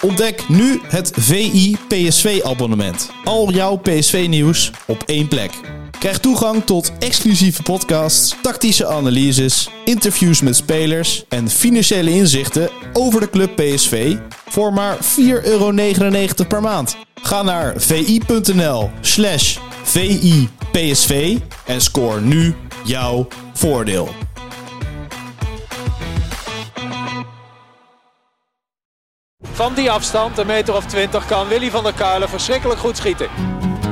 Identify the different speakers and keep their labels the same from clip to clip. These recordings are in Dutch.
Speaker 1: Ontdek nu het VI PSV-abonnement. Al jouw PSV-nieuws op één plek. Krijg toegang tot exclusieve podcasts, tactische analyses, interviews met spelers en financiële inzichten over de club PSV voor maar 4,99 euro per maand. Ga naar vi.nl slash VIPSV en scoor nu jouw voordeel.
Speaker 2: Van die afstand, een meter of twintig, kan Willy van der Kuilen verschrikkelijk goed schieten.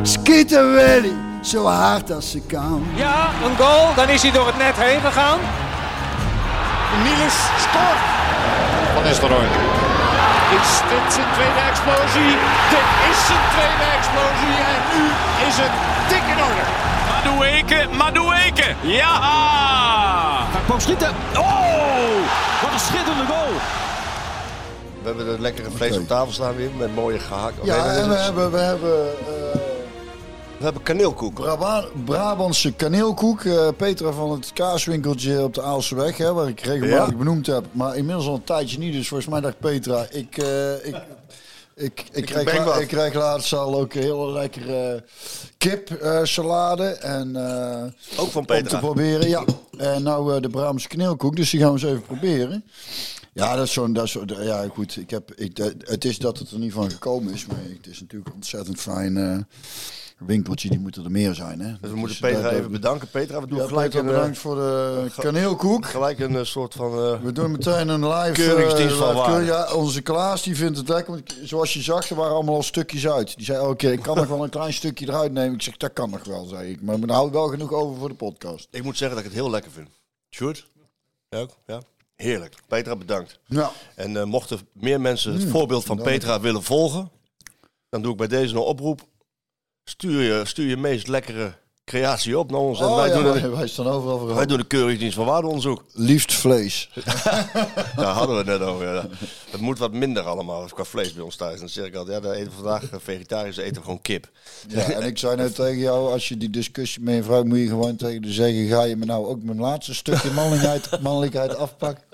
Speaker 3: Schieten Willy, zo hard als ze kan.
Speaker 2: Ja, een goal, dan is hij door het net heen gegaan.
Speaker 4: Niels scoort. Van Nistelrooy. Is dit zijn tweede explosie? Dit is zijn tweede explosie en nu is het dik in orde.
Speaker 5: Madueke, Madueke, ja!
Speaker 6: Hij kwam schieten. Oh, wat een schitterende goal.
Speaker 7: We hebben het lekkere vlees op tafel staan weer, met mooie gehakt.
Speaker 3: Ja,
Speaker 7: Nee,
Speaker 3: en we
Speaker 7: dat is het.
Speaker 3: hebben, we hebben eh,
Speaker 7: we hebben kaneelkoek.
Speaker 3: Braba- Brabantse kaneelkoek. eh, Petra van het kaaswinkeltje op de Aalseweg, hè, waar ik regelmatig
Speaker 7: Ja.
Speaker 3: benoemd heb. Maar inmiddels al een tijdje niet, dus volgens mij dacht Petra, ik... eh, ik ik, ik, krijg
Speaker 7: breng
Speaker 3: la-
Speaker 7: wat.
Speaker 3: ik krijg laatst al ook een heel eh, lekkere kipsalade. eh, en, eh,
Speaker 7: Ook van
Speaker 3: Om te
Speaker 7: Petra.
Speaker 3: proberen, ja. En nou eh, de Brabantse kneelkoek, dus die gaan we eens even proberen. Ja, dat is zo'n... dat is zo- Ja, goed, ik heb, ik, eh, het is dat het er niet van gekomen is, maar het is natuurlijk een ontzettend fijn eh, winkeltje. Die moeten er meer zijn, hè. eh,
Speaker 7: Dus we moeten Petra even bedanken. Petra, we doen gelijk, een, eh,
Speaker 3: bedankt voor de kaneelkoek.
Speaker 7: gelijk een eh, soort van... eh,
Speaker 3: We doen meteen een live...
Speaker 7: Keuringsdienst
Speaker 3: eh,
Speaker 7: van
Speaker 3: live
Speaker 7: waarde.
Speaker 3: Ja, onze Klaas die vindt het lekker. Want zoals je zag, er waren allemaal al stukjes uit. Die zei, oké, ik kan nog wel een klein stukje eruit nemen. Ik zeg, dat kan nog wel, zei ik. Maar we houden wel genoeg over voor de podcast.
Speaker 7: ik moet zeggen dat ik het heel lekker vind. Sjoerd? Ja, ook? Ja. Heerlijk. Petra, bedankt.
Speaker 3: Ja.
Speaker 7: En eh, mochten meer mensen
Speaker 3: Hmm,
Speaker 7: het voorbeeld van Petra willen volgen, dan doe ik bij deze een oproep. Stuur je, stuur je meest lekkere creatie op naar ons. en
Speaker 3: Oh,
Speaker 7: wij,
Speaker 3: ja,
Speaker 7: doen
Speaker 3: wij,
Speaker 7: de,
Speaker 3: wij staan overal voor.
Speaker 7: wij doen de keuringsdienst van waardeonderzoek.
Speaker 3: Liefst vlees.
Speaker 7: Daar hadden we het net over. ja. Het moet wat minder allemaal qua vlees bij ons thuis. Dan zeg ik altijd, ja, dan eten we vandaag eh, vegetarisch, dan eten we gewoon kip.
Speaker 3: Ja, en ik zei net tegen jou, als je die discussie met je vrouw, moet je gewoon tegen haar zeggen, ga je me nou ook mijn laatste stukje mannelijkheid, mannelijkheid afpakken?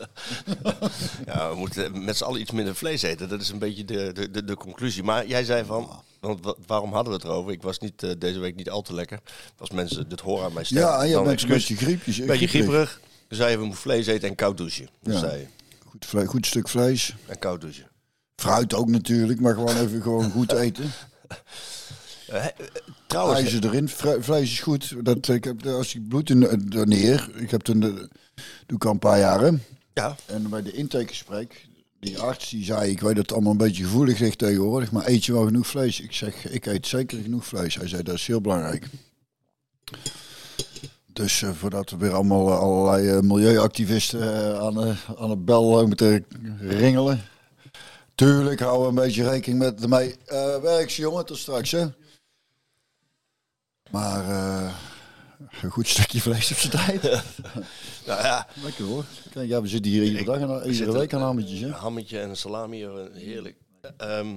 Speaker 7: Ja, we moeten met z'n allen iets minder vlees eten. Dat is een beetje de, de, de, de conclusie. Maar jij zei van, want wa- waarom hadden we het erover? Ik was niet, eh, deze week niet al te lekker. Als mensen dit horen aan mij stemmen.
Speaker 3: Ja, en jij
Speaker 7: dan
Speaker 3: bent een
Speaker 7: excuus.
Speaker 3: beetje griepjes. eh,
Speaker 7: Een beetje grieperig. Toen zei je, we moeten vlees eten en koud douchen. Dat
Speaker 3: Ja.
Speaker 7: zei je.
Speaker 3: Goed, vle- goed stuk vlees.
Speaker 7: En koud douchen.
Speaker 3: Fruit ook natuurlijk, maar gewoon even gewoon goed eten.
Speaker 7: Trouwens,
Speaker 3: Ijzer erin, Vre- vlees is goed. Dat, ik heb, als ik bloed in, eh, er neer, ik heb toen, eh, doe ik al een paar jaren.
Speaker 7: ja,
Speaker 3: En bij de intakegesprek, die arts die zei, ik weet dat het allemaal een beetje gevoelig ligt tegenwoordig, maar eet je wel genoeg vlees? Ik zeg, ik eet zeker genoeg vlees. Hij zei, dat is heel belangrijk. Dus eh, voordat er weer allemaal eh, allerlei eh, milieuactivisten eh, aan, de- aan de bel eh, moeten ringelen. Tuurlijk houden we een beetje rekening met ermee. Eh werks jongen, tot straks hè. Maar eh, een goed stukje vlees op zijn tijd.
Speaker 7: nou ja,
Speaker 3: Lekker hoor. Kijk, ja, we zitten hier iedere, dag en, iedere
Speaker 7: zit-
Speaker 3: week aan hammetjes. Hè?
Speaker 7: een hammetje en een salami, eh, heerlijk. Ehm,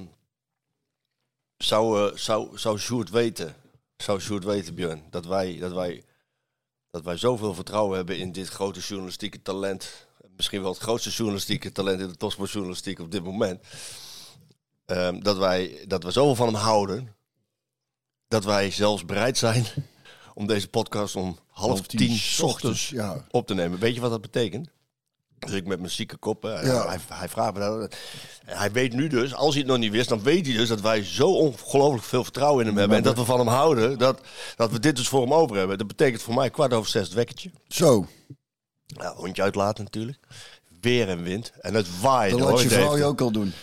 Speaker 7: zou, eh, zou, zou Sjoerd weten, zou Sjoerd weten Björn, dat wij, dat, wij, dat wij zoveel vertrouwen hebben in dit grote journalistieke talent. Misschien wel het grootste journalistieke talent in de topsportjournalistiek op dit moment. Ehm, dat, wij, dat we zoveel van hem houden, dat wij zelfs bereid zijn om deze podcast om half, tien,
Speaker 3: s
Speaker 7: ochtends
Speaker 3: Ja.
Speaker 7: op te nemen. Weet je wat dat betekent? Dus ik met mijn zieke kop, hè,
Speaker 3: Ja.
Speaker 7: hij, hij vraagt me dat. Hij weet nu dus, als hij het nog niet wist, dan weet hij dus dat wij zo ongelooflijk veel vertrouwen in hem hebben. En dat we van hem houden, dat, dat we dit dus voor hem over hebben. Dat betekent voor mij kwart over zes het wekkertje.
Speaker 3: Zo,
Speaker 7: Ja, hondje uitlaten natuurlijk. Weer en wind. En het waait.
Speaker 3: dat
Speaker 7: hoor,
Speaker 3: laat je
Speaker 7: Dave.
Speaker 3: vrouw je ook al doen.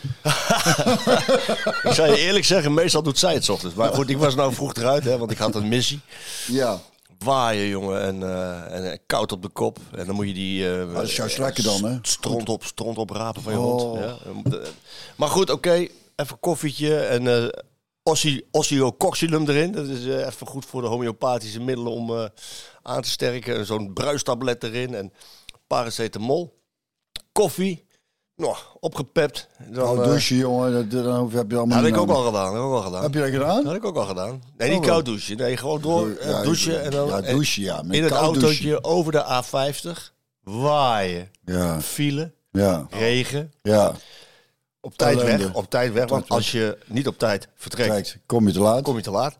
Speaker 7: Ik zou je eerlijk zeggen, meestal doet zij het 's ochtends. Maar goed, ik was nou vroeg eruit, hè, want ik had een missie.
Speaker 3: Ja,
Speaker 7: Waaien, jongen, en, eh, en eh, koud op de kop. En dan moet je die... eh,
Speaker 3: Ah, dat is juist lekker dan, hè?
Speaker 7: st- Stront op, stront op rapen van je
Speaker 3: Oh.
Speaker 7: hond. Ja. Eh, Maar goed, oké. Even koffietje en eh ossi- osteocoxylum erin. Dat is eh, even goed voor de homeopathische middelen om eh, aan te sterken. En Zo'n bruistablet erin en paracetamol. Koffie. Nou, opgepept. Dan,
Speaker 3: Koud
Speaker 7: eh,
Speaker 3: Oh, douchen, jongen, dat, dat, dat heb je allemaal
Speaker 7: had
Speaker 3: niet
Speaker 7: ik ook
Speaker 3: nodig.
Speaker 7: al gedaan. Heb ik ook al gedaan.
Speaker 3: Heb je dat gedaan?
Speaker 7: Dat had ik ook al gedaan. Nee, niet
Speaker 3: Oh,
Speaker 7: koud douchen. Nee, gewoon door eh,
Speaker 3: Ja,
Speaker 7: douchen en dan
Speaker 3: ja,
Speaker 7: en
Speaker 3: douchen, ja, met
Speaker 7: in het
Speaker 3: koud
Speaker 7: autootje
Speaker 3: douchen.
Speaker 7: over de A50 waaien,
Speaker 3: Ja,
Speaker 7: file,
Speaker 3: ja,
Speaker 7: regen,
Speaker 3: ja.
Speaker 7: Oh. Op tijd
Speaker 3: Ellende.
Speaker 7: weg, op tijd weg.
Speaker 3: Tijd
Speaker 7: Want
Speaker 3: weg.
Speaker 7: als je niet op tijd vertrekt,
Speaker 3: Kijk, kom je te laat.
Speaker 7: kom je te laat.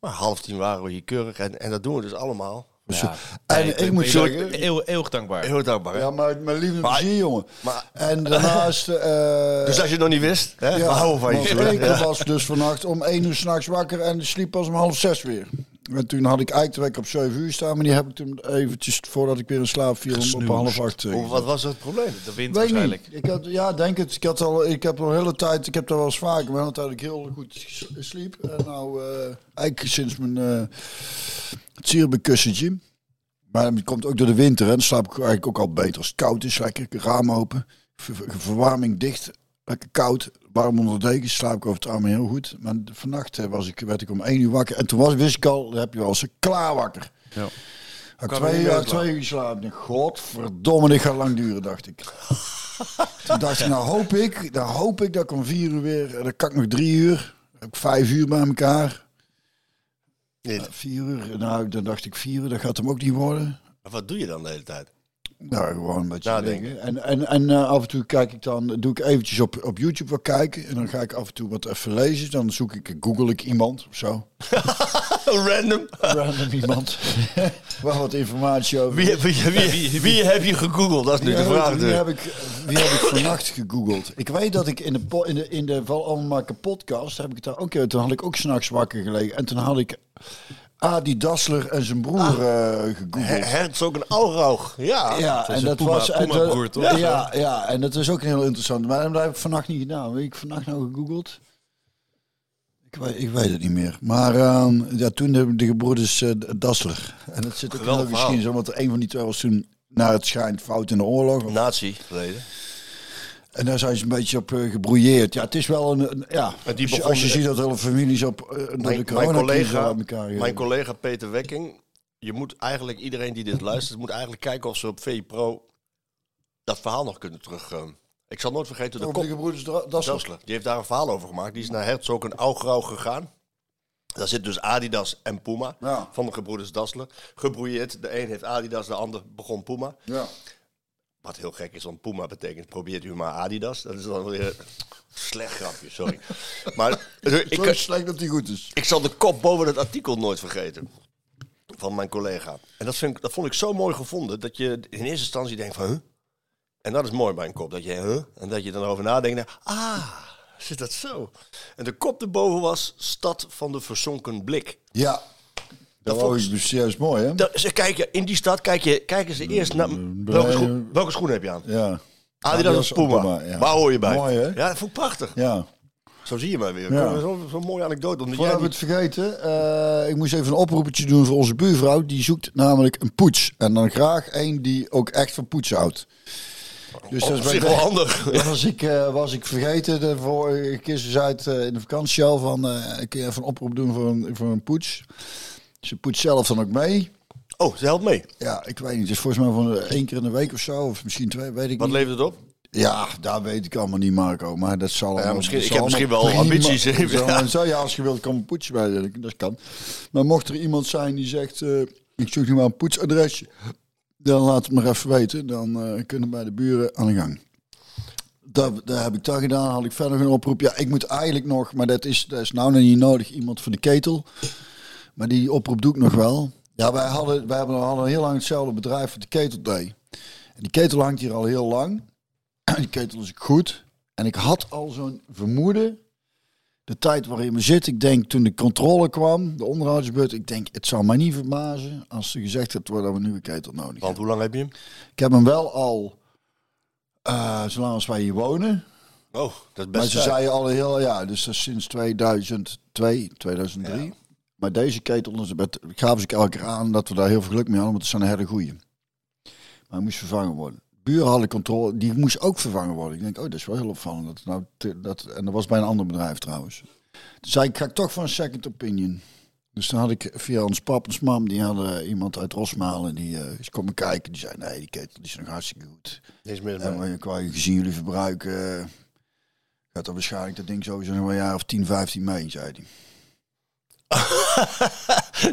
Speaker 7: Maar half tien waren we hier keurig. En, en dat doen we dus allemaal.
Speaker 8: Ja,
Speaker 3: en
Speaker 8: ik,
Speaker 3: ik
Speaker 8: ben
Speaker 3: moet
Speaker 8: je
Speaker 3: zeggen-
Speaker 8: daar Eeuw, eeuwig dankbaar.
Speaker 7: Heel dankbaar. hè?
Speaker 3: Ja, maar mijn liefde
Speaker 7: Maar-
Speaker 3: plezier, jongen.
Speaker 7: maar-
Speaker 3: en daarnaast... eh,
Speaker 7: dus als je het nog niet wist, hè, we houden van
Speaker 3: want
Speaker 7: je. hè?
Speaker 3: Ik
Speaker 7: Ja.
Speaker 3: was dus vannacht om 1 uur s'nachts wakker en sliep pas om half zes weer. En toen had ik eigenlijk de wekker op 7 uur staan, maar die heb ik toen eventjes voordat ik weer in slaap viel om op half acht. eh,
Speaker 7: Hoe- Wat was het probleem?
Speaker 8: De wind
Speaker 3: Weet niet.
Speaker 8: waarschijnlijk.
Speaker 3: Ik had, ja, denk het. Ik, had al, ik heb al een hele tijd, ik heb daar wel eens vaker, maar een hele tijd dat ik heel goed s- sliep. En nou, eh, eigenlijk sinds mijn eh zierbekussentje. Maar dat komt ook door de winter, hè. Dan slaap ik eigenlijk ook al beter. Als het koud is, lekker raam open, ver- ver- verwarming dicht, lekker koud. Warm onder de deken slaap ik over het algemeen heel goed. Maar de- vannacht eh, was ik, werd ik om één uur wakker. En toen was, wist ik al, dan heb je wel eens klaar wakker. Had ik
Speaker 8: Kan er
Speaker 3: twee,
Speaker 8: niet
Speaker 3: uur-
Speaker 8: uit,
Speaker 3: twee uur geslapen. Godverdomme, dit gaat lang duren, dacht ik. Toen dacht ik, nou hoop ik, dan hoop ik dat ik om vier uur weer, eh, dan kan ik nog drie uur, dan heb ik vijf uur bij elkaar.
Speaker 7: Nee,
Speaker 3: Eh, Vier uur, nou dan dacht ik vier uur, dat gaat hem ook niet worden.
Speaker 7: Wat doe je dan de hele tijd?
Speaker 3: Nou, gewoon een beetje
Speaker 7: Nadenken.
Speaker 3: denken. En, en, en eh, af en toe kijk ik dan, doe ik eventjes op, op YouTube wat kijken en dan ga ik af en toe wat even lezen. Dan zoek ik, google ik iemand of zo.
Speaker 7: Random.
Speaker 3: Random iemand. Waar wat informatie over.
Speaker 7: Wie, wie, wie, wie, heb je gegoogeld? Dat is nu de vraag. dus.
Speaker 3: Wie
Speaker 7: natuurlijk.
Speaker 3: heb, ik, wie heb ik vannacht gegoogeld? Ik weet dat ik in de, po- in de, in de Val Almanakken podcast, heb ik het daar ook, eh, toen had ik ook s'nachts wakker gelegen. En toen had ik Adi Dassler en zijn broer eh, gegoogeld.
Speaker 7: Her- Hertz ook een auwraug. Ah. Ja.
Speaker 3: Ja, en dat was... en dat-
Speaker 8: Puma-broer, toch?
Speaker 3: Ja, ja, en dat is ook een heel interessant. Maar dat heb ik vannacht niet gedaan. Weet je, ik vannacht nou gegoogeld? Ik weet, ik weet het niet meer. Maar ehm, ja, toen hebben de gebroeders eh Dassler. En dat zit ook in de
Speaker 7: Geweldig verhaal.
Speaker 3: geschiedenis. hè, Want een van die twee was toen, naar het schijnt, fout in de oorlog.
Speaker 7: Nazi geleden.
Speaker 3: En daar zijn ze een beetje op eh, gebrouilleerd. Ja, het is wel een... een- ja,
Speaker 7: En die
Speaker 3: als, je,
Speaker 7: begon-
Speaker 3: als je ziet dat hele families op eh, door de
Speaker 7: Mijn, mijn
Speaker 3: coronacrisis
Speaker 7: collega,
Speaker 3: aan elkaar eh,
Speaker 7: mijn collega Peter Wekking. Je moet eigenlijk, iedereen die dit luistert, moet eigenlijk kijken of ze op VPRO dat verhaal nog kunnen terug. eh, ik zal nooit vergeten de
Speaker 3: over de
Speaker 7: kop.
Speaker 3: gebroeders Dra- Dassler.
Speaker 7: Dassler. Die heeft daar een verhaal over gemaakt. Die is naar Hertz ook een auwgrauw gegaan. Daar zit dus Adidas en Puma
Speaker 3: Ja.
Speaker 7: van de gebroeders Dassler. Gebroeieerd. De een heeft Adidas, de ander begon Puma.
Speaker 3: Ja.
Speaker 7: Wat heel gek is, want Puma betekent probeert u maar Adidas. Dat is dan weer slecht grapje, sorry. maar ik,
Speaker 3: Zo slecht dat die goed is.
Speaker 7: ik zal de kop boven het artikel nooit vergeten. Van mijn collega. En dat, vind ik, dat vond ik zo mooi gevonden. Dat je in eerste instantie denkt van... Huh? En dat is mooi bij een kop. Dat je... Huh? En dat je dan over nadenkt. en, Ah, zit dat zo? En de kop erboven was... Stad van de verzonken blik.
Speaker 3: Ja. Dat,
Speaker 7: vond
Speaker 3: vond
Speaker 7: ik-
Speaker 3: ik dus serieus mooi, hè?
Speaker 7: Dat, ze kijken, in die stad kijken, kijken ze eerst naar... Welke, schoen, welke schoen heb je aan?
Speaker 3: Ja.
Speaker 7: Adidas of Ah, Puma?
Speaker 3: ja.
Speaker 7: Waar hoor je bij?
Speaker 3: Mooi, hè?
Speaker 7: Ja, dat vond ik prachtig.
Speaker 3: Ja.
Speaker 7: Zo zie je maar weer.
Speaker 3: Ja.
Speaker 7: Zo'n zo'n mooie anekdote. Omdat jij
Speaker 3: Voordat we het
Speaker 7: niet...
Speaker 3: vergeten, eh, ik moest even een oproepetje doen voor onze buurvrouw. Die zoekt namelijk een poets. En dan graag één die ook echt van poetsen houdt. Dus
Speaker 7: Oh, Op zich wel handig.
Speaker 3: Ja, was ik, eh, was ik vergeten. De vorige keer ze zei het eh, in de vakantie al van... eh kun je even een oproep doen voor een, voor een poets? Ze poetst zelf dan ook mee.
Speaker 7: Oh, ze helpt mee.
Speaker 3: Ja, ik weet niet. Het is volgens mij van eh, één keer in de week of zo. Of misschien twee, weet ik
Speaker 7: Wat
Speaker 3: niet.
Speaker 7: levert het op?
Speaker 3: Ja, daar weet ik allemaal niet, Marco. Maar dat zal allemaal-
Speaker 7: misschien-
Speaker 3: dat
Speaker 7: ik heb
Speaker 3: zal
Speaker 7: misschien wel
Speaker 3: allemaal prima-
Speaker 7: ambities, hè?
Speaker 3: dat zal allemaal zo, ja, als je wilt, kan een poetsje bij. je. Dat kan. Maar mocht er iemand zijn die zegt... eh, ik zoek nu maar een poetsadresje. Dan laat het maar even weten. Dan eh, kunnen bij de buren aan de gang. Dat, dat heb ik daar gedaan. Had ik verder een oproep. Ja, ik moet eigenlijk nog... Maar dat is, dat is nou nog niet nodig. Iemand voor de ketel. Maar die oproep doe ik nog wel. Ja, wij hadden, wij hebben- hadden heel lang hetzelfde bedrijf voor de ketel deed. En die ketel hangt hier al heel lang. En die ketel is ook goed. En ik had al zo'n vermoeden. De tijd waarin we zitten, ik denk toen de controle kwam, de onderhoudsbeurt, ik denk, het zou mij niet verbazen als ze gezegd hebt dat we nu een ketel nodig hebben.
Speaker 7: Want hoe lang heb je hem?
Speaker 3: Ik heb hem wel al, eh, zolang als wij hier wonen,
Speaker 7: Oh, dat is
Speaker 3: maar
Speaker 7: best
Speaker 3: ze
Speaker 7: tijd.
Speaker 3: zeiden al heel, ja, dus dat is sinds 2002, 2003. Maar deze ketel, dus dat gaven ze elke keer aan dat we daar heel veel geluk mee hadden, want het zijn een hele goeie. Maar hij moest vervangen worden. Buren hadden controle, die moest ook vervangen worden. Ik denk, oh, dat is wel heel opvallend. Dat, nou te- dat, en dat was bij een ander bedrijf trouwens. Toen zei ik, ga ik toch voor een second opinion. Dus toen had ik via ons pap en ons mam, die hadden iemand uit Rosmalen, die eh, is komen kijken. Die zei, nee, die ketel die is nog hartstikke goed.
Speaker 7: Niks mis
Speaker 3: Ja,
Speaker 7: mee.
Speaker 3: maar qua je gezien jullie verbruiken, eh, gaat er waarschijnlijk dat ding sowieso nog wel een jaar of 10, 15 mee, zei hij.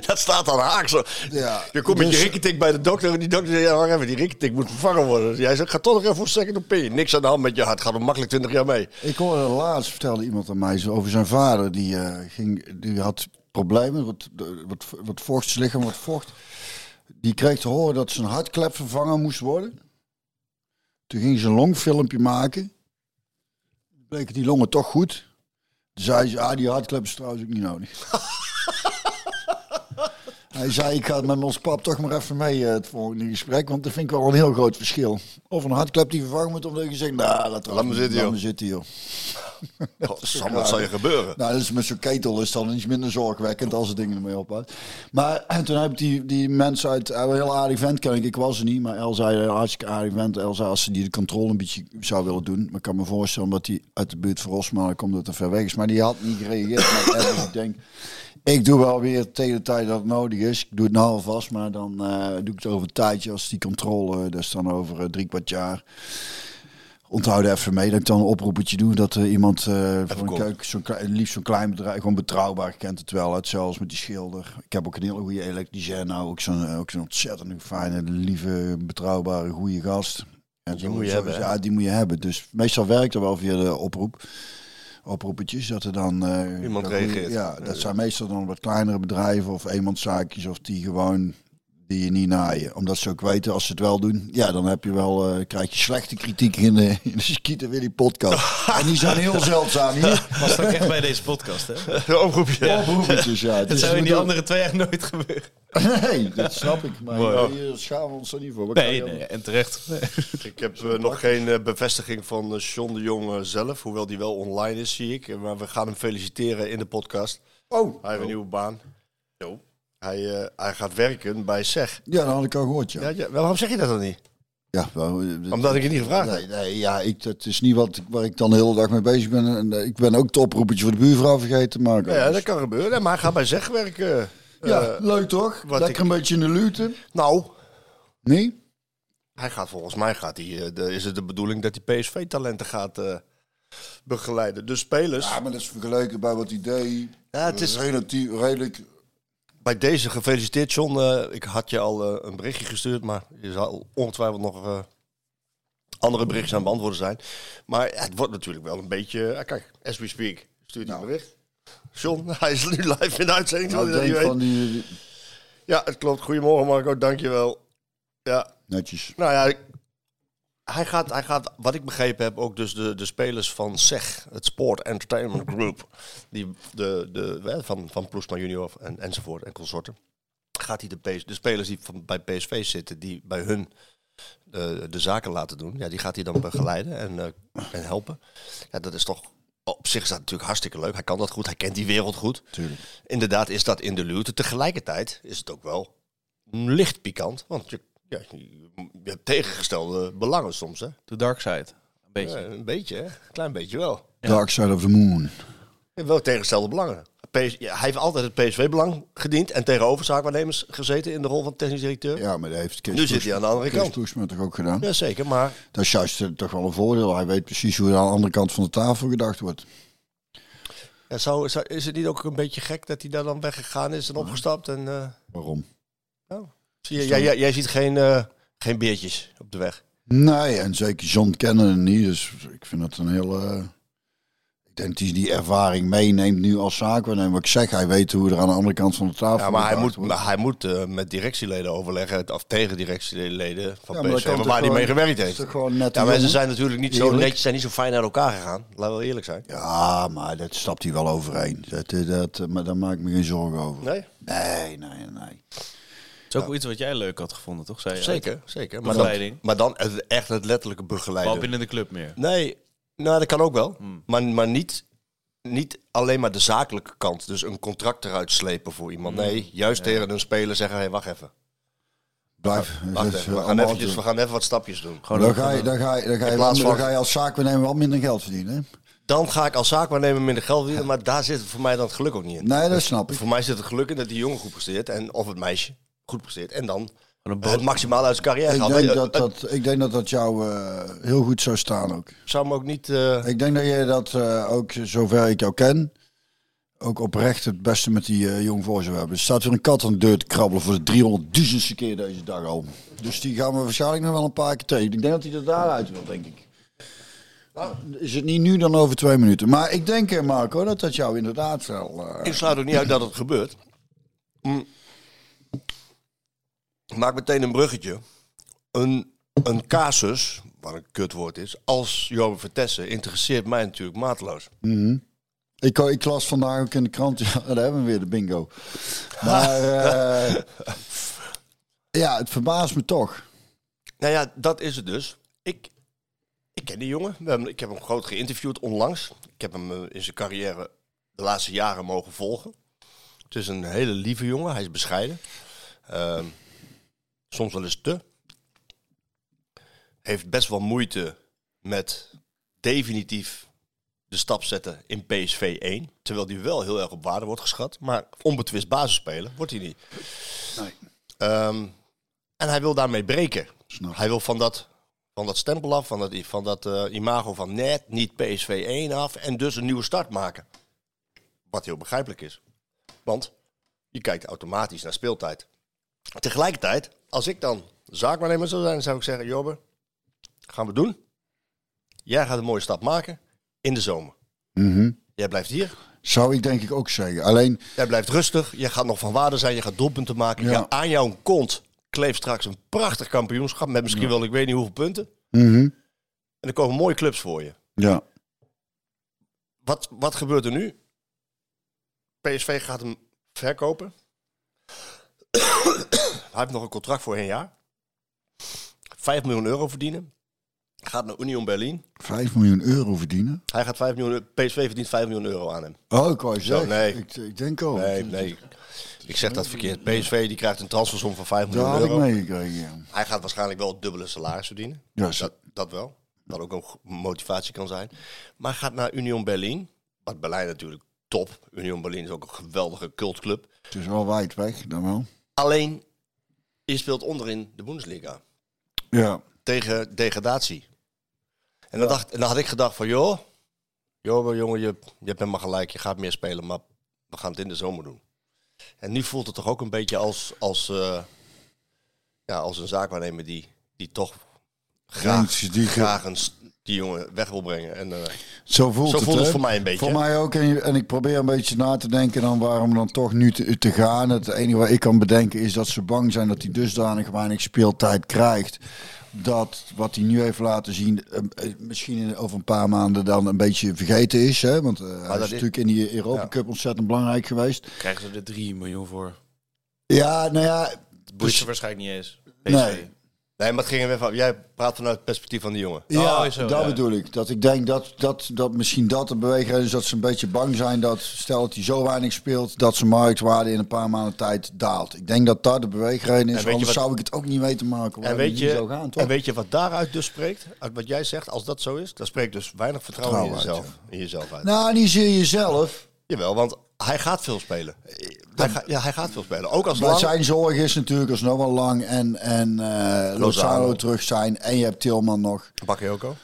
Speaker 7: dat staat dan haaks. op.
Speaker 3: Ja,
Speaker 7: je komt met
Speaker 3: dus-
Speaker 7: je rikketik bij de dokter en die dokter zegt, ja, wacht even, die rikketik moet vervangen worden. Dus jij zegt, ga toch nog even voor een second opinion. Niks aan de hand met je hart, gaat er makkelijk 20 jaar mee.
Speaker 3: Ik hoorde laatst, vertelde iemand aan mij zo over zijn vader. Die, eh, ging, die had problemen, wat, wat, wat vocht, zijn lichaam wat vocht. Die kreeg te horen dat zijn hartklep vervangen moest worden. Toen ging ze een longfilmpje maken. Bleken die longen toch goed. Toen zei ze, ah, die hartklep is trouwens ook niet nodig. Hij zei, ik ga het met ons pap toch maar even mee eh, het volgende gesprek. Want dat vind ik wel een heel groot verschil. Of een hartklep die vervangen moet, omdat je zegt, nou, laat,
Speaker 7: me zitten,
Speaker 3: laat
Speaker 7: joh."
Speaker 3: me zitten, joh.
Speaker 7: God, Sam, wat zal je gebeuren?
Speaker 3: Nou, dus met zo'n ketel is het dan iets minder zorgwekkend als het dingen ermee ophoudt. Maar en toen heb ik die, die mensen uit, eh, een heel aardig vent ken ik, ik was er niet, maar El zei, een hartstikke aardig vent. El zei, als ze die de controle een beetje zou willen doen, maar ik kan me voorstellen dat hij uit de buurt van Rosmalen komt, dat er ver weg is. Maar die had niet gereageerd, maar ergens, ik denk, ik doe wel weer tegen de tijd dat het nodig is. Ik doe het nou alvast, maar dan eh, doe ik het over een tijdje als die controle, dat is dan over eh, drie kwart jaar. Onthoud even mee dat ik dan een oproepetje doe dat er iemand eh voor een
Speaker 7: komt.
Speaker 3: keuken, zo'n klei- liefst zo'n klein bedrijf, gewoon betrouwbaar kent het wel uit, zelfs met die schilder. Ik heb ook een hele goede elektricien nou, ook zo'n ook zo'n ontzettend fijne, lieve, betrouwbare, goede gast. En
Speaker 7: Die
Speaker 3: zo-
Speaker 7: moet je
Speaker 3: zo-
Speaker 7: hebben, hè?
Speaker 3: Ja, die moet je hebben. Dus meestal werkt er wel via de oproep, oproepetjes, dat er dan... eh,
Speaker 7: Iemand
Speaker 3: dat goeie-
Speaker 7: reageert.
Speaker 3: Ja, dat zijn meestal dan wat kleinere bedrijven of eenmanszaakjes of die gewoon die je niet naaien. Omdat ze ook weten, als ze het wel doen, ja, dan heb je wel, eh, krijg je slechte kritiek in de, in de Skeeter Willy podcast. en die zijn heel zeldzaam hier.
Speaker 1: Was dat ook echt bij deze podcast, hè?
Speaker 7: Een oproepje.
Speaker 3: Oproepetjes, ja.
Speaker 1: Dat
Speaker 3: Dus
Speaker 1: zou in die
Speaker 3: bedoel-
Speaker 1: andere twee jaar nooit gebeuren.
Speaker 3: Nee, dat snap ik. Maar
Speaker 7: Mooi.
Speaker 3: hier schamen we ons er niet voor. Wat kan
Speaker 1: Nee,
Speaker 3: je
Speaker 1: nee, en terecht.
Speaker 7: Ik heb eh, nog geen eh, bevestiging van eh Sean de Jong eh, zelf, hoewel die wel online is, zie ik. Eh, Maar we gaan hem feliciteren in de podcast.
Speaker 3: anders? Oh,
Speaker 7: Hij heeft een nieuwe baan. Hij, eh, hij gaat werken bij SEG.
Speaker 3: ja, dat had ik al gehoord, ja.
Speaker 7: Ja, ja, waarom zeg je dat dan niet?
Speaker 3: ja wel, eh,
Speaker 7: Omdat ik het niet gevraagd heb.
Speaker 3: Nee, nee, ja, ik, dat is niet wat, ik- waar ik dan de hele dag mee bezig ben. En, eh, ik ben ook het oproepetje voor de buurvrouw vergeten te maken.
Speaker 7: Ja, dat kan gebeuren. Nee, maar hij gaat bij SEG werken.
Speaker 3: Ja,
Speaker 7: Eh,
Speaker 3: leuk toch?
Speaker 7: wat
Speaker 3: Lekker
Speaker 7: ik-
Speaker 3: een beetje in de lute.
Speaker 7: nou,
Speaker 3: Nee?
Speaker 7: hij gaat volgens mij, gaat hij, eh, de- is het de bedoeling dat hij PSV-talenten gaat eh, begeleiden. Dus spelers,
Speaker 3: Ja, maar dat is vergeleken bij wat idee.
Speaker 7: Ja, het is-
Speaker 3: relatief, redelijk.
Speaker 7: bij deze gefeliciteerd John. Eh, ik had je al eh, een berichtje gestuurd, maar je zal ongetwijfeld nog eh, andere berichtjes aan het beantwoorden zijn. Maar ja, het wordt natuurlijk wel een beetje, eh, kijk, as we speak, stuurt hij
Speaker 3: Nou.
Speaker 7: een bericht. John, hij is nu live in de uitzending.
Speaker 3: Nou,
Speaker 7: terwijl
Speaker 3: ik
Speaker 7: hij dat
Speaker 3: denk
Speaker 7: niet
Speaker 3: van die,
Speaker 7: weet.
Speaker 3: die-
Speaker 7: Ja, het klopt. Goedemorgen Marco, dankjewel. Ja,
Speaker 3: Netjes.
Speaker 7: Nou ja, ik- hij gaat, hij gaat, wat ik begrepen heb, ook dus de, de spelers van SEG, het Sport Entertainment Group, die de, de, hè, van, van Ploesma Junior en, enzovoort en consorten, gaat hij de, PS de spelers die van, bij PSV zitten, die bij hun de, de zaken laten doen, ja, die gaat hij dan begeleiden en, eh, en helpen. Ja, dat is toch, op zich is dat natuurlijk hartstikke leuk. Hij kan dat goed, hij kent die wereld goed.
Speaker 3: Tuurlijk.
Speaker 7: Inderdaad is dat in de luwte. Tegelijkertijd is het ook wel licht pikant. Want je, ja, je je hebt tegengestelde belangen soms. Hè?
Speaker 1: To Dark Side. Een
Speaker 7: Ja,
Speaker 1: beetje.
Speaker 7: een beetje, hè? een klein beetje wel.
Speaker 3: Dark Side of the Moon.
Speaker 7: Je hebt wel tegengestelde belangen. PS ja, hij heeft altijd het PSV-belang gediend en tegenover zaakwaarnemers gezeten in de rol van technisch directeur.
Speaker 3: Ja, maar dat heeft Kees
Speaker 7: Nu zit hij
Speaker 3: Toesma-
Speaker 7: aan de andere
Speaker 3: Kees
Speaker 7: kant.
Speaker 3: Toesma toch ook gedaan?
Speaker 7: Jazeker, maar
Speaker 3: Dat is juist eh, toch wel een voordeel. Hij weet precies hoe er aan de andere kant van de tafel gedacht wordt.
Speaker 7: ja, zou, zou- is het niet ook een beetje gek dat hij daar dan weggegaan is en opgestapt? En, eh,
Speaker 3: Waarom?
Speaker 7: zie je, jij, jij, jij ziet geen, eh, geen beertjes op de weg.
Speaker 3: Nee, en zeker John kennen hem niet. Dus ik vind dat een heel. eh, ik denk dat hij die ervaring meeneemt nu als zaakwaarnemer. Wat ik zeg, hij weet hoe er aan de andere kant van de tafel
Speaker 7: Ja, maar hij
Speaker 3: gedacht
Speaker 7: moet,
Speaker 3: wordt.
Speaker 7: maar hij moet eh, met directieleden overleggen, of tegen directieleden van
Speaker 3: Ja, maar dat
Speaker 7: PSV,
Speaker 3: kan
Speaker 7: maar
Speaker 3: toch
Speaker 7: waar hij mee
Speaker 3: gewoon-
Speaker 7: gewerkt
Speaker 3: dat is
Speaker 7: heeft.
Speaker 3: toch gewoon net
Speaker 7: ja,
Speaker 3: een
Speaker 7: maar ze
Speaker 3: jongen?
Speaker 7: zijn natuurlijk niet zo,
Speaker 3: Eerlijk.
Speaker 7: netjes, zijn niet zo fijn naar elkaar gegaan. Laten we wel eerlijk zijn.
Speaker 3: Ja, maar dat stapt hij wel overheen. Dat, eh, dat, eh, maar daar maak ik me geen zorgen over.
Speaker 7: Nee?
Speaker 3: Nee, nee, nee.
Speaker 1: Het is ook wel iets wat jij leuk had gevonden, toch? Zei je
Speaker 7: Zeker, zeker. Maar dan,
Speaker 1: Begeleiding.
Speaker 7: maar dan het- echt het letterlijke
Speaker 1: Wel
Speaker 7: begeleiden.
Speaker 1: binnen de club meer.
Speaker 7: Nee, nou, dat kan ook wel. Maar, maar niet, niet alleen maar de zakelijke kant. Dus een contract eruit slepen voor iemand. Nee, juist tegen een speler zeggen, hé, wacht even.
Speaker 3: Blijf.
Speaker 7: Wacht
Speaker 3: dat is,
Speaker 7: even,
Speaker 3: eh,
Speaker 7: we, gaan
Speaker 3: allemaal
Speaker 7: eventjes, we
Speaker 3: te-
Speaker 7: gaan even wat stapjes doen.
Speaker 3: Dan ga je, dan ga je, dan ga je, wel-
Speaker 7: plaats van-
Speaker 3: dan ga je als zaakwaarnemer wel minder geld verdienen. hè?
Speaker 7: Dan ga ik als zaakwaarnemer minder geld verdienen, maar daar zit voor mij dan het geluk ook niet in.
Speaker 3: Nee, dat snap Nou, ik.
Speaker 7: Voor mij zit het geluk in dat die jongen goed presteert, en, of het meisje goed presteert. En dan
Speaker 1: een boot.
Speaker 7: het maximaal uit zijn carrière
Speaker 3: Ik
Speaker 7: haalt.
Speaker 3: denk
Speaker 7: Eh,
Speaker 3: dat
Speaker 7: het
Speaker 3: dat, ik denk dat, dat jou eh, heel goed zou staan ook.
Speaker 7: zou me ook niet... eh,
Speaker 3: Ik denk dat jij dat eh, ook, zover ik jou ken, ook oprecht het beste met die eh jong voor ze hebben. Er staat weer een kat aan de deur te krabbelen voor de 300.000ste keer deze dag al. Dus die gaan we waarschijnlijk nog wel een paar keer tegen. Ik denk dat hij er daaruit wil, denk ik. Nou, is het niet nu dan over twee minuten. Maar ik denk, eh, Marco, dat dat jou inderdaad wel... eh,
Speaker 7: Ik sluit ook niet uit dat het gebeurt. Mm. Ik Maak meteen een bruggetje. Een, een casus, wat een kutwoord is, als Johan Vertessen interesseert mij natuurlijk mateloos.
Speaker 3: Ik, ik las vandaag ook in de krant, ja, daar hebben we weer de bingo. Maar eh, ja, het verbaast me toch.
Speaker 7: Nou ja, dat is het dus. Ik, ik ken die jongen. We hebben, ik heb hem groot geïnterviewd onlangs. Ik heb hem eh, in zijn carrière de laatste jaren mogen volgen. Het is een hele lieve jongen. Hij is bescheiden. Ehm, soms wel eens te. Heeft best wel moeite met definitief de stap zetten in PSV 1. Terwijl die wel heel erg op waarde wordt geschat. Maar onbetwist basisspeler wordt hij niet. Ehm, en hij wil daarmee breken.
Speaker 3: Snap.
Speaker 7: Hij wil van dat, van dat stempel af, van dat, van dat eh, imago van net niet PSV 1 af. En dus een nieuwe start maken. Wat heel begrijpelijk is. Want je kijkt automatisch naar speeltijd. Tegelijkertijd, als ik dan zaakwaarnemer zou zijn, zou ik zeggen: Jobber, gaan we doen. Jij gaat een mooie stap maken in de zomer. Jij blijft hier.
Speaker 3: Zou ik denk ik ook zeggen. Alleen,
Speaker 7: Jij blijft rustig. Jij gaat nog van waarde zijn. Je gaat doelpunten maken.
Speaker 3: Ja.
Speaker 7: Ja, aan jouw kont kleeft straks een prachtig kampioenschap. Met misschien wel ik weet niet hoeveel punten. En er komen mooie clubs voor je.
Speaker 3: ja,
Speaker 7: Wat, wat gebeurt er nu? PSV gaat hem verkopen. Hij heeft nog een contract voor een jaar. 5 miljoen euro verdienen. Gaat naar Union Berlin.
Speaker 3: 5 miljoen euro verdienen.
Speaker 7: Hij gaat 5 miljoen, euro- PSV verdient 5 miljoen euro aan hem.
Speaker 3: Oh, ik wou je
Speaker 7: Zo,
Speaker 3: zeggen.
Speaker 7: nee.
Speaker 3: Ik, ik denk ook.
Speaker 7: Nee, nee. Ik zeg dat verkeerd. PSV die krijgt een transfersom van 5
Speaker 3: Daar
Speaker 7: miljoen
Speaker 3: had ik
Speaker 7: euro.
Speaker 3: meegekregen. Ja.
Speaker 7: Hij gaat waarschijnlijk wel het dubbele salaris verdienen.
Speaker 3: Ja, zo-
Speaker 7: dat, dat wel. Wat ook een go- motivatie kan zijn. Maar hij gaat naar Union Berlin. Wat Berlijn natuurlijk top. Union Berlin is ook een geweldige cultclub.
Speaker 3: Het is wel wijd weg, dan wel.
Speaker 7: Alleen, je speelt onderin de Bundesliga.
Speaker 3: Ja.
Speaker 7: Tegen degradatie. En dan, dacht, en dan had ik gedacht van, joh, joh maar jongen, je, je hebt helemaal gelijk. Je gaat meer spelen, maar we gaan het in de zomer doen. En nu voelt het toch ook een beetje als, als, eh, ja, als een zaakwaarnemer die, die toch graag,
Speaker 3: Eentje die ge-
Speaker 7: graag een, s- die jongen weg wil brengen. En, eh,
Speaker 3: Zo voelt,
Speaker 7: Zo
Speaker 3: het,
Speaker 7: voelt het
Speaker 3: hè?
Speaker 7: voor mij een beetje,
Speaker 3: Voor
Speaker 7: hè?
Speaker 3: mij ook. En, en ik probeer een beetje na te denken dan waarom dan toch nu te, te gaan. Het enige wat ik kan bedenken is dat ze bang zijn dat hij dusdanig weinig speeltijd krijgt. Dat wat hij nu heeft laten zien eh, eh, misschien in- over een paar maanden dan een beetje vergeten is. Hè? Want eh, hij is
Speaker 7: dat is-
Speaker 3: natuurlijk in die Europa Cup ontzettend belangrijk geweest.
Speaker 8: Krijgen ze er 3 miljoen voor?
Speaker 3: Ja, nou ja.
Speaker 8: Boeit ze
Speaker 3: dus-
Speaker 8: waarschijnlijk niet eens. PSV.
Speaker 3: nee.
Speaker 7: nee, maar het ging er weer van, jij praat vanuit het perspectief van die jongen.
Speaker 3: Ja,
Speaker 8: Oh, zo,
Speaker 3: dat
Speaker 8: ja.
Speaker 3: bedoel ik. Dat ik denk dat, dat, dat misschien dat de beweegreden is dat ze een beetje bang zijn dat stel dat hij zo weinig speelt, dat zijn marktwaarde in een paar maanden tijd daalt. Ik denk dat dat de beweegreden is,
Speaker 7: weet je
Speaker 3: anders
Speaker 7: wat-
Speaker 3: zou ik het ook niet weten maken.
Speaker 7: En
Speaker 3: waarom
Speaker 7: weet,
Speaker 3: het niet
Speaker 7: je,
Speaker 3: zou gaan, toch?
Speaker 7: en weet je wat daaruit dus spreekt? Uit wat jij zegt, als dat zo is, dan spreekt dus weinig vertrouwen, in,
Speaker 3: Vertrouwen
Speaker 7: jezelf, in jezelf uit.
Speaker 3: Nou, niet zie je zelf.
Speaker 7: Jawel, want hij gaat veel spelen. Hij ga- ja, hij gaat veel spelen. Ook als
Speaker 3: Maar
Speaker 7: lang.
Speaker 3: zijn zorg is natuurlijk als Noah Lang en, en eh Lozano terug zijn en je hebt Tilman nog
Speaker 7: Bakayoko.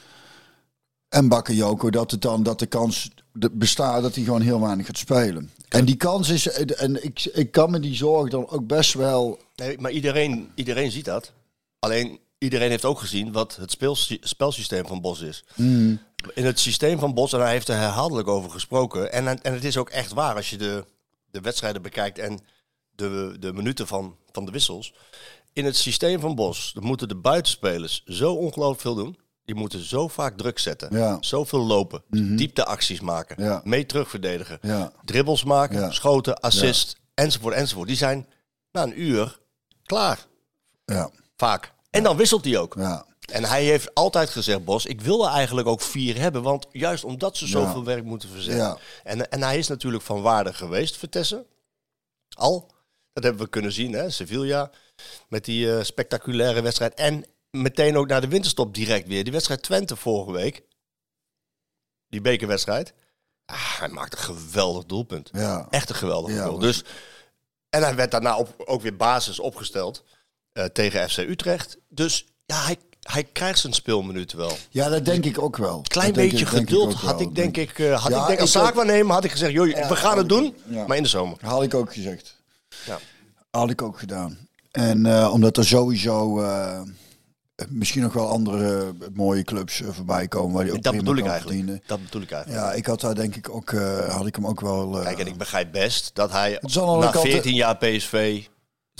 Speaker 3: en Bakayoko, dat het dan dat de kans de- bestaat dat hij gewoon heel weinig gaat spelen. En die kans is, en ik, ik kan me die zorg dan ook best wel
Speaker 7: Nee, maar iedereen, iedereen ziet dat. Alleen iedereen heeft ook gezien wat het speelsy- spelsysteem van Bos is.
Speaker 3: Hmm.
Speaker 7: In het systeem van Bos, en hij heeft er herhaaldelijk over gesproken. En, en het is ook echt waar als je de, de wedstrijden bekijkt en de, de minuten van, van de wissels. In het systeem van Bos dan moeten de buitenspelers zo ongelooflijk veel doen. Die moeten zo vaak druk zetten.
Speaker 3: Ja. Mhm.
Speaker 7: Zoveel lopen. Diepteacties maken.
Speaker 3: Ja.
Speaker 7: Mee terugverdedigen.
Speaker 3: Ja.
Speaker 7: Dribbles maken.
Speaker 3: Ja.
Speaker 7: Schoten, assist, enzovoort, enzovoort. Die zijn na een uur klaar.
Speaker 3: Ja,
Speaker 7: Vaak. En dan wisselt hij ook.
Speaker 3: ja.
Speaker 7: En hij heeft altijd gezegd, Bos, ik wil er eigenlijk ook vier hebben. Want juist omdat ze zoveel
Speaker 3: Ja.
Speaker 7: werk moeten verzetten.
Speaker 3: Ja.
Speaker 7: En, en hij is natuurlijk van waarde geweest, Vertessen. Al. Dat hebben we kunnen zien, hè. Sevilla. Met die eh, spectaculaire wedstrijd. En meteen ook naar de winterstop direct weer. Die wedstrijd Twente vorige week. Die bekerwedstrijd. Ah, hij maakt een geweldig doelpunt.
Speaker 3: Ja.
Speaker 7: Echt een geweldig
Speaker 3: Ja,
Speaker 7: goal.
Speaker 3: was-
Speaker 7: Dus, en hij werd daarna op, ook weer basis opgesteld eh, tegen FC Utrecht. Dus ja, hij, hij krijgt zijn speelminuten wel.
Speaker 3: Ja, dat denk ik ook wel.
Speaker 7: Klein
Speaker 3: Dat denk
Speaker 7: beetje
Speaker 3: ik- denk ik
Speaker 7: geduld
Speaker 3: ook
Speaker 7: had
Speaker 3: wel.
Speaker 7: ik denk ik, eh, had
Speaker 3: Ja,
Speaker 7: ik denk als
Speaker 3: ik ook.
Speaker 7: zaakwaarnemer had ik gezegd, joh,
Speaker 3: Ja,
Speaker 7: we gaan
Speaker 3: had
Speaker 7: het
Speaker 3: ik
Speaker 7: doen,
Speaker 3: ook. Ja.
Speaker 7: maar in de zomer.
Speaker 3: Had ik ook gezegd.
Speaker 7: Ja.
Speaker 3: Had ik ook gedaan. En eh, omdat er sowieso eh, misschien nog wel andere eh, mooie clubs eh, voorbij komen. Waar die ook
Speaker 7: Dat
Speaker 3: prima
Speaker 7: bedoel ik
Speaker 3: kan
Speaker 7: eigenlijk.
Speaker 3: verdienen.
Speaker 7: Dat bedoel ik eigenlijk.
Speaker 3: Ja, ik had daar denk ik ook, eh, had ik hem ook wel... eh,
Speaker 7: Kijk, en ik begrijp best dat hij
Speaker 3: zal al
Speaker 7: na
Speaker 3: ook altijd-
Speaker 7: 14 jaar PSV...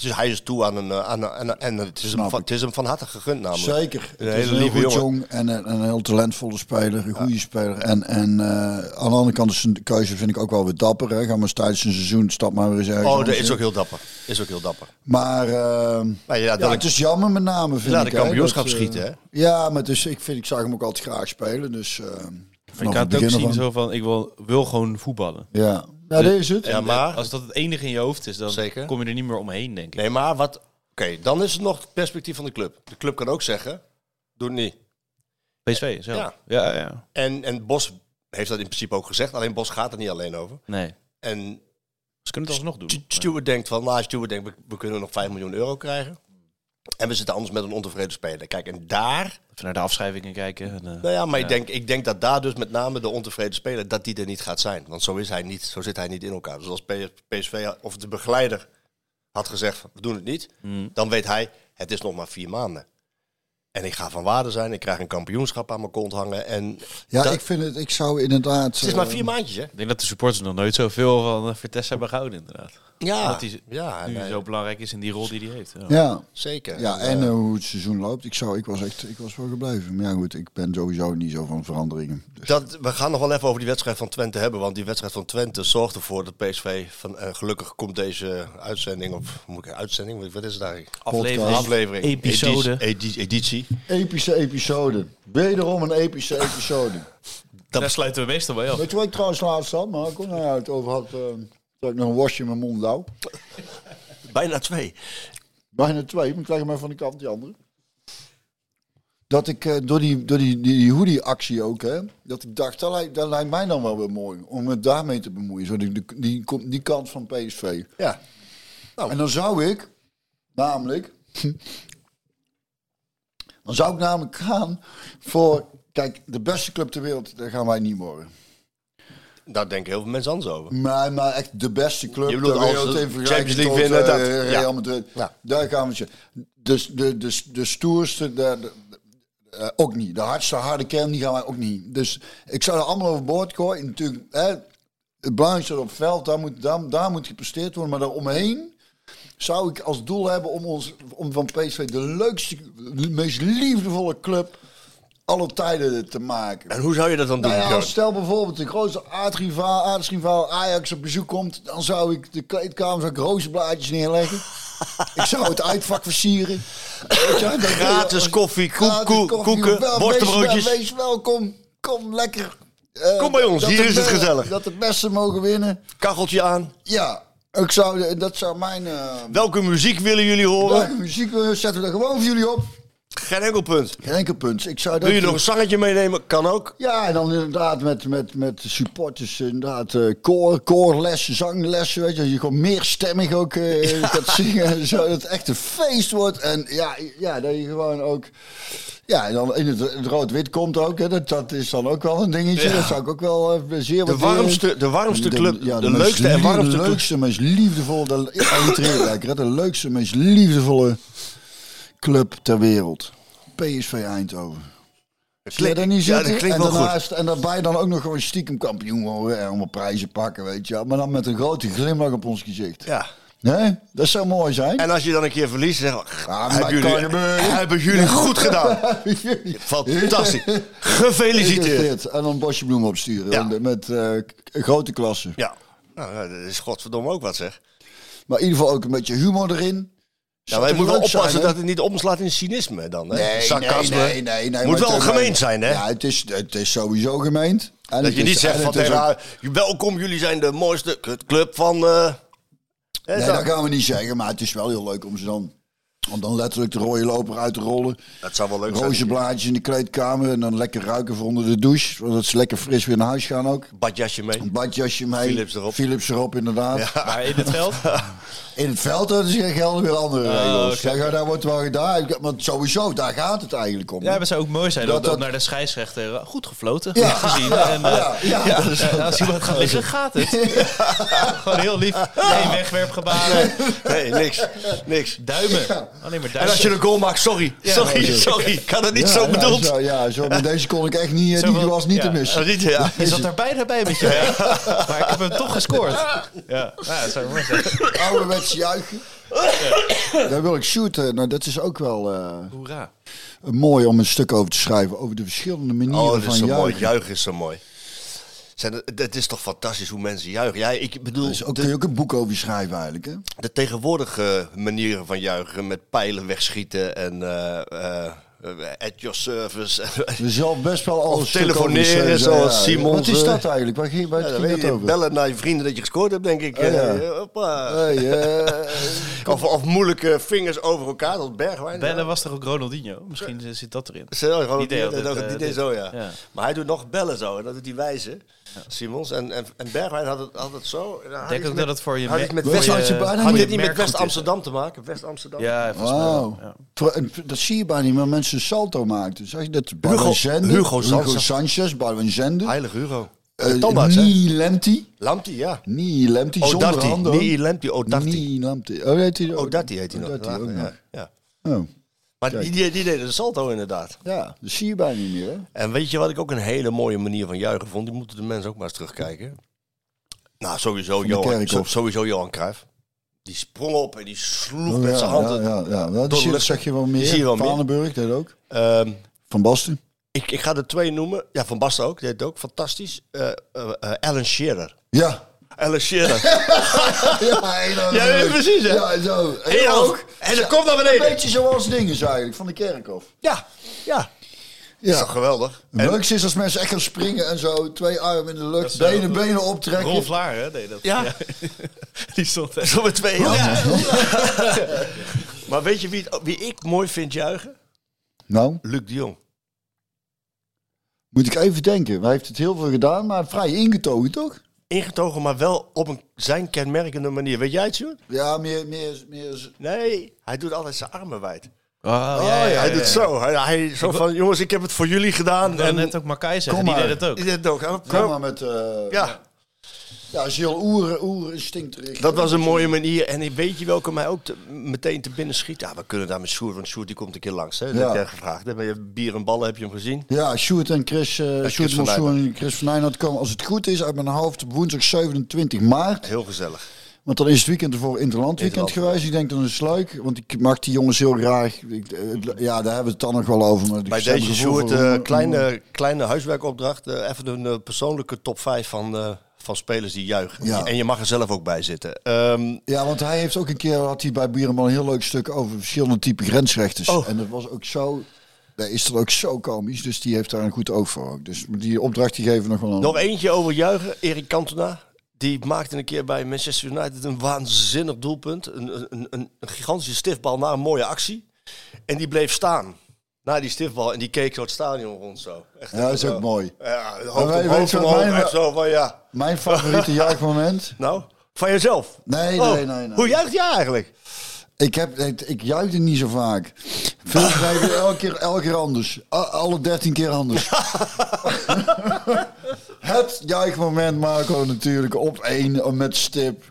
Speaker 7: Dus hij is toe aan een... eh, Aan, een- aan, een- en het is, hem
Speaker 3: Snap
Speaker 7: van,
Speaker 3: ik.
Speaker 7: het is hem van harte gegund namelijk.
Speaker 3: Zeker.
Speaker 7: Een
Speaker 3: Het
Speaker 7: hele
Speaker 3: is een heel
Speaker 7: lieve
Speaker 3: goed
Speaker 7: jongen.
Speaker 3: jong en een, een heel talentvolle speler, een goede speler. En, en eh, aan de andere kant is zijn keuze vind ik ook wel weer dapper. Hè. Ga maar eens tijdens een seizoen, stap maar weer eens ergens
Speaker 7: Oh, dat
Speaker 3: anders
Speaker 7: is
Speaker 3: in.
Speaker 7: ook heel dapper. Is ook heel dapper.
Speaker 3: Maar eh,
Speaker 7: Maar ja,
Speaker 3: ja,
Speaker 7: dat ik-
Speaker 3: het is jammer met name vind
Speaker 7: Laat
Speaker 3: ik.
Speaker 7: de
Speaker 3: hè,
Speaker 7: kampioenschap
Speaker 3: dat, eh,
Speaker 7: schieten, hè?
Speaker 3: Ja, maar dus, ik, vind, ik zag hem ook altijd graag spelen. Dus, eh,
Speaker 8: Ik
Speaker 3: vanaf het
Speaker 8: kan het ook
Speaker 3: begin
Speaker 8: zien
Speaker 3: ervan.
Speaker 8: zo van, ik wil, wil gewoon voetballen. eh,
Speaker 3: Ja, ja dat is het.
Speaker 7: Ja, maar...
Speaker 8: Als dat het enige in je hoofd is, dan
Speaker 7: Zeker.
Speaker 8: kom je er niet meer omheen, denk ik.
Speaker 7: Nee, maar wat... Oké, dan is het nog het perspectief van de club. De club kan ook zeggen, doe het niet.
Speaker 8: PSV zelf.
Speaker 7: Ja.
Speaker 8: Ja. ja, ja.
Speaker 7: En, en Bos heeft dat in principe ook gezegd. Alleen Bos gaat er niet alleen over.
Speaker 8: Nee.
Speaker 7: En
Speaker 8: Ze kunnen het alsnog doen.
Speaker 7: Stu- Stuart denkt van, nou, Stuart denkt, we, we kunnen nog 5 miljoen euro krijgen. En we zitten anders met een ontevreden speler. Kijk, en daar...
Speaker 8: Even naar de afschrijvingen kijken. En, eh,
Speaker 7: Nou ja, maar Ik, denk, ik denk dat daar dus met name de ontevreden speler, dat die er niet gaat zijn. Want zo is hij niet, zo zit hij niet in elkaar. Dus als P- PSV had- of de begeleider had gezegd, van, we doen het niet,
Speaker 8: Hmm.
Speaker 7: dan weet hij, het is nog maar vier maanden. En ik ga van waarde zijn, ik krijg een kampioenschap aan mijn kont hangen. En
Speaker 3: Ja,
Speaker 7: dat-
Speaker 3: ik vind het, ik zou inderdaad...
Speaker 7: het is maar vier maandjes, hè?
Speaker 8: Ik denk dat de supporters nog nooit zoveel van eh, Vertes hebben gehouden, inderdaad.
Speaker 7: Ja,
Speaker 8: Dat hij
Speaker 7: ja
Speaker 8: nu
Speaker 7: nee,
Speaker 8: zo belangrijk is in die rol die hij heeft. Ja.
Speaker 3: eh, Ja.
Speaker 7: zeker.
Speaker 3: Ja, en
Speaker 7: eh,
Speaker 3: eh, hoe het seizoen loopt. Ik, zou, ik, was echt, ik was wel gebleven. Maar ja, goed, ik ben sowieso niet zo van veranderingen. Dus,
Speaker 7: Dat, we gaan nog wel even over die wedstrijd van Twente hebben. Want die wedstrijd van Twente zorgt ervoor dat PSV... Van, eh, gelukkig komt deze uitzending... Of moet ik uitzending? Wat- Wat is het eigenlijk?
Speaker 8: Aflevering.
Speaker 7: Aflevering.
Speaker 8: Episode.
Speaker 7: Edi- edi- editie.
Speaker 3: epische episode. Wederom een epische episode.
Speaker 8: Daar sluiten we meestal bij af.
Speaker 3: Weet je wat ik trouwens laatst had, Marco? Nou ja, het over had... eh, dat ik nog een wasje in mijn mond douw.
Speaker 7: Bijna twee.
Speaker 3: Bijna twee, maar ik leg hem even van de kant, die andere. Dat ik eh, door die, door die, die, die hoodie-actie ook, hè, dat ik dacht, dat lijkt, dat lijkt mij dan wel weer mooi. Om me daarmee te bemoeien. Zo die, die, die, kom- die kant van PSV.
Speaker 7: Ja.
Speaker 3: Nou. En dan zou ik, namelijk, dan zou ik namelijk gaan voor, kijk, de beste club ter wereld, daar gaan wij niet worden.
Speaker 7: Daar denken heel veel mensen anders over.
Speaker 3: Maar, maar echt de beste club
Speaker 7: Je bedoelt
Speaker 3: ter
Speaker 7: als
Speaker 3: wereld
Speaker 7: de
Speaker 3: in vergelijking
Speaker 7: Champions League
Speaker 3: tot,
Speaker 7: winnen,
Speaker 3: eh,
Speaker 7: dat-
Speaker 3: Real
Speaker 7: ja.
Speaker 3: Madrid.
Speaker 7: Ja.
Speaker 3: Daar gaan we het je- Dus de, de, de stoerste, de, de- eh, ook niet. De hardste, harde kern, die gaan wij ook niet. Dus ik zou er allemaal overboord gooien. Natuurlijk, hè, het belangrijkste op het veld, daar moet, daar, daar moet gepresteerd worden. Maar daaromheen zou ik als doel hebben om, ons, om van PSV de leukste, de meest liefdevolle club alle tijden te maken.
Speaker 7: En hoe zou je dat dan doen,
Speaker 3: Nou ja,
Speaker 7: Björn?
Speaker 3: als stel bijvoorbeeld de grootste aardrivaal, aardsrivaal Ajax op bezoek komt, dan zou ik de kleedkamer zou ik rozenblaadjes neerleggen. ik zou het uitvak versieren. Weet je wel, dan kun je
Speaker 7: Gratis
Speaker 3: als-
Speaker 7: koffie, koek-
Speaker 3: gratis
Speaker 7: koek- koeken,
Speaker 3: wel-
Speaker 7: worstenbroodjes.
Speaker 3: Wees, wel- wees welkom, kom lekker. Eh,
Speaker 7: Kom bij ons,
Speaker 3: dat
Speaker 7: hier
Speaker 3: de
Speaker 7: is het
Speaker 3: be-
Speaker 7: gezellig.
Speaker 3: Dat de beste mogen winnen.
Speaker 7: Kacheltje aan.
Speaker 3: Ja, ik zou, de- dat zou mijn... eh,
Speaker 7: Welke muziek willen jullie horen?
Speaker 3: welke muziek eh, zetten we daar gewoon voor jullie op?
Speaker 7: Geen enkel punt.
Speaker 3: Geen enkel punt. Ik zou dat
Speaker 7: Wil je
Speaker 3: doen.
Speaker 7: nog een zangetje meenemen? Kan ook.
Speaker 3: Ja, en dan inderdaad met, met, met supporters, inderdaad, eh, koor, koorlessen, zanglessen, weet je. Dat je gewoon meerstemmig ook eh gaat zingen en zo. Dat het echt een feest wordt. En ja, ja dat je gewoon ook... Ja, en dan in het, het rood-wit komt ook, hè, dat, dat is dan ook wel een dingetje. Dat zou ik ook wel eh, zeer
Speaker 7: De
Speaker 3: waarderen.
Speaker 7: warmste, de warmste club.
Speaker 3: ja,
Speaker 7: De, leukste en
Speaker 3: meest lief-
Speaker 7: warmste club.
Speaker 3: leukste, meest liefdevolle... De, ja, entree lekker, hè. de leukste, meest liefdevolle club ter wereld. PSV Eindhoven. Zie je dat niet
Speaker 7: Ja,
Speaker 3: zitten?
Speaker 7: dat klinkt
Speaker 3: en,
Speaker 7: wel goed.
Speaker 3: daarnaast, en daarbij dan ook nog gewoon stiekem kampioen worden en allemaal prijzen pakken, weet je wel. Maar dan met een grote glimlach op ons gezicht.
Speaker 7: Ja.
Speaker 3: Nee? Dat zou mooi zijn.
Speaker 7: En als je dan een keer verliest, zeg maar,
Speaker 3: Ja, maar
Speaker 7: hebben,
Speaker 3: dat kan
Speaker 7: jullie,
Speaker 3: gebeuren.
Speaker 7: hebben jullie goed gedaan. Fantastisch. Gefeliciteerd.
Speaker 3: Gefeliciteerd. En dan een bosje bloemen opsturen.
Speaker 7: Ja.
Speaker 3: En Met eh, k- grote klassen.
Speaker 7: Ja. Nou, ja, dat is godverdomme ook wat zeg.
Speaker 3: Maar in ieder geval ook een beetje humor erin.
Speaker 7: Ja,
Speaker 3: Zou
Speaker 7: wij
Speaker 3: toch
Speaker 7: moeten wel
Speaker 3: leuk zijn,
Speaker 7: oppassen
Speaker 3: hè?
Speaker 7: dat het niet omslaat in cynisme dan. Hè?
Speaker 3: Nee,
Speaker 7: Sarcasme.
Speaker 3: Nee, nee, nee, nee,
Speaker 7: Moet
Speaker 3: maar
Speaker 7: wel
Speaker 3: het-
Speaker 7: gemeen zijn, hè?
Speaker 3: Ja, het is, het is sowieso gemeend. En
Speaker 7: dat
Speaker 3: het
Speaker 7: je
Speaker 3: is-
Speaker 7: niet zegt
Speaker 3: en
Speaker 7: van
Speaker 3: het is
Speaker 7: tegen
Speaker 3: ook-
Speaker 7: haar, welkom, jullie zijn de mooiste kutclub van... eh, hè,
Speaker 3: Nee,
Speaker 7: zo.
Speaker 3: dat gaan we niet zeggen, maar het is wel heel leuk om ze dan Om dan letterlijk de rode loper uit te rollen.
Speaker 7: Dat zou wel leuk zijn.
Speaker 3: Rozenblaadjes in de kleedkamer. En dan lekker ruiken voor onder de douche. Zodat ze lekker fris weer naar huis gaan ook.
Speaker 7: Badjasje mee.
Speaker 3: Een badjasje mee.
Speaker 7: Philips erop.
Speaker 3: Philips erop, inderdaad.
Speaker 8: Maar in het veld?
Speaker 3: In het veld dat is gelden weer andere
Speaker 7: Ah,
Speaker 3: regels.
Speaker 8: oké.
Speaker 3: Daar, daar wordt wel gedaan. Want sowieso, daar gaat het eigenlijk om.
Speaker 8: Ja, dat zou ook mooi zijn. Dat,
Speaker 3: Dat-
Speaker 8: dat,
Speaker 3: dat-
Speaker 8: naar de scheidsrechter. eh, Goed gefloten,
Speaker 3: Ja.
Speaker 8: goed gezien. En, eh,
Speaker 3: Ja, ja,
Speaker 8: ja,
Speaker 3: dat is-
Speaker 8: en als iemand gaat liggen, gaat het. Gewoon heel lief. Geen wegwerpgebaren.
Speaker 7: Nee, niks. Niks.
Speaker 8: Duimen. Alleen maar duimen.
Speaker 7: En als je een goal maakt, sorry. sorry,
Speaker 3: ja.
Speaker 7: sorry. Ik had het niet
Speaker 3: Ja,
Speaker 7: zo
Speaker 3: ja,
Speaker 7: bedoeld.
Speaker 3: zo- ja, zo, maar deze kon ik echt niet, eh, die
Speaker 8: Zoveel-
Speaker 3: was niet
Speaker 8: ja.
Speaker 3: te missen.
Speaker 7: Dat niet, ja.
Speaker 8: Je zat er bijna bij met je. Maar ik heb hem toch gescoord. Ja, nou, dat zou mooi zijn.
Speaker 3: Ouderwets juichen. Daar wil ik shooten. Nou, dat is ook wel eh,
Speaker 8: Hoera.
Speaker 3: mooi om een stuk over te schrijven. Over de verschillende manieren
Speaker 7: Oh, dat
Speaker 3: van
Speaker 7: is zo
Speaker 3: juichen.
Speaker 7: mooi. Juichen is zo mooi. Zijn het, het is toch fantastisch hoe mensen juichen. Ja, ik bedoel,
Speaker 3: Dus ook, kun
Speaker 7: de,
Speaker 3: je ook een boek over schrijven eigenlijk. Hè?
Speaker 7: de tegenwoordige manieren van juichen met pijlen wegschieten en eh, eh, eh, at your service.
Speaker 3: Er zal best wel alles
Speaker 7: Of telefoneren, zoals Simons,
Speaker 3: Wat is
Speaker 7: eh,
Speaker 3: dat eigenlijk? Waar ging, waar
Speaker 7: Ja, dan
Speaker 3: ging
Speaker 7: weet
Speaker 3: dat
Speaker 7: je,
Speaker 3: over?
Speaker 7: bellen naar je vrienden dat je gescoord hebt, denk ik.
Speaker 3: Oh, ja.
Speaker 7: Eh, hoppa.
Speaker 3: Hey, eh,
Speaker 7: of, of moeilijke vingers over elkaar, dat bergwijn. eh,
Speaker 8: Bellen was toch ook Ronaldinho? Misschien eh, zit dat erin.
Speaker 7: Zo, gewoon
Speaker 8: Die
Speaker 7: die
Speaker 8: deed
Speaker 7: deed,
Speaker 8: altijd, eh,
Speaker 7: die deed
Speaker 8: dit.
Speaker 7: zo, ja.
Speaker 8: Ja.
Speaker 7: Maar hij doet nog bellen zo, en dat doet hij wijzen. Simons en, en, en Bergwijn had het, had het zo. en dan had
Speaker 8: Ik denk
Speaker 7: hij
Speaker 8: ook
Speaker 7: met-
Speaker 8: dat het voor je...
Speaker 7: had
Speaker 8: me-
Speaker 7: iets met
Speaker 8: voor je-
Speaker 3: West- had je bijna
Speaker 7: Had
Speaker 3: Moet
Speaker 7: dit
Speaker 8: je
Speaker 7: niet met
Speaker 8: merk goed
Speaker 7: West-Amsterdam te maken? West-Amsterdam?
Speaker 8: is. Ja, volgens mij wel.
Speaker 3: Wauw.
Speaker 8: Ja.
Speaker 3: Tro- en Dat zie je bijna niet, maar mensen een salto maakten. Zag je dat?
Speaker 7: Hugo-
Speaker 3: Balwenzende,
Speaker 7: Hugo Sanchez.
Speaker 3: Sanchez, Balwenzende.
Speaker 7: Heilig Hugo.
Speaker 3: eh,
Speaker 7: Tandarts, hè?
Speaker 3: Ni Lenti.
Speaker 7: Lamptey, ja.
Speaker 3: Ni Lenti, zonder
Speaker 7: Odati.
Speaker 3: handen.
Speaker 7: Nee, Lamptey. Odati.
Speaker 3: Ni Lenti. Oh, heet hij
Speaker 7: Odati heet hij nog.
Speaker 3: Odati
Speaker 7: Ja,
Speaker 3: ook
Speaker 7: ja,
Speaker 3: nog.
Speaker 7: ja.
Speaker 3: Oh.
Speaker 7: Maar die, die, die deden de salto inderdaad.
Speaker 3: Ja, dat zie je bijna niet meer. Hè?
Speaker 7: En weet je wat ik ook een hele mooie manier van juichen vond? Die moeten de mensen ook maar eens terugkijken. Nou, sowieso,
Speaker 3: de
Speaker 7: Johan,
Speaker 3: Kerkhof.
Speaker 7: sowieso Johan Cruijff. Die sprong op en die sloeg
Speaker 3: Oh,
Speaker 7: met
Speaker 3: ja,
Speaker 7: zijn hand.
Speaker 3: ja, ja, ja. Dat,
Speaker 7: Door de
Speaker 3: zie, dat
Speaker 7: lucht.
Speaker 3: zeg je wel
Speaker 7: Die zie je wel
Speaker 3: meer.
Speaker 7: meer.
Speaker 3: Vanenburg deed ook.
Speaker 7: Ehm,
Speaker 3: Van Basten.
Speaker 7: ik, ik ga er twee noemen. Ja, Van Basten ook. Die deed het ook. Fantastisch. Eh, eh, eh, Alan Shearer.
Speaker 3: Ja.
Speaker 7: Alan Shearer.
Speaker 3: Ja, heel
Speaker 7: Ja,
Speaker 3: leuk.
Speaker 7: precies, hè?
Speaker 3: Ja, zo.
Speaker 7: Heel hoog. En dan komt naar
Speaker 3: Een
Speaker 7: beneden.
Speaker 3: beetje zoals dingen eigenlijk, van de Kerkhof.
Speaker 7: Ja, ja. Is toch
Speaker 3: Ja.
Speaker 7: geweldig?
Speaker 3: Het leukste is als mensen echt gaan springen en zo, twee armen in de lucht, benen, benen optrekken.
Speaker 8: Rolf Laar, hè, deed dat.
Speaker 7: Ja.
Speaker 8: Die stond echt...
Speaker 7: Zo met twee handen. maar weet je wie, het- wie ik mooi vind juichen?
Speaker 3: Nou,
Speaker 7: Luc de Jong.
Speaker 3: moet ik even denken. Hij heeft het heel veel gedaan, maar vrij ingetogen, toch?
Speaker 7: Ingetogen, maar wel op een, zijn kenmerkende manier. Weet jij het, Sjoerd?
Speaker 3: Ja, meer, meer, meer...
Speaker 7: Nee, hij doet altijd zijn armen wijd.
Speaker 8: Oh, ja,
Speaker 7: Oh, ja, hij doet zo. Hij, hij, zo van, jongens, ik heb het voor jullie gedaan.
Speaker 8: En
Speaker 7: En
Speaker 8: net ook Makai
Speaker 3: Kom
Speaker 8: zeggen,
Speaker 3: maar.
Speaker 8: die deed het ook.
Speaker 7: Is dit ook, hè?
Speaker 3: Kom maar met... eh ja.
Speaker 7: Ja,
Speaker 3: is heel oer, oerinstinct richten.
Speaker 7: dat was een mooie manier. En weet je welke mij ook te- meteen te binnen schiet? Ja, we kunnen daar met Sjoerd, want Sjoerd die komt een keer langs. Hè? Dat
Speaker 3: Ja.
Speaker 7: heb jij gevraagd. Hè? Bij Bier en ballen heb je hem gezien.
Speaker 3: Ja, Sjoerd en Chris, eh Sjoerd
Speaker 7: Chris van
Speaker 3: Mossoen en Chris van Nijnaert komen, als het goed is, uit mijn hoofd op woensdag 27 maart.
Speaker 7: Heel gezellig.
Speaker 3: Want dan is het weekend ervoor Interland weekend
Speaker 7: Interland.
Speaker 3: geweest. Ik denk dan is het leuk, want ik mag die jongens heel graag. Ik, eh, het- ja, daar hebben we het dan nog wel over. Maar
Speaker 7: Bij
Speaker 3: ik heb
Speaker 7: deze
Speaker 3: het gevoel
Speaker 7: Sjoerd,
Speaker 3: voor-
Speaker 7: eh, kleine, kleine huiswerkopdracht. eh, even een eh, persoonlijke top 5 van, eh, van spelers die juichen.
Speaker 3: Ja.
Speaker 7: En je mag er zelf ook bij zitten. Ehm,
Speaker 3: Ja, want hij heeft ook een keer, had hij bij Bierenman een heel leuk stuk over verschillende type grensrechters.
Speaker 7: Oh.
Speaker 3: En dat was ook zo, daar is er ook zo komisch, dus die heeft daar een goed oog voor ook. Dus die opdracht die geven we nog wel aan.
Speaker 7: nog eentje over juichen. Erik Cantona. Die maakte een keer bij Manchester United een waanzinnig doelpunt. Een, een, een, een gigantische stiftbal na een mooie actie. En die bleef staan. Na die stiftbal. En die keek zo het stadion rond zo. Echt
Speaker 3: Ja, dat is
Speaker 7: zo.
Speaker 3: ook mooi.
Speaker 7: Ja,
Speaker 3: Maar
Speaker 7: hoofd
Speaker 3: wij-
Speaker 7: omhoog,
Speaker 3: weet je wat
Speaker 7: omhoog,
Speaker 3: mij-
Speaker 7: echt zo van ja.
Speaker 3: Mijn favoriete juichmoment.
Speaker 7: Nou, van jezelf.
Speaker 3: Nee,
Speaker 7: Oh,
Speaker 3: nee, nee, nee.
Speaker 7: Hoe juicht jij eigenlijk?
Speaker 3: Ik, heb, ik, ik juichte niet zo vaak. Veel schrijven elke keer, elke keer anders. A- alle dertien keer anders. het juichmoment, Marco, natuurlijk. Op één, eh, met stip.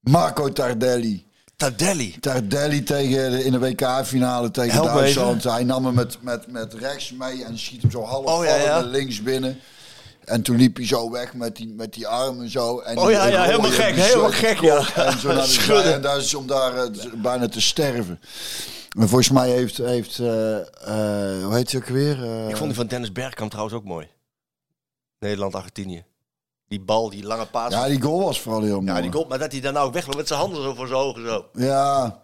Speaker 3: Marco Tardelli.
Speaker 7: Tadelli.
Speaker 3: Tardelli tegen de, in de WK-finale tegen
Speaker 7: Help me
Speaker 3: Duitsland. Hij nam hem met, met, met rechts mee en schiet hem zo half
Speaker 7: Oh, ja,
Speaker 3: vallend
Speaker 7: ja.
Speaker 3: naar links binnen. En toen liep hij zo weg met die, met die armen zo. En
Speaker 7: Oh
Speaker 3: die-
Speaker 7: ja,
Speaker 3: en
Speaker 7: ja,
Speaker 3: hoor
Speaker 7: helemaal
Speaker 3: je hem
Speaker 7: gek.
Speaker 3: zo
Speaker 7: Helemaal gek, ja.
Speaker 3: en zo naar de
Speaker 7: Schudden.
Speaker 3: zij- En daar is om daar eh, z- bijna te sterven. En volgens mij heeft, heeft eh, eh, hoe heet hij ook weer? Eh,
Speaker 7: Ik vond die van Dennis Bergkamp trouwens ook mooi. Nederland-Argentinië. Die bal, die lange paas.
Speaker 3: ja, die Eh, goal was vooral heel mooi.
Speaker 7: Ja, die goal, maar dat hij daarna ook wegloopt met zijn handen zo voor zijn ogen zo.
Speaker 3: Ja.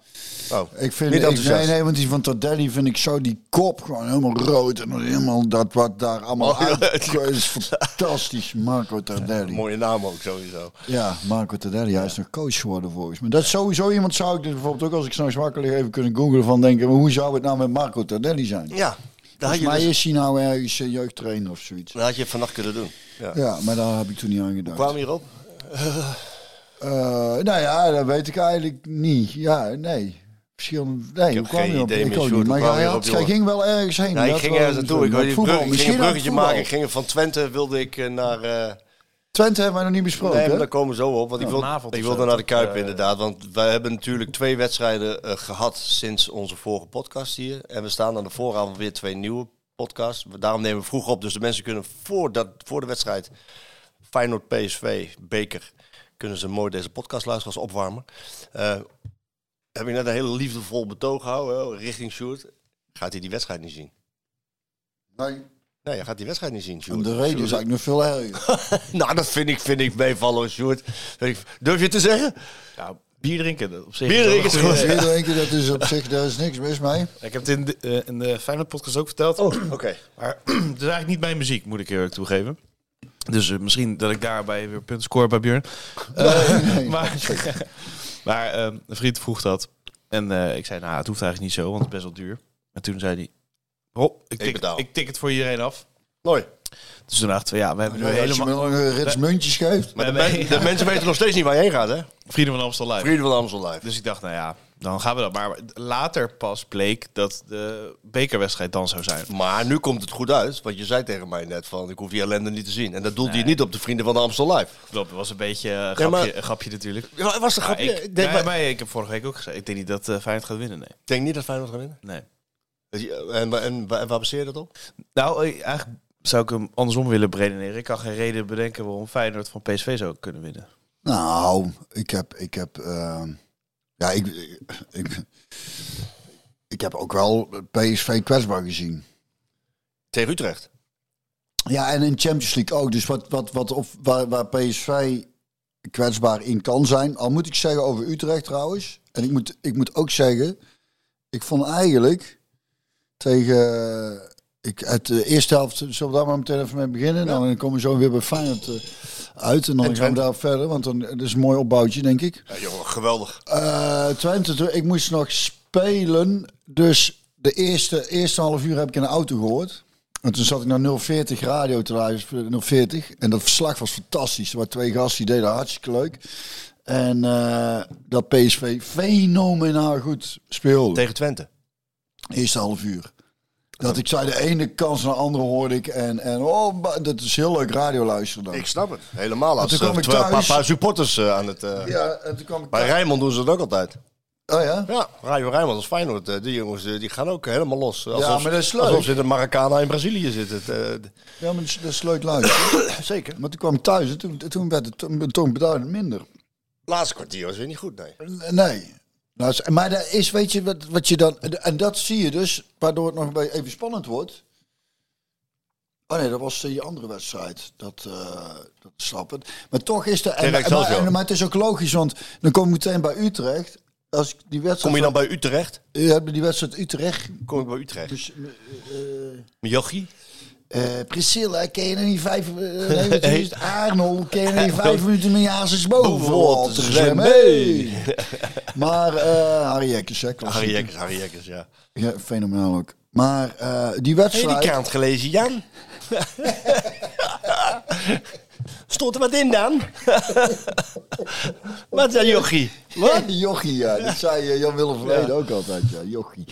Speaker 7: Oh,
Speaker 3: Ik vind,
Speaker 7: niet
Speaker 3: ik-
Speaker 7: enthousiast.
Speaker 3: nee, nee, want die van Tardelli vind ik zo die kop gewoon helemaal rood. En helemaal dat wat daar allemaal
Speaker 7: Oh, ja.
Speaker 3: uit is fantastisch. Marco Tardelli.
Speaker 7: Mooie naam ook sowieso.
Speaker 3: Ja, Marco Tardelli. Hij is nog coach geworden volgens mij. Dat is sowieso iemand zou ik dus bijvoorbeeld ook als ik s'nachts wakker lig even kunnen googlen van denken. maar hoe zou het nou met Marco Tardelli zijn?
Speaker 7: Ja, dat had,
Speaker 3: Volgens
Speaker 7: je
Speaker 3: mij
Speaker 7: dus-
Speaker 3: is hij nou ergens eh, jeugdtrainer of zoiets.
Speaker 7: dat had je vannacht kunnen doen. Ja.
Speaker 3: Ja, maar daar heb ik toen niet aan gedacht.
Speaker 7: Kwam hierop?
Speaker 3: Eh, nou ja, dat weet ik eigenlijk niet. Ja, nee. Verschillende. Nee,
Speaker 7: heb
Speaker 3: hoe kwam
Speaker 7: geen
Speaker 3: je op?
Speaker 7: idee
Speaker 3: Ik
Speaker 7: meer,
Speaker 3: ook
Speaker 7: Sjoerd,
Speaker 3: niet. Maar
Speaker 7: hoe kwam
Speaker 3: jij
Speaker 7: je
Speaker 3: had-
Speaker 7: op,
Speaker 3: jij
Speaker 7: jongen?
Speaker 3: ging wel ergens heen.
Speaker 7: Nee, ik
Speaker 3: Dat
Speaker 7: ging
Speaker 3: wel
Speaker 7: ergens naartoe. Ik,
Speaker 3: met
Speaker 7: wilde die
Speaker 3: voetbal.
Speaker 7: brug- ik ging
Speaker 3: Misschien
Speaker 7: een bruggetje
Speaker 3: aan het
Speaker 7: maken. Ik
Speaker 3: voetbal.
Speaker 7: ging van Twente wilde ik eh, naar... eh,
Speaker 3: Twente hebben we nog niet besproken.
Speaker 7: Nee,
Speaker 3: hè?
Speaker 7: maar daar komen we zo op. Want ik, wil,
Speaker 8: vanavond
Speaker 7: ik
Speaker 8: of
Speaker 7: wilde
Speaker 8: zo,
Speaker 7: naar de Kuip
Speaker 8: eh,
Speaker 7: inderdaad. Want wij hebben natuurlijk twee wedstrijden eh, gehad sinds onze vorige podcast hier. En we staan aan de vooravond weer twee nieuwe podcasts. Daarom nemen we vroeg op. Dus de mensen kunnen voor, dat, voor de wedstrijd Feyenoord PSV Beker... kunnen ze mooi deze podcastluisteraars opwarmen. Eh, heb ik net een hele liefdevol betoog gehouden hè, richting Sjoerd. Gaat hij die wedstrijd niet zien?
Speaker 3: Nee.
Speaker 7: Nee, hij gaat die wedstrijd niet zien,
Speaker 3: Om
Speaker 7: Sjoerd.
Speaker 3: de reden is
Speaker 7: Sjoerd-
Speaker 3: eigenlijk nog veel erger.
Speaker 7: nou, dat vind ik, vind ik meevallen, hoor, Sjoerd. Vind ik- Durf je het te zeggen?
Speaker 8: Ja, bier drinken dat op zich.
Speaker 7: Bier
Speaker 8: is wel
Speaker 7: drinken is
Speaker 8: een goeie.
Speaker 7: goed.
Speaker 3: Zie je, denk je, Dus dat is op zich, daar is niks mis mee.
Speaker 8: Ik heb het in de, eh, in de Feyenoord podcast ook verteld.
Speaker 7: Oh, Oké.
Speaker 8: Maar het is eigenlijk niet mijn muziek, moet ik eerlijk toegeven. Dus eh, misschien dat ik daarbij weer punten score bij Björn. Eh,
Speaker 3: Nee.
Speaker 8: Maar, maar ehm, een vriend vroeg dat. En eh, ik zei, nou, het hoeft eigenlijk niet zo, want het is best wel duur. En toen zei hij, oh, ik tik,
Speaker 7: betaal.
Speaker 8: ik tik het voor iedereen af.
Speaker 7: Mooi.
Speaker 8: Dus toen dachten we, ja, we hebben nu
Speaker 3: Als je me
Speaker 8: helemaal...
Speaker 3: nog een rits muntjes geeft.
Speaker 7: Maar de,
Speaker 8: Nee,
Speaker 7: men-
Speaker 8: nee.
Speaker 7: de mensen weten nog steeds niet waar je heen gaat, hè?
Speaker 8: Vrienden van Amstel Live.
Speaker 7: Vrienden van Amstel Live.
Speaker 8: Dus ik dacht, nou ja, dan gaan we dat. Maar later pas bleek dat de bekerwedstrijd dan zou zijn.
Speaker 7: Maar nu komt het goed uit, want je zei tegen mij net van... ik hoef die ellende niet te zien. En dat doelde je niet op de Vrienden van de Amstel Live.
Speaker 8: Dat was een beetje eh, grapje,
Speaker 7: maar-
Speaker 8: een grapje natuurlijk.
Speaker 7: Ja, het was een
Speaker 8: Maar
Speaker 7: grapje.
Speaker 8: ik,
Speaker 7: ik,
Speaker 8: nee,
Speaker 7: denk, maar-
Speaker 8: maar ik heb vorige week ook gezegd, ik denk niet dat eh Feyenoord gaat winnen, nee.
Speaker 7: ik denk niet dat Feyenoord gaat winnen. Dus
Speaker 8: nee.
Speaker 7: En, en, en waar waar baseer je dat op?
Speaker 8: Nou, eh, eigenlijk zou ik hem andersom willen bredeneren. Ik kan geen reden bedenken waarom Feyenoord van PSV zou kunnen winnen.
Speaker 3: Nou, ik heb, ik heb, ehm, ja, ik, ik, ik heb ook wel PSV kwetsbaar gezien.
Speaker 7: Tegen Utrecht.
Speaker 3: Ja, en in Champions League ook. Dus wat, wat, wat of, waar, waar PSV kwetsbaar in kan zijn. Al moet ik zeggen over Utrecht trouwens. En ik moet, ik moet ook zeggen, ik vond eigenlijk tegen ik, uit de eerste helft, zullen we daar maar meteen even mee beginnen? Nou, dan komen we zo weer bij Feyenoord eh, uit. En dan gaan we
Speaker 7: Twente.
Speaker 3: daar verder, want dan, dat is een mooi opbouwtje, denk ik.
Speaker 7: Ja, jongen, geweldig.
Speaker 3: Eh, Twente, toen- ik moest nog spelen. Dus de eerste, eerste half uur heb ik in de auto gehoord. En toen zat ik naar 040 radio te luisteren, 040. En dat verslag was fantastisch. Er waren twee gasten, die deden hartstikke leuk. En eh, dat PSV fenomenaal goed speelde.
Speaker 7: Tegen Twente.
Speaker 3: Eerste half uur. Dat ik zei, de ene kans naar de andere hoorde ik. En, en oh, ba- dat is heel leuk radio luisteren dan.
Speaker 7: Ik snap het. Helemaal. Als
Speaker 3: toen kwam
Speaker 7: eh,
Speaker 3: ik
Speaker 7: terwijl een paar,
Speaker 3: thuis.
Speaker 7: paar supporters eh, aan het... eh,
Speaker 3: ja, en toen kwam ik...
Speaker 7: Bij Rijnmond doen ze dat ook altijd.
Speaker 3: Oh ja?
Speaker 7: Ja, Radio Rijnmond als Feyenoord. eh, Die jongens eh, die gaan ook helemaal los. Alsof,
Speaker 3: maar dat is leuk.
Speaker 7: Alsof ze in de Maracana in Brazilië zitten. Het, eh,
Speaker 3: Ja, maar dat is- dat is leuk luisteren.
Speaker 7: Zeker.
Speaker 3: Maar toen kwam ik thuis en toen, toen werd het toen, toen beduidend minder.
Speaker 7: Laatste kwartier was weer niet goed, nee.
Speaker 3: Nee. Nou, is- maar dat is, weet je, wat, wat je dan... En dat zie je dus, waardoor het nog een beetje even spannend wordt. Oh nee, dat was die andere wedstrijd. Dat, eh dat snap ik. Maar toch is er... En,
Speaker 7: Tegen
Speaker 3: maar,
Speaker 7: Excelsior.
Speaker 3: en- maar het is ook logisch, want dan kom ik meteen bij Utrecht. Als ik die wedstrijd...
Speaker 7: Kom je dan bij Utrecht?
Speaker 3: Je hebt die wedstrijd Utrecht.
Speaker 7: Kom ik bij Utrecht.
Speaker 3: Dus, eh, eh,
Speaker 7: Jochie?
Speaker 3: eh, Priscilla, ken je nog niet vijf... eh, nee, wat is het? Arnold, ken je nog niet vijf minuten met Jazes boven?
Speaker 7: Bovenal te zwemmen.
Speaker 3: Hey. maar eh Harry Jekkers, hè, klassiek.
Speaker 7: Harry Jekkers, Harry Jekkers, ja.
Speaker 3: Ja, fenomenaal ook. Maar eh, die
Speaker 7: Heb je die
Speaker 3: wedstrijd...
Speaker 7: kaart gelezen, Jan? Stond er wat in dan? wat zei Jochie?
Speaker 3: Wat? Jochie, ja. Dat zei eh, Jan Willem Verleden ook altijd, ja. Jochie.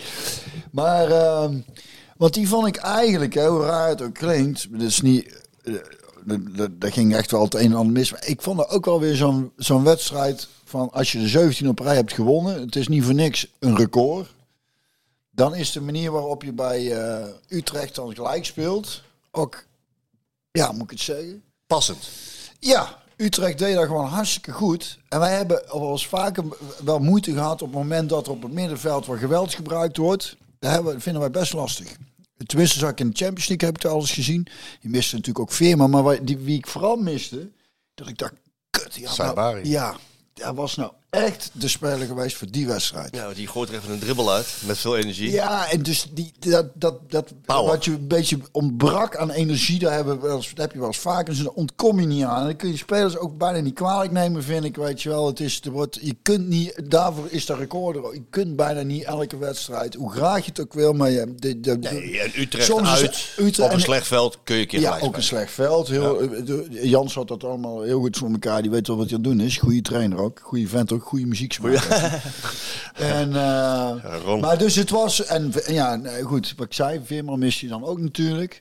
Speaker 3: Maar, ehm want die vond ik eigenlijk, hè, hoe raar het ook klinkt, dat is niet... eh, dat- dat- Daar ging echt wel het een en ander mis. Maar ik vond er ook wel weer zo'n zo'n wedstrijd van als je de 17 op rij hebt gewonnen, het is niet voor niks een record. Dan is de manier waarop je bij eh, Utrecht dan gelijk speelt ook, ja, moet ik het zeggen,
Speaker 7: Passend.
Speaker 3: ja, Utrecht deed dat gewoon hartstikke goed. En wij hebben wel eens vaker wel moeite gehad op het moment dat er op het middenveld wat geweld gebruikt wordt. Dat hebben, we- vinden wij best lastig. Tenminste, zag ik in de Champions League, heb ik het alles gezien. Die miste natuurlijk ook Veerman, maar wij- die, wie ik vooral miste, dat ik dacht, kut, die had nou-
Speaker 7: Saibari.
Speaker 3: ja, dat was nou echt de speler geweest voor die wedstrijd.
Speaker 7: Nou, die gooit er even een dribbel uit met veel energie.
Speaker 3: Ja, en dus die, dat, dat, dat
Speaker 7: Power.
Speaker 3: wat je een beetje ontbrak aan energie, daar hebben we wel eens- dat heb je wel eens vaker. Dus daar ontkom je niet aan. En dan kun je spelers ook bijna niet kwalijk nemen, vind ik. Weet je wel, het is, er wordt, je kunt niet, daarvoor is de recorder. Je kunt bijna niet elke wedstrijd, hoe graag je het ook wil, maar je, de, de,
Speaker 7: Nee, en Utrecht
Speaker 3: Soms is-
Speaker 7: uit,
Speaker 3: Utrecht-
Speaker 7: op een
Speaker 3: en-
Speaker 7: slecht veld kun je een keer
Speaker 3: ja,
Speaker 7: gelijk
Speaker 3: ook een
Speaker 7: spelen.
Speaker 3: slecht veld. Heel, eh, Jans had dat allemaal heel goed voor elkaar. Die weet wel wat hij aan het doen is. Goede trainer ook. Goede vent ook. Goede muzieksmaker. en, eh,
Speaker 7: Ron.
Speaker 3: maar dus het was... En v- en ja, nee, goed. Wat ik zei, Veerman mist je dan ook natuurlijk.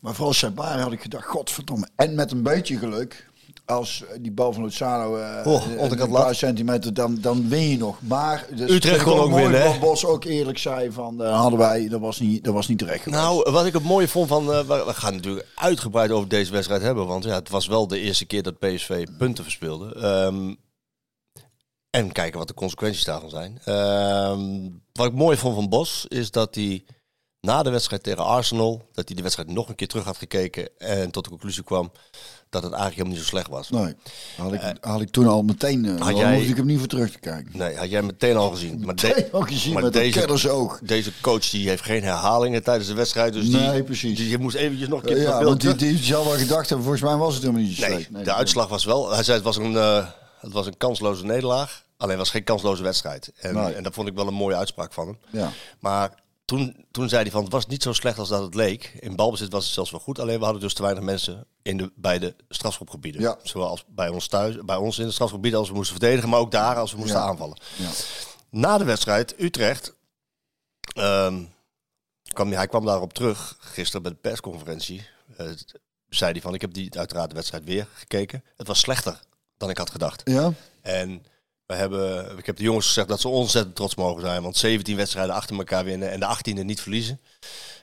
Speaker 3: Maar vooral Sabar had ik gedacht, godverdomme. En met een beetje geluk... Als eh, die bal van Lozano eh
Speaker 7: Oh,
Speaker 3: een-
Speaker 7: onderkant
Speaker 3: een
Speaker 7: lat.
Speaker 3: paar centimeter, dan, dan win je nog. Maar dus
Speaker 7: Utrecht
Speaker 3: vind ik
Speaker 7: kon ook
Speaker 3: mooi
Speaker 7: winnen, hè?
Speaker 3: Wat Bos ook eerlijk zei van, eh, hadden wij, dat was niet, dat was niet terecht.
Speaker 7: Nou, wat ik het mooie vond van... eh, we we gaan natuurlijk uitgebreid over deze wedstrijd hebben. Want ja, het was wel de eerste keer dat PSV punten verspeelde. Ehm, en kijken wat de consequenties daarvan zijn. Ehm, wat ik mooi vond van Bos is dat hij na de wedstrijd tegen Arsenal... dat hij de wedstrijd nog een keer terug had gekeken... en tot de conclusie kwam dat het eigenlijk helemaal niet zo slecht was.
Speaker 3: Nee, had ik, had ik toen al meteen. eh dan
Speaker 7: Eh, jij-
Speaker 3: hoefde ik hem niet voor terug te kijken.
Speaker 7: Nee, had jij meteen al gezien. Maar de-
Speaker 3: Meteen al gezien met een kennersoog.
Speaker 7: Deze coach die heeft geen herhalingen tijdens de wedstrijd. Dus die,
Speaker 3: Nee, precies.
Speaker 7: Die, je moest eventjes nog een keer
Speaker 3: Eh,
Speaker 7: dat
Speaker 3: ja,
Speaker 7: beeld
Speaker 3: want die,
Speaker 7: terug-
Speaker 3: die heeft zelf wel gedacht hebben, volgens mij was het helemaal niet zo
Speaker 7: Nee,
Speaker 3: slecht. Nee,
Speaker 7: de
Speaker 3: nee.
Speaker 7: uitslag was wel... Hij zei het was een, eh, het was een kansloze nederlaag. Alleen was geen kansloze wedstrijd. En,
Speaker 3: Nee.
Speaker 7: en dat vond ik wel een mooie uitspraak van hem.
Speaker 3: Ja.
Speaker 7: Maar toen, toen zei hij van het was niet zo slecht als dat het leek. In balbezit was het zelfs wel goed. Alleen we hadden dus te weinig mensen in de, bij de strafschopgebieden.
Speaker 3: Ja.
Speaker 7: Zowel als bij ons thuis, bij ons in het strafschopgebied als we moesten verdedigen. Maar ook daar als we moesten
Speaker 3: Ja.
Speaker 7: aanvallen.
Speaker 3: Ja.
Speaker 7: Na de wedstrijd, Utrecht... ehm, kwam, hij kwam daarop terug gisteren bij de persconferentie. eh, zei hij van, ik heb die uiteraard de wedstrijd weer gekeken. Het was slechter dan ik had gedacht.
Speaker 3: Ja?
Speaker 7: En we hebben, ik heb de jongens gezegd dat ze ontzettend trots mogen zijn. Want 17 wedstrijden achter elkaar winnen en de 18e niet verliezen.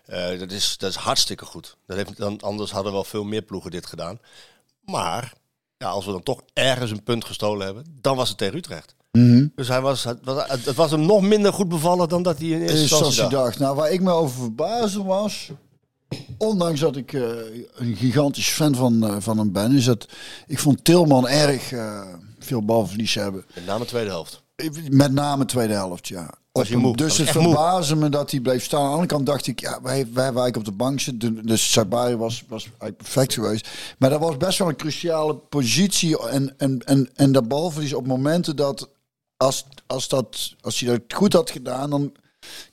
Speaker 7: Eh, dat, is, dat is hartstikke goed. Dat heeft, dan, anders hadden wel veel meer ploegen dit gedaan. Maar ja, als we dan toch ergens een punt gestolen hebben, dan was het tegen Utrecht.
Speaker 3: Mhm.
Speaker 7: Dus hij was, het, was, het was hem nog minder goed bevallen dan dat hij in eerste
Speaker 3: Is Eh, zoals
Speaker 7: instantie
Speaker 3: je
Speaker 7: dacht.
Speaker 3: dacht. Nou, waar ik me over verbaasde was. Ondanks dat ik eh, een gigantisch fan van, eh, van hem ben, is dat ik vond Tilman erg eh, veel balverlies hebben.
Speaker 7: Met name de tweede helft.
Speaker 3: Met name tweede helft, ja.
Speaker 7: Was je
Speaker 3: Op-
Speaker 7: moe?
Speaker 3: Dus
Speaker 7: Was
Speaker 3: het
Speaker 7: echt moe?
Speaker 3: verbaasde me dat hij bleef staan. Aan de andere kant dacht ik, ja, wij, wij, wij op de bank zitten. Dus Sabari was, was eigenlijk perfect geweest. Maar dat was best wel een cruciale positie. En, en, en, en dat balverlies op momenten dat als, als, dat, als hij dat goed had gedaan, dan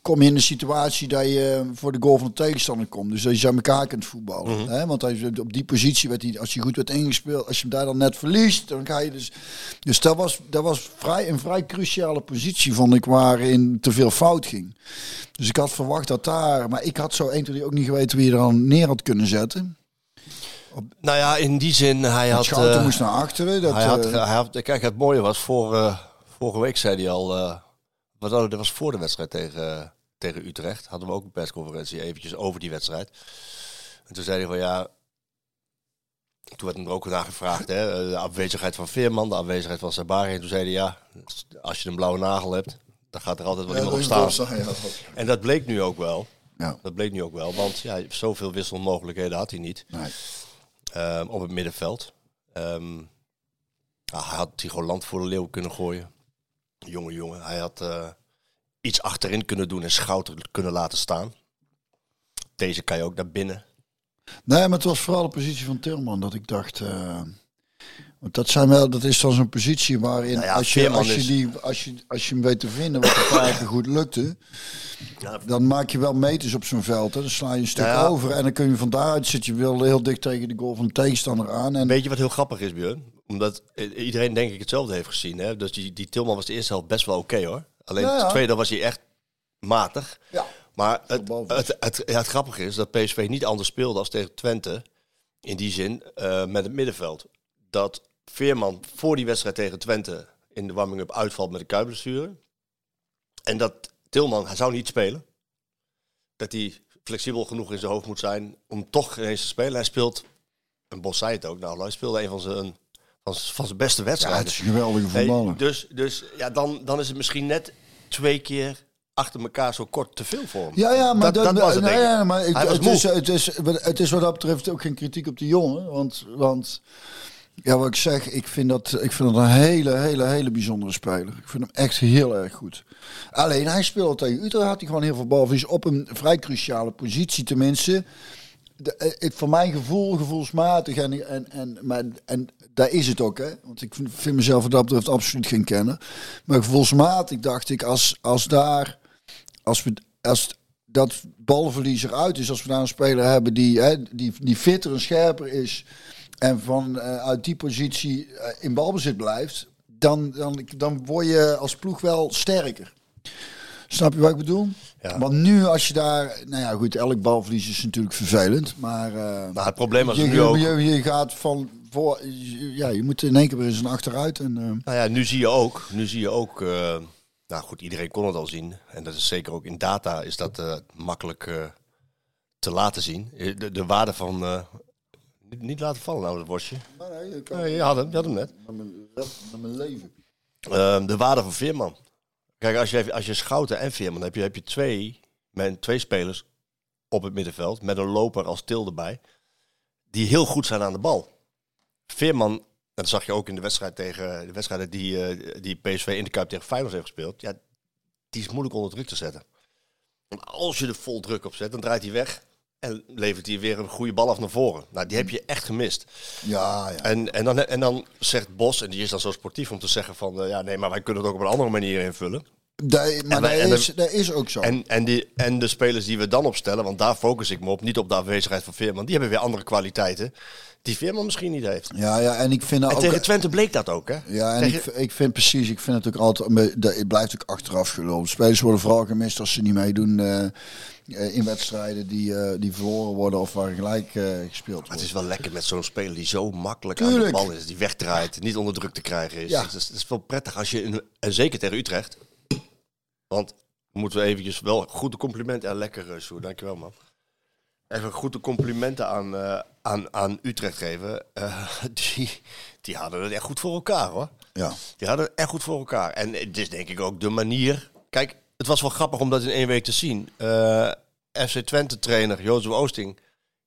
Speaker 3: kom je in de situatie dat je eh, voor de goal van de tegenstander komt. Dus dat je ze aan elkaar kunt voetballen.
Speaker 7: Mhm.
Speaker 3: hè? Want als je op die positie, werd hij, als hij goed werd ingespeeld, als je hem daar dan net verliest, dan ga je dus... Dus dat was, dat was vrij, een vrij cruciale positie, vond ik, waarin te veel fout ging. Dus ik had verwacht dat daar... Maar ik had zo 1, 2, 3 ook niet geweten wie je er dan neer had kunnen zetten.
Speaker 7: Nou ja, in die zin, hij had...
Speaker 3: Schouten
Speaker 7: eh,
Speaker 3: moest naar achteren. Dat,
Speaker 7: hij, had,
Speaker 3: eh,
Speaker 7: hij had- kijk, het mooie was, voor, eh, vorige week zei hij al, eh, wat hadden- dat was voor de wedstrijd tegen, eh, tegen Utrecht, hadden we ook een persconferentie eventjes over die wedstrijd. En toen zei hij van ja, toen werd hem er ook naar gevraagd, hè, eh, de afwezigheid van Veerman, de afwezigheid van Sabari. En toen zei hij ja, als je een blauwe nagel hebt, dan gaat er altijd wel
Speaker 3: ja,
Speaker 7: iemand op
Speaker 3: dat
Speaker 7: staan.
Speaker 3: was- ja, dat was-
Speaker 7: En dat bleek nu ook wel.
Speaker 3: Ja.
Speaker 7: Dat bleek nu ook wel, want ja, zoveel wisselmogelijkheden had hij niet
Speaker 3: nee.
Speaker 7: ehm, op het middenveld. Ehm, nou, hij had Tigo Land voor de leeuw kunnen gooien. Jonge jongen. Hij had eh, iets achterin kunnen doen en Schouten kunnen laten staan. Deze kan je ook naar binnen.
Speaker 3: Nee, maar het was vooral de positie van Tilman dat ik dacht. eh, want dat, zijn wel, dat is dan zo'n positie waarin
Speaker 7: Nou ja,
Speaker 3: als, je,
Speaker 7: Veerman
Speaker 3: als, je
Speaker 7: is-
Speaker 3: die, als, je, als je hem weet te vinden, wat een paar keer goed lukte, dan maak je wel meters op zo'n veld. Hè. Dan sla je een stuk
Speaker 7: Ja.
Speaker 3: over en dan kun je van daaruit zitten. Je wel heel dik tegen de goal van de tegenstander aan. En
Speaker 7: Weet je wat heel grappig is, Björn? Omdat eh, iedereen denk ik hetzelfde heeft gezien. Hè? Dus die, die Tilman was de eerste helft best wel oké hoor. Alleen
Speaker 3: Ja, ja.
Speaker 7: de tweede was hij echt matig.
Speaker 3: Ja.
Speaker 7: Maar het,
Speaker 3: boven.
Speaker 7: het, het, ja, het grappige is dat PSV niet anders speelde als tegen Twente. In die zin eh, met het middenveld. Dat Veerman voor die wedstrijd tegen Twente in de warming-up uitvalt met een kuitblessure. En dat Tilman, hij zou niet spelen. Dat hij flexibel genoeg in zijn hoofd moet zijn om toch ineens te spelen. Hij speelt, en Bos zei het ook, nou, hij speelde een van zijn, van, zijn- van zijn beste
Speaker 3: ja, het
Speaker 7: wedstrijden.
Speaker 3: is een geweldige
Speaker 7: Nee,
Speaker 3: voetballer.
Speaker 7: dus dus ja, dan, dan is het misschien net twee keer achter elkaar zo kort te veel voor hem.
Speaker 3: Ja, ja, maar
Speaker 7: dat,
Speaker 3: dan-
Speaker 7: dat was het,
Speaker 3: nee,
Speaker 7: denk ik.
Speaker 3: ja, maar ik-
Speaker 7: Hij was
Speaker 3: het,
Speaker 7: moe.
Speaker 3: is, het, is, het is wat dat betreft ook geen kritiek op die jongen. Want, want Ja, wat ik zeg, ik vind dat, ik vind dat een hele, hele, hele bijzondere speler. Ik vind hem echt heel erg goed. Alleen hij speelde tegen Utrecht, had hij gewoon heel veel balverlies op een vrij cruciale positie tenminste. De, eh, ik, voor mijn gevoel, gevoelsmatig, en, en, en, maar, en daar is het ook, hè. Want ik vind, vind mezelf wat dat betreft absoluut geen kenner. Maar gevoelsmatig dacht ik, als, als daar, als we, als dat balverlies eruit is, als we daar een speler hebben die, hè, die, die fitter en scherper is... En van eh, uit die positie eh, in balbezit blijft, dan, dan, dan word je als ploeg wel sterker. Snap je wat ik bedoel?
Speaker 7: Ja.
Speaker 3: Want nu als je daar, nou ja goed, elk balverlies is natuurlijk vervelend, maar eh,
Speaker 7: Maar het probleem was
Speaker 3: je,
Speaker 7: Nou, nu ook...
Speaker 3: je, je, je gaat van voor, je- ja, je moet in één keer weer eens een achteruit en eh,
Speaker 7: Nou ja, nu zie je ook. Nu zie je ook eh, nou goed, iedereen kon het al zien. En dat is zeker ook in data is dat eh, makkelijk eh, te laten zien. Eh, De, de waarde van. eh, niet- niet laten vallen, nou, dat worstje. Nee, je had hem, je had hem net.
Speaker 3: mijn leven.
Speaker 7: Ehm, de waarde van Veerman. Kijk, als je, als je Schouten en Veerman hebt, heb je twee, met twee spelers op het middenveld. Met een loper als Til erbij. Die heel goed zijn aan de bal. Veerman, en dat zag je ook in de wedstrijd tegen de wedstrijden die, eh, die PSV in de Kuip tegen Feyenoord heeft gespeeld. Ja, die is moeilijk onder druk te zetten. Want als je er vol druk op zet, dan draait hij weg. En levert hij weer een goede bal af naar voren. Nou, die heb je echt gemist.
Speaker 3: Ja, ja.
Speaker 7: En, en, dan, en dan zegt Bos, en die is dan zo sportief om te zeggen van... eh, ja, nee, maar wij kunnen het ook op een andere manier invullen.
Speaker 3: Daar, maar
Speaker 7: En wij-
Speaker 3: dat
Speaker 7: en de-
Speaker 3: is, dat is ook zo.
Speaker 7: En, en, die, en de spelers die we dan opstellen, want daar focus ik me op... niet op de afwezigheid van Veerman. Die hebben weer andere kwaliteiten die Veerman misschien niet heeft. eh,
Speaker 3: ja, ja, en ik vind dat
Speaker 7: En
Speaker 3: ook...
Speaker 7: tegen Twente bleek dat ook, hè?
Speaker 3: Ja, en
Speaker 7: Tegen-
Speaker 3: ik, ik vind precies, ik vind het ook altijd, dat- het blijft ook achteraf gelopen. Spelers worden vooral gemist als ze niet meedoen eh, eh, in wedstrijden die, eh, die verloren worden of waar gelijk eh, gespeeld
Speaker 7: Maar
Speaker 3: wordt.
Speaker 7: het is wel lekker met zo'n speler die zo makkelijk
Speaker 3: Tuurlijk.
Speaker 7: aan de bal is. Die wegdraait, niet onder druk te krijgen is.
Speaker 3: Ja.
Speaker 7: Het is, het is wel prettig als je, een- en zeker tegen Utrecht... want moeten we eventjes wel goede complimenten... en lekker, eh, Sjoerd, dankjewel man. Even goede complimenten aan, eh, aan, aan Utrecht geven. Eh, die, die hadden het echt goed voor elkaar, hoor.
Speaker 3: Ja.
Speaker 7: Die hadden het echt goed voor elkaar. En het is denk ik ook de manier... Kijk, het was wel grappig om dat in één week te zien. Eh, FC Twente-trainer Jozef Oosting...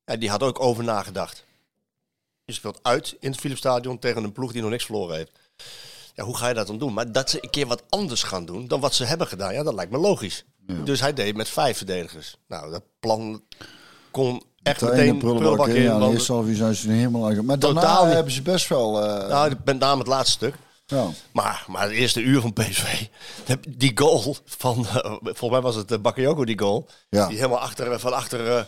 Speaker 7: Ja, die had ook over nagedacht. Je speelt uit in het Philipsstadion tegen een ploeg die nog niks verloren heeft. Ja, hoe ga je dat dan doen? Maar dat ze een keer wat anders gaan doen dan wat ze hebben gedaan, ja, dat lijkt me logisch. Dus hij deed met vijf verdedigers. Nou, dat plan kon echt
Speaker 3: Meteen
Speaker 7: meteen
Speaker 3: de prullenbak in, ja, de
Speaker 7: want-
Speaker 3: eerste half uur zijn ze er helemaal aan. ge- Maar
Speaker 7: Totaal
Speaker 3: daarna
Speaker 7: niet.
Speaker 3: hebben ze best wel... eh,
Speaker 7: nou, ik ben daar met het laatste stuk.
Speaker 3: ja.
Speaker 7: Maar, maar het eerste uur van PSV, die goal van, eh, volgens mij was het eh, Bakayoko die goal,
Speaker 3: Ja.
Speaker 7: die helemaal achter, van achter, eh,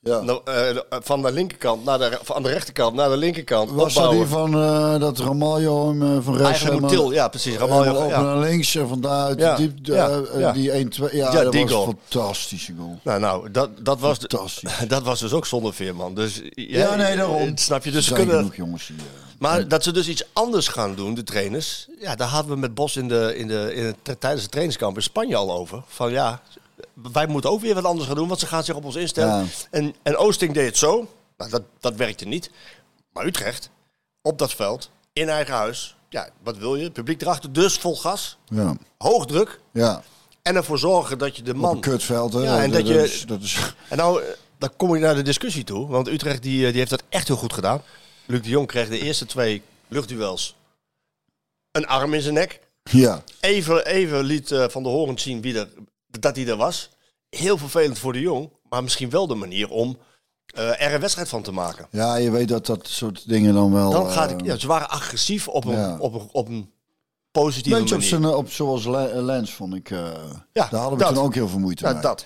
Speaker 3: Ja.
Speaker 7: nou, eh, van de linkerkant naar de, van de rechterkant naar de linkerkant.
Speaker 3: Was dat
Speaker 7: opbouwen.
Speaker 3: die van eh, dat Ramaljo hem eh, van rechts
Speaker 7: Eigenlijk moet Til, ja precies. Ramaljo,
Speaker 3: helemaal op
Speaker 7: ja.
Speaker 3: naar links en van daaruit
Speaker 7: Ja,
Speaker 3: diep,
Speaker 7: ja,
Speaker 3: eh, eh,
Speaker 7: ja.
Speaker 3: die 1-2. Ja,
Speaker 7: Ja,
Speaker 3: dat
Speaker 7: die
Speaker 3: was
Speaker 7: goal.
Speaker 3: een fantastische goal.
Speaker 7: Nou, nou dat, dat, was de-
Speaker 3: Fantastisch.
Speaker 7: dat was dus ook zonder Veerman. Dus,
Speaker 3: Ja, nee, daarom.
Speaker 7: het Snap je?
Speaker 3: Er
Speaker 7: Dus ze
Speaker 3: zijn
Speaker 7: kunnen,
Speaker 3: genoeg jongens die... eh,
Speaker 7: maar dat ze dus iets anders gaan doen, de trainers. Ja, daar hadden we met Bos in de, in de, in het- tijdens het trainingskamp in Spanje al over. Van ja, wij moeten ook weer wat anders gaan doen, want ze gaan zich op ons instellen.
Speaker 3: Ja.
Speaker 7: En, en Oosting deed het zo. Nou, dat, dat werkte niet. Maar Utrecht, op dat veld, in eigen huis. Ja, wat wil je? Het publiek erachter, dus vol gas.
Speaker 3: ja.
Speaker 7: Hoog druk.
Speaker 3: ja.
Speaker 7: En ervoor zorgen dat je de
Speaker 3: Op
Speaker 7: man...
Speaker 3: een kutveld, hè?
Speaker 7: Ja, en dat je-
Speaker 3: is, dat is,
Speaker 7: En nou, eh, dan kom ik naar de discussie toe. Want Utrecht die, eh, die heeft dat echt heel goed gedaan. Luc de Jong kreeg de eerste twee luchtduels een arm in zijn nek.
Speaker 3: ja.
Speaker 7: Even, even liet eh, Van der Horen zien wie er, dat hij er was. Heel vervelend voor de Jong. Maar misschien wel de manier om eh, er een wedstrijd van te maken.
Speaker 3: ja, je weet dat dat soort dingen dan wel...
Speaker 7: Dan gaat
Speaker 3: eh,
Speaker 7: ik, ja, ze waren agressief op een,
Speaker 3: ja.
Speaker 7: op een, op een positieve
Speaker 3: Beetje op
Speaker 7: manier.
Speaker 3: zijn, eh, op zoals Le- eh, Lens vond ik. eh,
Speaker 7: Ja,
Speaker 3: daar hadden we
Speaker 7: dat.
Speaker 3: toen ook heel veel moeite
Speaker 7: Ja,
Speaker 3: mee.
Speaker 7: dat.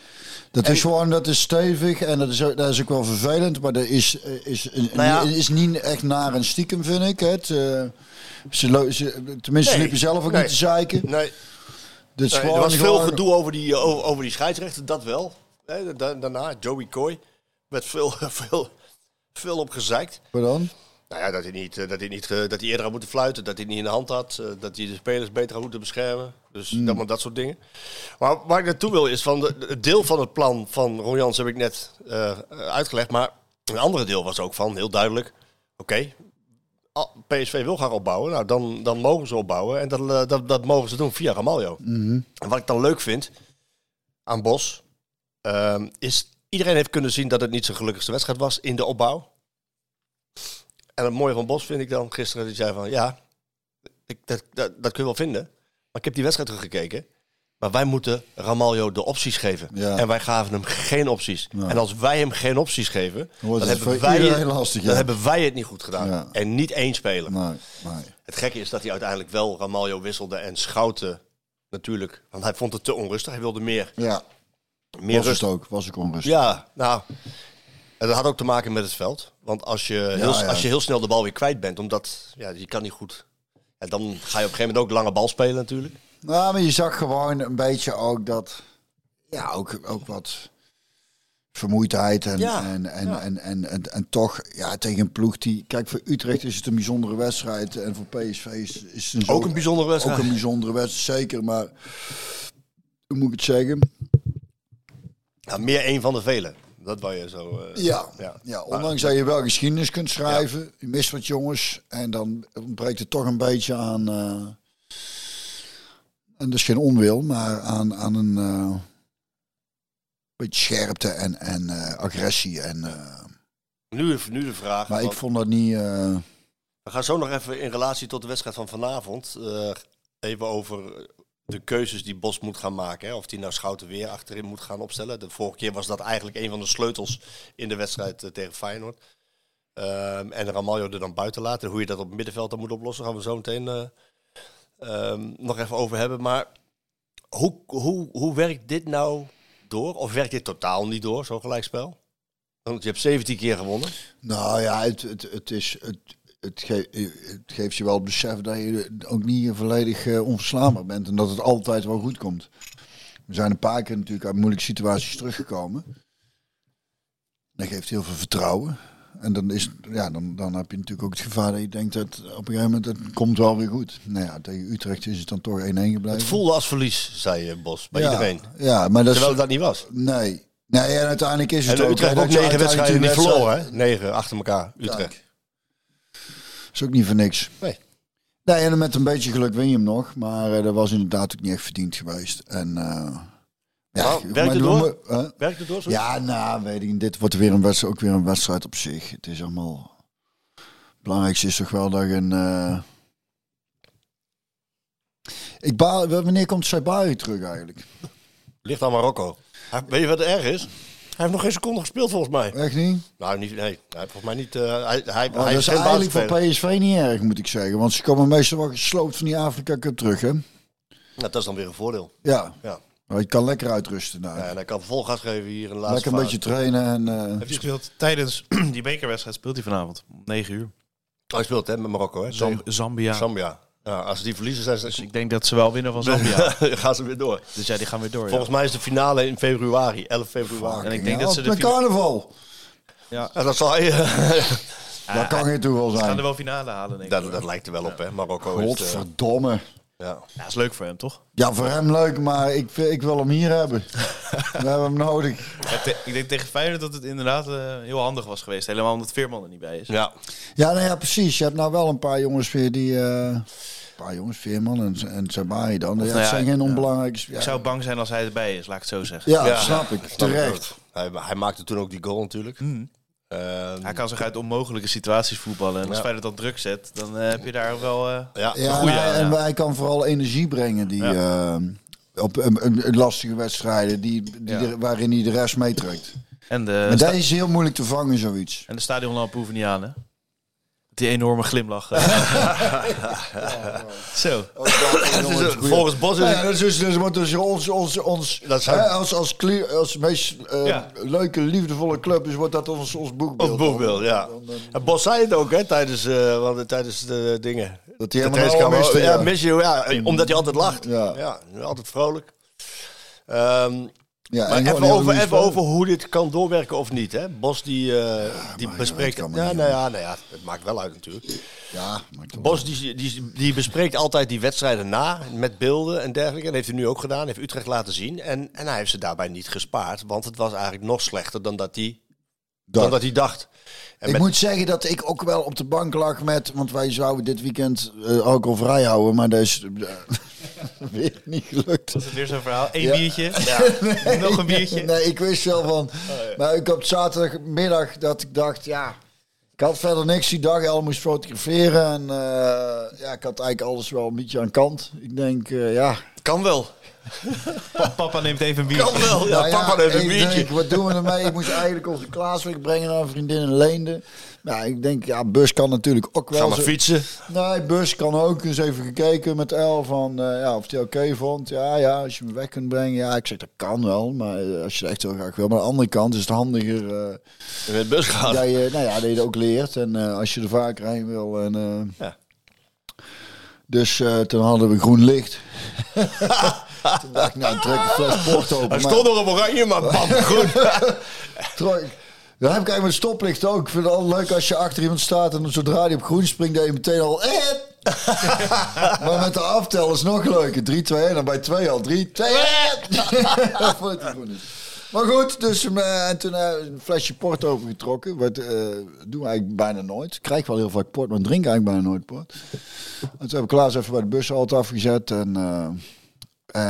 Speaker 3: dat is gewoon, dat is stevig en dat is, ook- dat is ook wel vervelend, maar dat is, eh, is, eh,
Speaker 7: Nou ja.
Speaker 3: is niet echt naar en stiekem, vind ik. Het, eh, ze, lo- ze- tenminste, ze
Speaker 7: Nee,
Speaker 3: liepen zelf ook
Speaker 7: nee.
Speaker 3: niet te zeiken.
Speaker 7: Nee,
Speaker 3: Dit is
Speaker 7: Nee,
Speaker 3: gewoon,
Speaker 7: er was veel
Speaker 3: gewoon-
Speaker 7: gedoe over die, eh, over, over die scheidsrechter, dat wel. Nee, da- da- daarna, Joey Coy, werd veel, veel, veel op gezeikt.
Speaker 3: Maar dan?
Speaker 7: Nou ja, dat hij, niet, eh, dat, hij niet, eh, dat hij eerder had moeten fluiten, dat hij het niet in de hand had. eh, Dat hij de spelers beter had moeten beschermen. Dus dat, dat soort dingen. Maar waar ik naartoe wil is, van de, het deel van het plan van Ron Jans heb ik net eh, uitgelegd. Maar een andere deel was ook van, heel duidelijk, oké... ah, PSV wil gaan opbouwen, nou dan, dan mogen ze opbouwen. En dat, eh, dat, dat mogen ze doen via Ramaljo. En wat ik dan leuk vind aan Bos, ehm, is iedereen heeft kunnen zien dat het niet zijn gelukkigste wedstrijd was in de opbouw. En het mooie van Bos vind ik dan gisteren dat jij van ja, ik, dat, dat, dat kun je wel vinden. Maar ik heb die wedstrijd teruggekeken. Maar wij moeten Ramaljo de opties geven.
Speaker 3: Ja.
Speaker 7: En wij gaven hem geen opties. En als wij hem geen opties geven,
Speaker 3: wordt
Speaker 7: dan,
Speaker 3: het
Speaker 7: hebben
Speaker 3: voor
Speaker 7: wij,
Speaker 3: iedereen
Speaker 7: het-
Speaker 3: lastig,
Speaker 7: dan
Speaker 3: ja.
Speaker 7: hebben wij het niet goed gedaan.
Speaker 3: Ja.
Speaker 7: En niet één speler.
Speaker 3: Nee, nee.
Speaker 7: Het gekke is dat hij uiteindelijk wel Ramaljo wisselde en Schouten natuurlijk. Want hij vond het te onrustig. Hij wilde meer,
Speaker 3: Ja,
Speaker 7: meer
Speaker 3: was
Speaker 7: rust.
Speaker 3: het ook. Was ik onrustig.
Speaker 7: Ja, nou, en dat had ook te maken met het veld. Want als je, heel,
Speaker 3: ja.
Speaker 7: als je heel snel de bal weer kwijt bent, omdat ja, je kan niet goed... Ja, dan ga je op een gegeven moment ook lange bal spelen natuurlijk.
Speaker 3: Nou, maar je zag gewoon een beetje ook dat... Ja, ook, ook wat vermoeidheid en,
Speaker 7: Ja,
Speaker 3: en, en, en, en, en, en toch ja, tegen een ploeg die... Kijk, voor Utrecht is het een bijzondere wedstrijd en voor PSV is, is het een
Speaker 7: Ook
Speaker 3: zo-
Speaker 7: een bijzondere wedstrijd.
Speaker 3: Ook een bijzondere wedstrijd, zeker. Maar hoe moet ik het zeggen?
Speaker 7: Ja, meer een van de velen. Dat wou je zo... eh,
Speaker 3: Ja,
Speaker 7: ja.
Speaker 3: ja. ondanks dat je wel geschiedenis kunt schrijven. Je mist wat jongens. En dan ontbreekt het toch een beetje aan... eh, en dat is geen onwil, maar aan, aan een eh, beetje scherpte en, en eh, agressie. En, eh,
Speaker 7: Nu, nu de vraag.
Speaker 3: maar ik
Speaker 7: want
Speaker 3: vond dat niet... eh,
Speaker 7: We gaan zo nog even in relatie tot de wedstrijd van vanavond... eh, even over de keuzes die Bos moet gaan maken. Hè. Of die nou Schouten weer achterin moet gaan opstellen. De vorige keer was dat eigenlijk een van de sleutels in de wedstrijd eh, tegen Feyenoord. Ehm, en Ramaljo er dan buiten laten. Hoe je dat op het middenveld dan moet oplossen, gaan we zo meteen eh, ehm, nog even over hebben. Maar hoe, hoe, hoe werkt dit nou door? Of werkt dit totaal niet door, zo'n gelijkspel? Want je hebt 17 keer gewonnen.
Speaker 3: Nou ja, het, het, het, is, het, het, ge- het geeft je wel het besef dat je ook niet volledig eh, onverslaanbaar bent. En dat het altijd wel goed komt. We zijn een paar keer natuurlijk uit moeilijke situaties teruggekomen. Dat geeft heel veel vertrouwen. En dan, is, ja, dan, dan heb je natuurlijk ook het gevaar dat je denkt dat op een gegeven moment het komt wel weer goed. Nou ja, tegen Utrecht is het dan toch 1-1 gebleven.
Speaker 7: Het voelde als verlies, zei eh, Bos, bij
Speaker 3: ja,
Speaker 7: iedereen.
Speaker 3: Ja, maar dat is... Dus
Speaker 7: Terwijl dat niet was.
Speaker 3: Nee. Nee, en uiteindelijk is het
Speaker 7: En
Speaker 3: ook...
Speaker 7: Utrecht
Speaker 3: dat
Speaker 7: ook
Speaker 3: je
Speaker 7: negen
Speaker 3: uiteindelijk
Speaker 7: wedstrijden
Speaker 3: die
Speaker 7: niet
Speaker 3: wedstrijd-
Speaker 7: verloren, hè? Negen achter elkaar, Utrecht.
Speaker 3: is ook niet voor niks.
Speaker 7: Nee.
Speaker 3: Nee, en met een beetje geluk win je hem nog. Maar eh, dat was inderdaad ook niet echt verdiend geweest. En, eh
Speaker 7: Nou,
Speaker 3: maar
Speaker 7: werkt het
Speaker 3: doen
Speaker 7: door?
Speaker 3: we- hè?
Speaker 7: Werkt het door zo?
Speaker 3: Ja, nou, weet ik niet. Dit wordt weer een wedstrijd, ook weer een wedstrijd op zich. Het is allemaal... Het belangrijkste is toch wel dat je een... eh, Ik baal, wanneer komt Saibari terug eigenlijk?
Speaker 7: Ligt aan Marokko. Hij- Weet je wat erg is? Hij heeft nog geen seconde gespeeld volgens mij.
Speaker 3: Echt niet?
Speaker 7: Nou, niet, nee. Hij heeft volgens mij niet... eh, hij, hij,
Speaker 3: Oh,
Speaker 7: hij
Speaker 3: dat
Speaker 7: is
Speaker 3: is
Speaker 7: geen
Speaker 3: eigenlijk voor
Speaker 7: basisspeler.
Speaker 3: PSV niet erg, moet ik zeggen. Want ze komen meestal wel gesloopt van die Afrika Cup terug, hè?
Speaker 7: Nou, dat is dan weer een voordeel.
Speaker 3: Ja.
Speaker 7: Ja.
Speaker 3: Maar je kan lekker uitrusten daar.
Speaker 7: Ja, en hij kan vol gas geven hier in de laatste
Speaker 3: lekker een beetje trainen en... eh,
Speaker 8: Hij speelt tijdens die bekerwedstrijd speelt hij vanavond. om 9 uur.
Speaker 7: Hij speelt hè, met Marokko, hè?
Speaker 8: Zam-
Speaker 7: Tegen
Speaker 8: Zambia.
Speaker 7: Zambia. Ja, als ze die verliezen, zijn ze...
Speaker 8: Dus ik denk dat ze wel winnen van Zambia.
Speaker 7: gaan ze weer door.
Speaker 8: dus ja, die gaan weer door. ja.
Speaker 7: Volgens mij is de finale in februari, 11 februari.
Speaker 8: En ik
Speaker 3: ja,
Speaker 8: denk dat ze
Speaker 3: op
Speaker 8: de
Speaker 3: een
Speaker 8: finale,
Speaker 3: carnaval.
Speaker 7: Ja, dat zal...
Speaker 3: dat kan geen toeval
Speaker 8: gaan er dus,
Speaker 3: zijn.
Speaker 8: wel finale halen, denk ik.
Speaker 7: dat, dat lijkt er wel op, hè? Marokko is... eh,
Speaker 3: Godverdomme.
Speaker 7: ja.
Speaker 8: Ja, is leuk voor hem, toch?
Speaker 3: Ja, voor hem leuk, maar ik, vind- ik wil hem hier hebben. We hebben hem nodig.
Speaker 8: Ja, te- ik denk tegen Feyenoord dat het inderdaad eh, heel handig was geweest. Helemaal omdat Veerman er niet bij is.
Speaker 7: ja.
Speaker 3: Ja, nou ja, precies. Je hebt nou wel een paar jongens weer die... eh, een paar jongens, Veerman en, en Sabari dan. Ja,
Speaker 8: nou
Speaker 3: het
Speaker 8: ja,
Speaker 3: zijn geen onbelangrijke... Ja,
Speaker 8: Ik zou bang zijn als hij erbij is, laat ik het zo zeggen.
Speaker 3: ja,
Speaker 7: Ja.
Speaker 3: snap ik.
Speaker 7: Snap ik
Speaker 3: Terecht. Mm.
Speaker 7: ook. Hij, hij maakte toen ook die goal natuurlijk. Ehm,
Speaker 8: Hij kan zich uit onmogelijke situaties voetballen. En als
Speaker 7: Ja.
Speaker 8: Feyenoord dan druk zet, dan eh, heb je daar ook wel... eh,
Speaker 7: ja,
Speaker 3: Ja,
Speaker 8: goeie,
Speaker 3: en, hij- en
Speaker 8: ja.
Speaker 3: hij kan vooral energie brengen die... eh, op een, een- een lastige wedstrijden die, die
Speaker 8: Ja.
Speaker 3: de- waarin hij de rest meetrekt.
Speaker 8: en, de
Speaker 3: Maar
Speaker 7: Eh,
Speaker 8: sta-
Speaker 3: dat is heel moeilijk te vangen, zoiets.
Speaker 8: en de stadionlampen hoeven niet aan, hè? Die enorme glimlach. Zo.
Speaker 7: het Oh, is een- volgens Bos is
Speaker 3: Nou
Speaker 7: het-
Speaker 3: ja, dat is dus, dus, want dus ons, ons, ons
Speaker 7: Dat zijn-
Speaker 3: hè, als, als, kli- als meest eh,
Speaker 8: Ja.
Speaker 3: leuke, liefdevolle club is, wordt dat ons, ons boekbeeld. eh,
Speaker 7: Op boekbeeld, ja. En Bos zei het ook, hè, tijdens, eh, want, tijdens de dingen.
Speaker 3: Dat
Speaker 7: De
Speaker 3: hij helemaal
Speaker 7: trainingskamer.
Speaker 3: miste,
Speaker 7: ja,
Speaker 3: ja. Mm.
Speaker 7: mis je, ja, eh, omdat hij altijd lacht. Ja,
Speaker 3: Ja.
Speaker 7: altijd vrolijk. Ehm,
Speaker 3: Ja,
Speaker 7: maar
Speaker 3: en gewoon
Speaker 7: even
Speaker 3: heel
Speaker 7: over,
Speaker 3: lief
Speaker 7: even
Speaker 3: spelen.
Speaker 7: over hoe dit kan doorwerken of niet, hè? Bos die, eh, die bespreekt... Ja,
Speaker 3: kan maar
Speaker 7: nou
Speaker 3: niet,
Speaker 7: ja, nou ja, het maakt wel uit natuurlijk.
Speaker 3: Ja, maar toch.
Speaker 7: Bos die, die, die bespreekt altijd die wedstrijden na met beelden en dergelijke. En heeft hij nu ook gedaan, heeft Utrecht laten zien. En, en hij heeft ze daarbij niet gespaard, want het was eigenlijk nog slechter dan dat hij,
Speaker 3: Dag.
Speaker 7: dan dat hij dacht. En
Speaker 3: ik
Speaker 7: met-
Speaker 3: moet zeggen dat ik ook wel op de bank lag met... Want wij zouden dit weekend eh, alcoholvrij houden, maar dat is eh, weer niet gelukt.
Speaker 8: Dat is weer zo'n verhaal. Eén
Speaker 3: Ja.
Speaker 8: biertje. Nog een biertje. Oh,
Speaker 3: Nee, ik wist wel van... Maar ik op zaterdagmiddag dat ik dacht, ja... Ik had verder niks die dag. El moest fotograferen. En eh, ja, ik had eigenlijk alles wel een beetje aan kant. Ik denk, eh, ja.
Speaker 7: Kan wel.
Speaker 8: Papa neemt even een
Speaker 7: Kan
Speaker 8: biertje.
Speaker 7: wel. Ja,
Speaker 3: Nou ja,
Speaker 7: papa heeft een
Speaker 3: ik
Speaker 7: biertje.
Speaker 3: denk, wat doen we ermee? Ik moest eigenlijk onze Klaas wegbrengen naar een vriendin in Leende. Nou, ik denk, ja, bus kan natuurlijk ook
Speaker 7: Ga
Speaker 3: wel.
Speaker 7: maar
Speaker 3: zo-
Speaker 7: fietsen.
Speaker 3: Nee, bus kan ook. Dus even gekeken met El van eh, ja, of die oké vond. Ja, ja, als je me weg kunt brengen. Ja, ik zeg dat kan wel. Maar eh, als je het echt heel graag wil. Maar aan de andere kant is het handiger eh,
Speaker 7: Je bent bus gehaald.
Speaker 3: dat, je, nou ja, dat je het ook leert. En eh, als je er vaker heen wil. En, eh,
Speaker 7: Ja.
Speaker 3: Dus eh, toen hadden we groen licht. toen dacht ik, nou, trek een fles port open.
Speaker 7: Hij
Speaker 3: maar-
Speaker 7: stond nog op oranje, maar bam, goed.
Speaker 3: Trok. Dan heb ik eigenlijk met stoplicht ook. Ik vind het altijd leuk als je achter iemand staat en zodra die op groen springt, dat je meteen al... Eh! maar met de aftel is nog leuker. 3, 2, 1 en bij 2 al. "Eh!" 3, 2, 1! Voordat die groen is. Maar goed, dus eh, en toen eh, een flesje port overgetrokken. Wat eh, doen we eigenlijk bijna nooit. Ik krijg wel heel vaak port, maar drink eigenlijk bijna nooit port. En toen heb ik Klaas even bij de bus altijd afgezet. En, eh,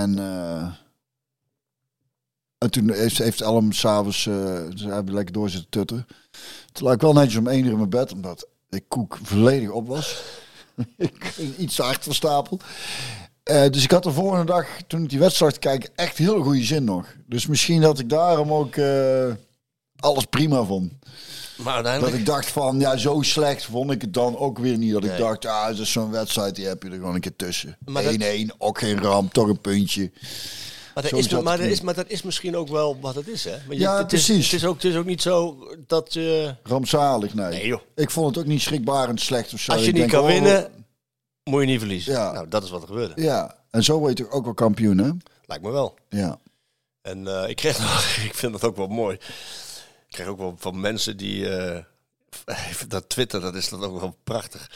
Speaker 3: en eh, en toen heeft, heeft Elm s'avonds, eh ze hebben lekker door zitten tutten. Toen lag ik wel netjes om één uur in mijn bed, omdat ik koek volledig op was. ik ging iets te hard van stapel. Eh, dus ik had de volgende dag, toen ik die wedstrijd kijk, echt heel goede zin nog. Dus misschien dat ik daarom ook eh, alles prima vond.
Speaker 7: Maar
Speaker 3: Dat
Speaker 7: uiteindelijk...
Speaker 3: ik dacht van, ja, zo slecht vond ik het dan ook weer niet. Dat ik dacht, ah, dat is zo'n wedstrijd, die heb je er gewoon een keer tussen. 1-1,
Speaker 7: Maar dat-
Speaker 3: ook geen ramp, toch een puntje.
Speaker 7: Maar dat,
Speaker 3: Zo
Speaker 7: is,
Speaker 3: zat het
Speaker 7: maar, dat
Speaker 3: niet.
Speaker 7: is, maar dat is misschien ook wel wat het is, hè? Want
Speaker 3: Ja,
Speaker 7: het is-
Speaker 3: precies.
Speaker 7: het, is ook, het is ook niet zo dat eh, je...
Speaker 3: Rampzalig, nee.
Speaker 7: Nee, joh.
Speaker 3: Ik vond het ook niet schrikbarend slecht of zo.
Speaker 7: Als je
Speaker 3: Ik
Speaker 7: niet
Speaker 3: denk,
Speaker 7: kan
Speaker 3: oh,
Speaker 7: winnen, moet je niet verliezen.
Speaker 3: Ja.
Speaker 7: Nou, dat is wat er gebeurde.
Speaker 3: Ja, en zo word je toch ook wel kampioen, hè?
Speaker 7: Lijkt me wel.
Speaker 3: Ja.
Speaker 7: En eh, ik kreeg nog, ik vind dat ook wel mooi. Ik kreeg ook wel van mensen die. eh, dat Twitter, dat is dan ook wel prachtig.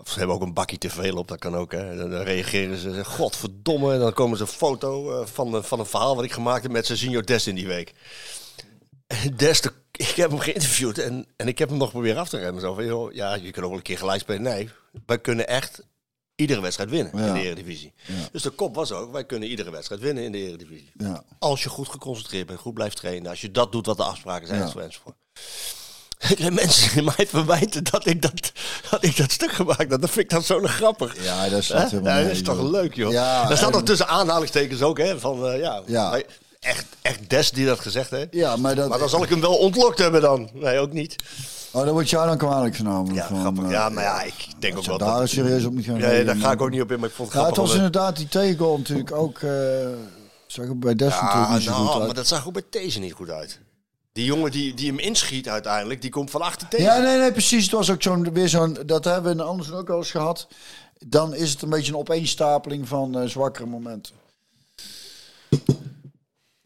Speaker 7: Of ze hebben ook een bakkie te veel op, dat kan ook. Hè. Dan dan reageren ze, zeggen, godverdomme. En dan komen ze een foto eh, van, van een verhaal wat ik gemaakt heb met Sergio Des in die week. En Des, de- ik heb hem geïnterviewd en, en ik heb hem nog proberen af te remmen. Zo van, joh, ja, je kunt ook wel een keer gelijk spelen. Nee, wij kunnen echt iedere wedstrijd winnen in
Speaker 3: Ja.
Speaker 7: de Eredivisie. Dus de kop was ook, wij kunnen iedere wedstrijd winnen in de Eredivisie.
Speaker 3: Ja.
Speaker 7: Als je goed geconcentreerd bent, goed blijft trainen. Als je dat doet wat de afspraken zijn,
Speaker 3: Ja.
Speaker 7: enzovoort, enzovoort. Ik kreeg mensen die mij verwijten dat ik dat, dat ik dat stuk gemaakt had. Dat vind ik dan zo grappig.
Speaker 3: Ja, dat
Speaker 7: Hè?
Speaker 3: staat helemaal
Speaker 7: Ja,
Speaker 3: nee,
Speaker 7: dat is toch
Speaker 3: joh.
Speaker 7: leuk, joh.
Speaker 3: Ja,
Speaker 7: Daar staat
Speaker 3: en-
Speaker 7: nog tussen aanhalingstekens ook, hè. Van, eh, ja,
Speaker 3: Ja.
Speaker 7: wij- Echt, echt Des die dat gezegd heeft.
Speaker 3: Ja, maar dat...
Speaker 7: Maar dan zal ik hem wel ontlokt hebben dan. Nee, ook niet.
Speaker 3: Oh, dan word jij dan kwalijk genomen.
Speaker 7: Ja,
Speaker 3: van,
Speaker 7: grappig.
Speaker 3: eh,
Speaker 7: Ja, maar ja, ik denk ook
Speaker 3: zou
Speaker 7: wel
Speaker 3: daar
Speaker 7: dat...
Speaker 3: serieus op niet gaan
Speaker 7: Nee, daar
Speaker 3: reageren.
Speaker 7: ga ik ook niet op in, maar ik vond het
Speaker 3: Ja, het
Speaker 7: grappig.
Speaker 3: was
Speaker 7: omdat-
Speaker 3: inderdaad die tegengoal natuurlijk ook... eh zag ik bij Des natuurlijk
Speaker 7: Ja,
Speaker 3: niet zo goed
Speaker 7: nou,
Speaker 3: uit.
Speaker 7: maar dat zag ook bij deze niet goed uit. Die jongen die, die hem inschiet uiteindelijk, die komt van achter tegen.
Speaker 3: Ja, nee, nee, precies. Het was ook zo'n, weer zo'n, dat hebben we in anders ook wel eens gehad. Dan is het een beetje een opeenstapeling van eh, zwakkere momenten.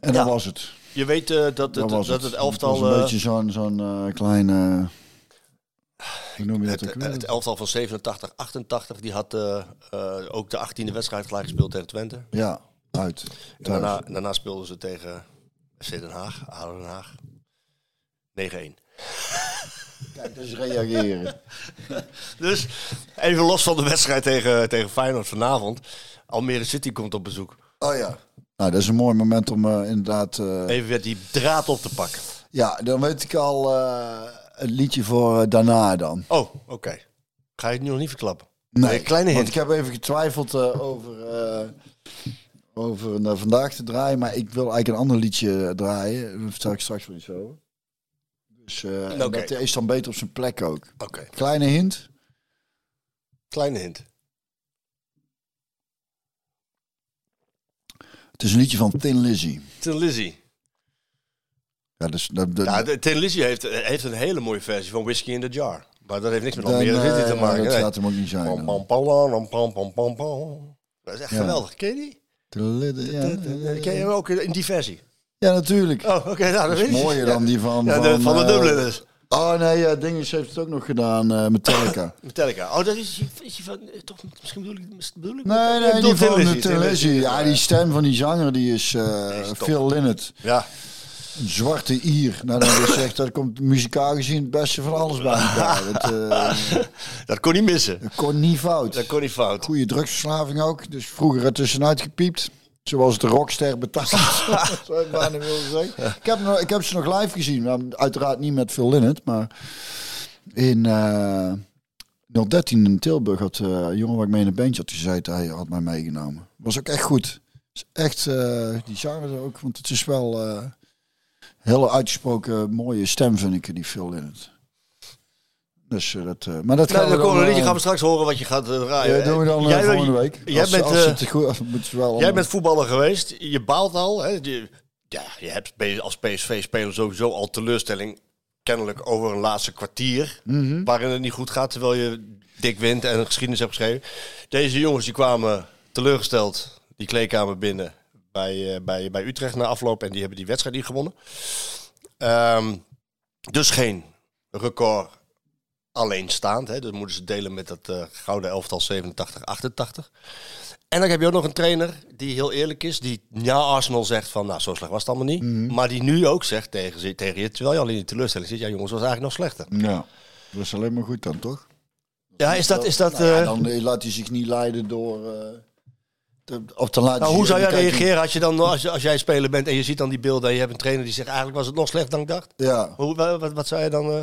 Speaker 3: En dat
Speaker 7: Ja.
Speaker 3: was het.
Speaker 7: Je weet eh, dat,
Speaker 3: Dat
Speaker 7: het,
Speaker 3: was
Speaker 7: dat
Speaker 3: het.
Speaker 7: het, elftal...
Speaker 3: Het was een
Speaker 7: eh,
Speaker 3: beetje zo'n, zo'n eh, klein... eh, hoe noem je dat ook
Speaker 7: het,
Speaker 3: weer?
Speaker 7: het elftal van 87, 88, die had eh, eh, ook de 18e wedstrijd gelijk gespeeld tegen Twente. En
Speaker 3: Ja, uit. Thuis.
Speaker 7: daarna, daarna speelden ze tegen FC Den Haag, ADO Den Haag. 9-1.
Speaker 3: Kijk, dus reageren.
Speaker 7: Dus even los van de wedstrijd tegen, tegen Feyenoord vanavond. Almere City komt op bezoek.
Speaker 3: Oh ja. Nou, dat is een mooi moment om eh, inderdaad... eh,
Speaker 7: Even weer die draad op te pakken.
Speaker 3: ja, dan weet ik al eh, een liedje voor eh, daarna dan.
Speaker 7: Oh, oké. Ga je het nu nog niet verklappen?
Speaker 3: Nee,
Speaker 7: Een kleine
Speaker 3: want
Speaker 7: hint.
Speaker 3: ik heb even getwijfeld eh, over, eh, over een, eh, vandaag te draaien. Maar ik wil eigenlijk een ander liedje eh, draaien. Daar vertel ik straks wel iets over. Dus eh, en
Speaker 7: Oké.
Speaker 3: dat is dan beter op zijn plek ook.
Speaker 7: Oké,
Speaker 3: Kleine hint.
Speaker 7: kleine hint.
Speaker 3: Het is een liedje van Tin Lizzy.
Speaker 7: Tin Lizzy.
Speaker 3: Ja, dus, dat, dat,
Speaker 7: Ja, de- Tin Lizzy heeft, eh, heeft een hele mooie versie van Whiskey in the Jar. Maar dat heeft niks met
Speaker 3: dan,
Speaker 7: Almere
Speaker 3: eh,
Speaker 7: City te
Speaker 3: ja,
Speaker 7: maken.
Speaker 3: dat
Speaker 7: nee.
Speaker 3: gaat hem ook niet zijn.
Speaker 7: Pam,
Speaker 3: hoor.
Speaker 7: pam, pam, pam, pam, pam, pam, pam. Dat is echt
Speaker 3: Ja.
Speaker 7: geweldig. Ken je die?
Speaker 3: Tin Lizzy, ja, eh,
Speaker 7: Ken je hem ook in die versie?
Speaker 3: Ja, natuurlijk.
Speaker 7: Oh, oké. nou, dat
Speaker 3: Dat
Speaker 7: weet
Speaker 3: is
Speaker 7: ik.
Speaker 3: mooier dan die van...
Speaker 7: Ja, de- van de dus.
Speaker 3: eh,
Speaker 7: Dubliners.
Speaker 3: Oh nee, ja, Dinges heeft het ook nog gedaan, eh Metallica.
Speaker 7: Metallica. Oh, dat is, is die van... eh, Toch, misschien bedoel ik... mis- bedoel ik
Speaker 3: Nee,
Speaker 7: ik
Speaker 3: nee,
Speaker 7: bedoel
Speaker 3: die
Speaker 7: Tin
Speaker 3: van
Speaker 7: Lizzy,
Speaker 3: de
Speaker 7: Tin Lizzy.
Speaker 3: televisie. Ja, die stem van die zanger die is
Speaker 7: is
Speaker 3: eh
Speaker 7: top.
Speaker 3: Phil Linnet.
Speaker 7: Ja,
Speaker 3: Een zwarte Ier. Nou, dan weer zegt, daar komt muzikaal gezien het beste van alles bij elkaar. Dat eh,
Speaker 7: dat kon niet missen.
Speaker 3: dat kon niet
Speaker 7: Dat
Speaker 3: fout.
Speaker 7: kon niet fout.
Speaker 3: Goede drugsverslaving ook. Dus vroeger er tussenuit gepiept. Zoals de rockster betaald. Zou ik Nou, bijna willen zeggen. Ik heb, nog- ik heb ze nog live gezien. maar uiteraard niet met Phil Linnet, maar... in eh 013 in Tilburg had eh, een jongen waar ik mee in een bandje had gezeten, hij had mij meegenomen. Was ook echt goed. Is echt, eh, die zangen ze ook, want het is wel eh hele uitgesproken mooie stem vind ik er die veel in het. Dus eh, dat, eh, maar dat
Speaker 7: Nou,
Speaker 3: gaan we
Speaker 7: dan komen we
Speaker 3: dan,
Speaker 7: liedje
Speaker 3: eh,
Speaker 7: gaan we straks horen wat je gaat eh, draaien.
Speaker 3: ja, doen we dan eh,
Speaker 7: Jij-
Speaker 3: volgende week.
Speaker 7: jij
Speaker 3: Als-
Speaker 7: bent,
Speaker 3: als
Speaker 7: eh,
Speaker 3: het goed als het moet wel.
Speaker 7: Jij bent voetballer geweest, je baalt al. Hè? Je, ja, je hebt P- als PSV-speler sowieso al teleurstelling. Kennelijk over een laatste kwartier. Waarin het niet goed gaat, terwijl je dik wint en een geschiedenis hebt geschreven. Deze jongens die kwamen teleurgesteld die kleedkamer binnen bij, eh, bij, bij Utrecht na afloop. En die hebben die wedstrijd niet gewonnen. Ehm, dus geen record alleenstaand. Hè? Dat moeten ze delen met dat eh, gouden elftal 87, 88. En dan heb je ook nog een trainer die heel eerlijk is. Die na Arsenal zegt van, nou zo slecht was het allemaal niet. Maar die nu ook zegt tegen, ze- tegen je, terwijl je al in die teleurstelling zit. Ja jongens, het was eigenlijk nog slechter.
Speaker 3: Ja, dat is alleen maar goed dan, toch?
Speaker 7: Ja, is dat... Is dat
Speaker 3: Nou ja,
Speaker 7: eh,
Speaker 3: dan eh, laat hij zich niet leiden door... eh, te, of te laten
Speaker 7: nou, hoe
Speaker 3: zich-
Speaker 7: zou jij
Speaker 3: kijk,
Speaker 7: reageren als, je dan, als, je- als jij speler bent en je ziet dan die beelden en je hebt een trainer die zegt eigenlijk was het nog slechter dan ik dacht?
Speaker 3: Ja,
Speaker 7: Hoe, wa- wat, wat zou je dan... eh,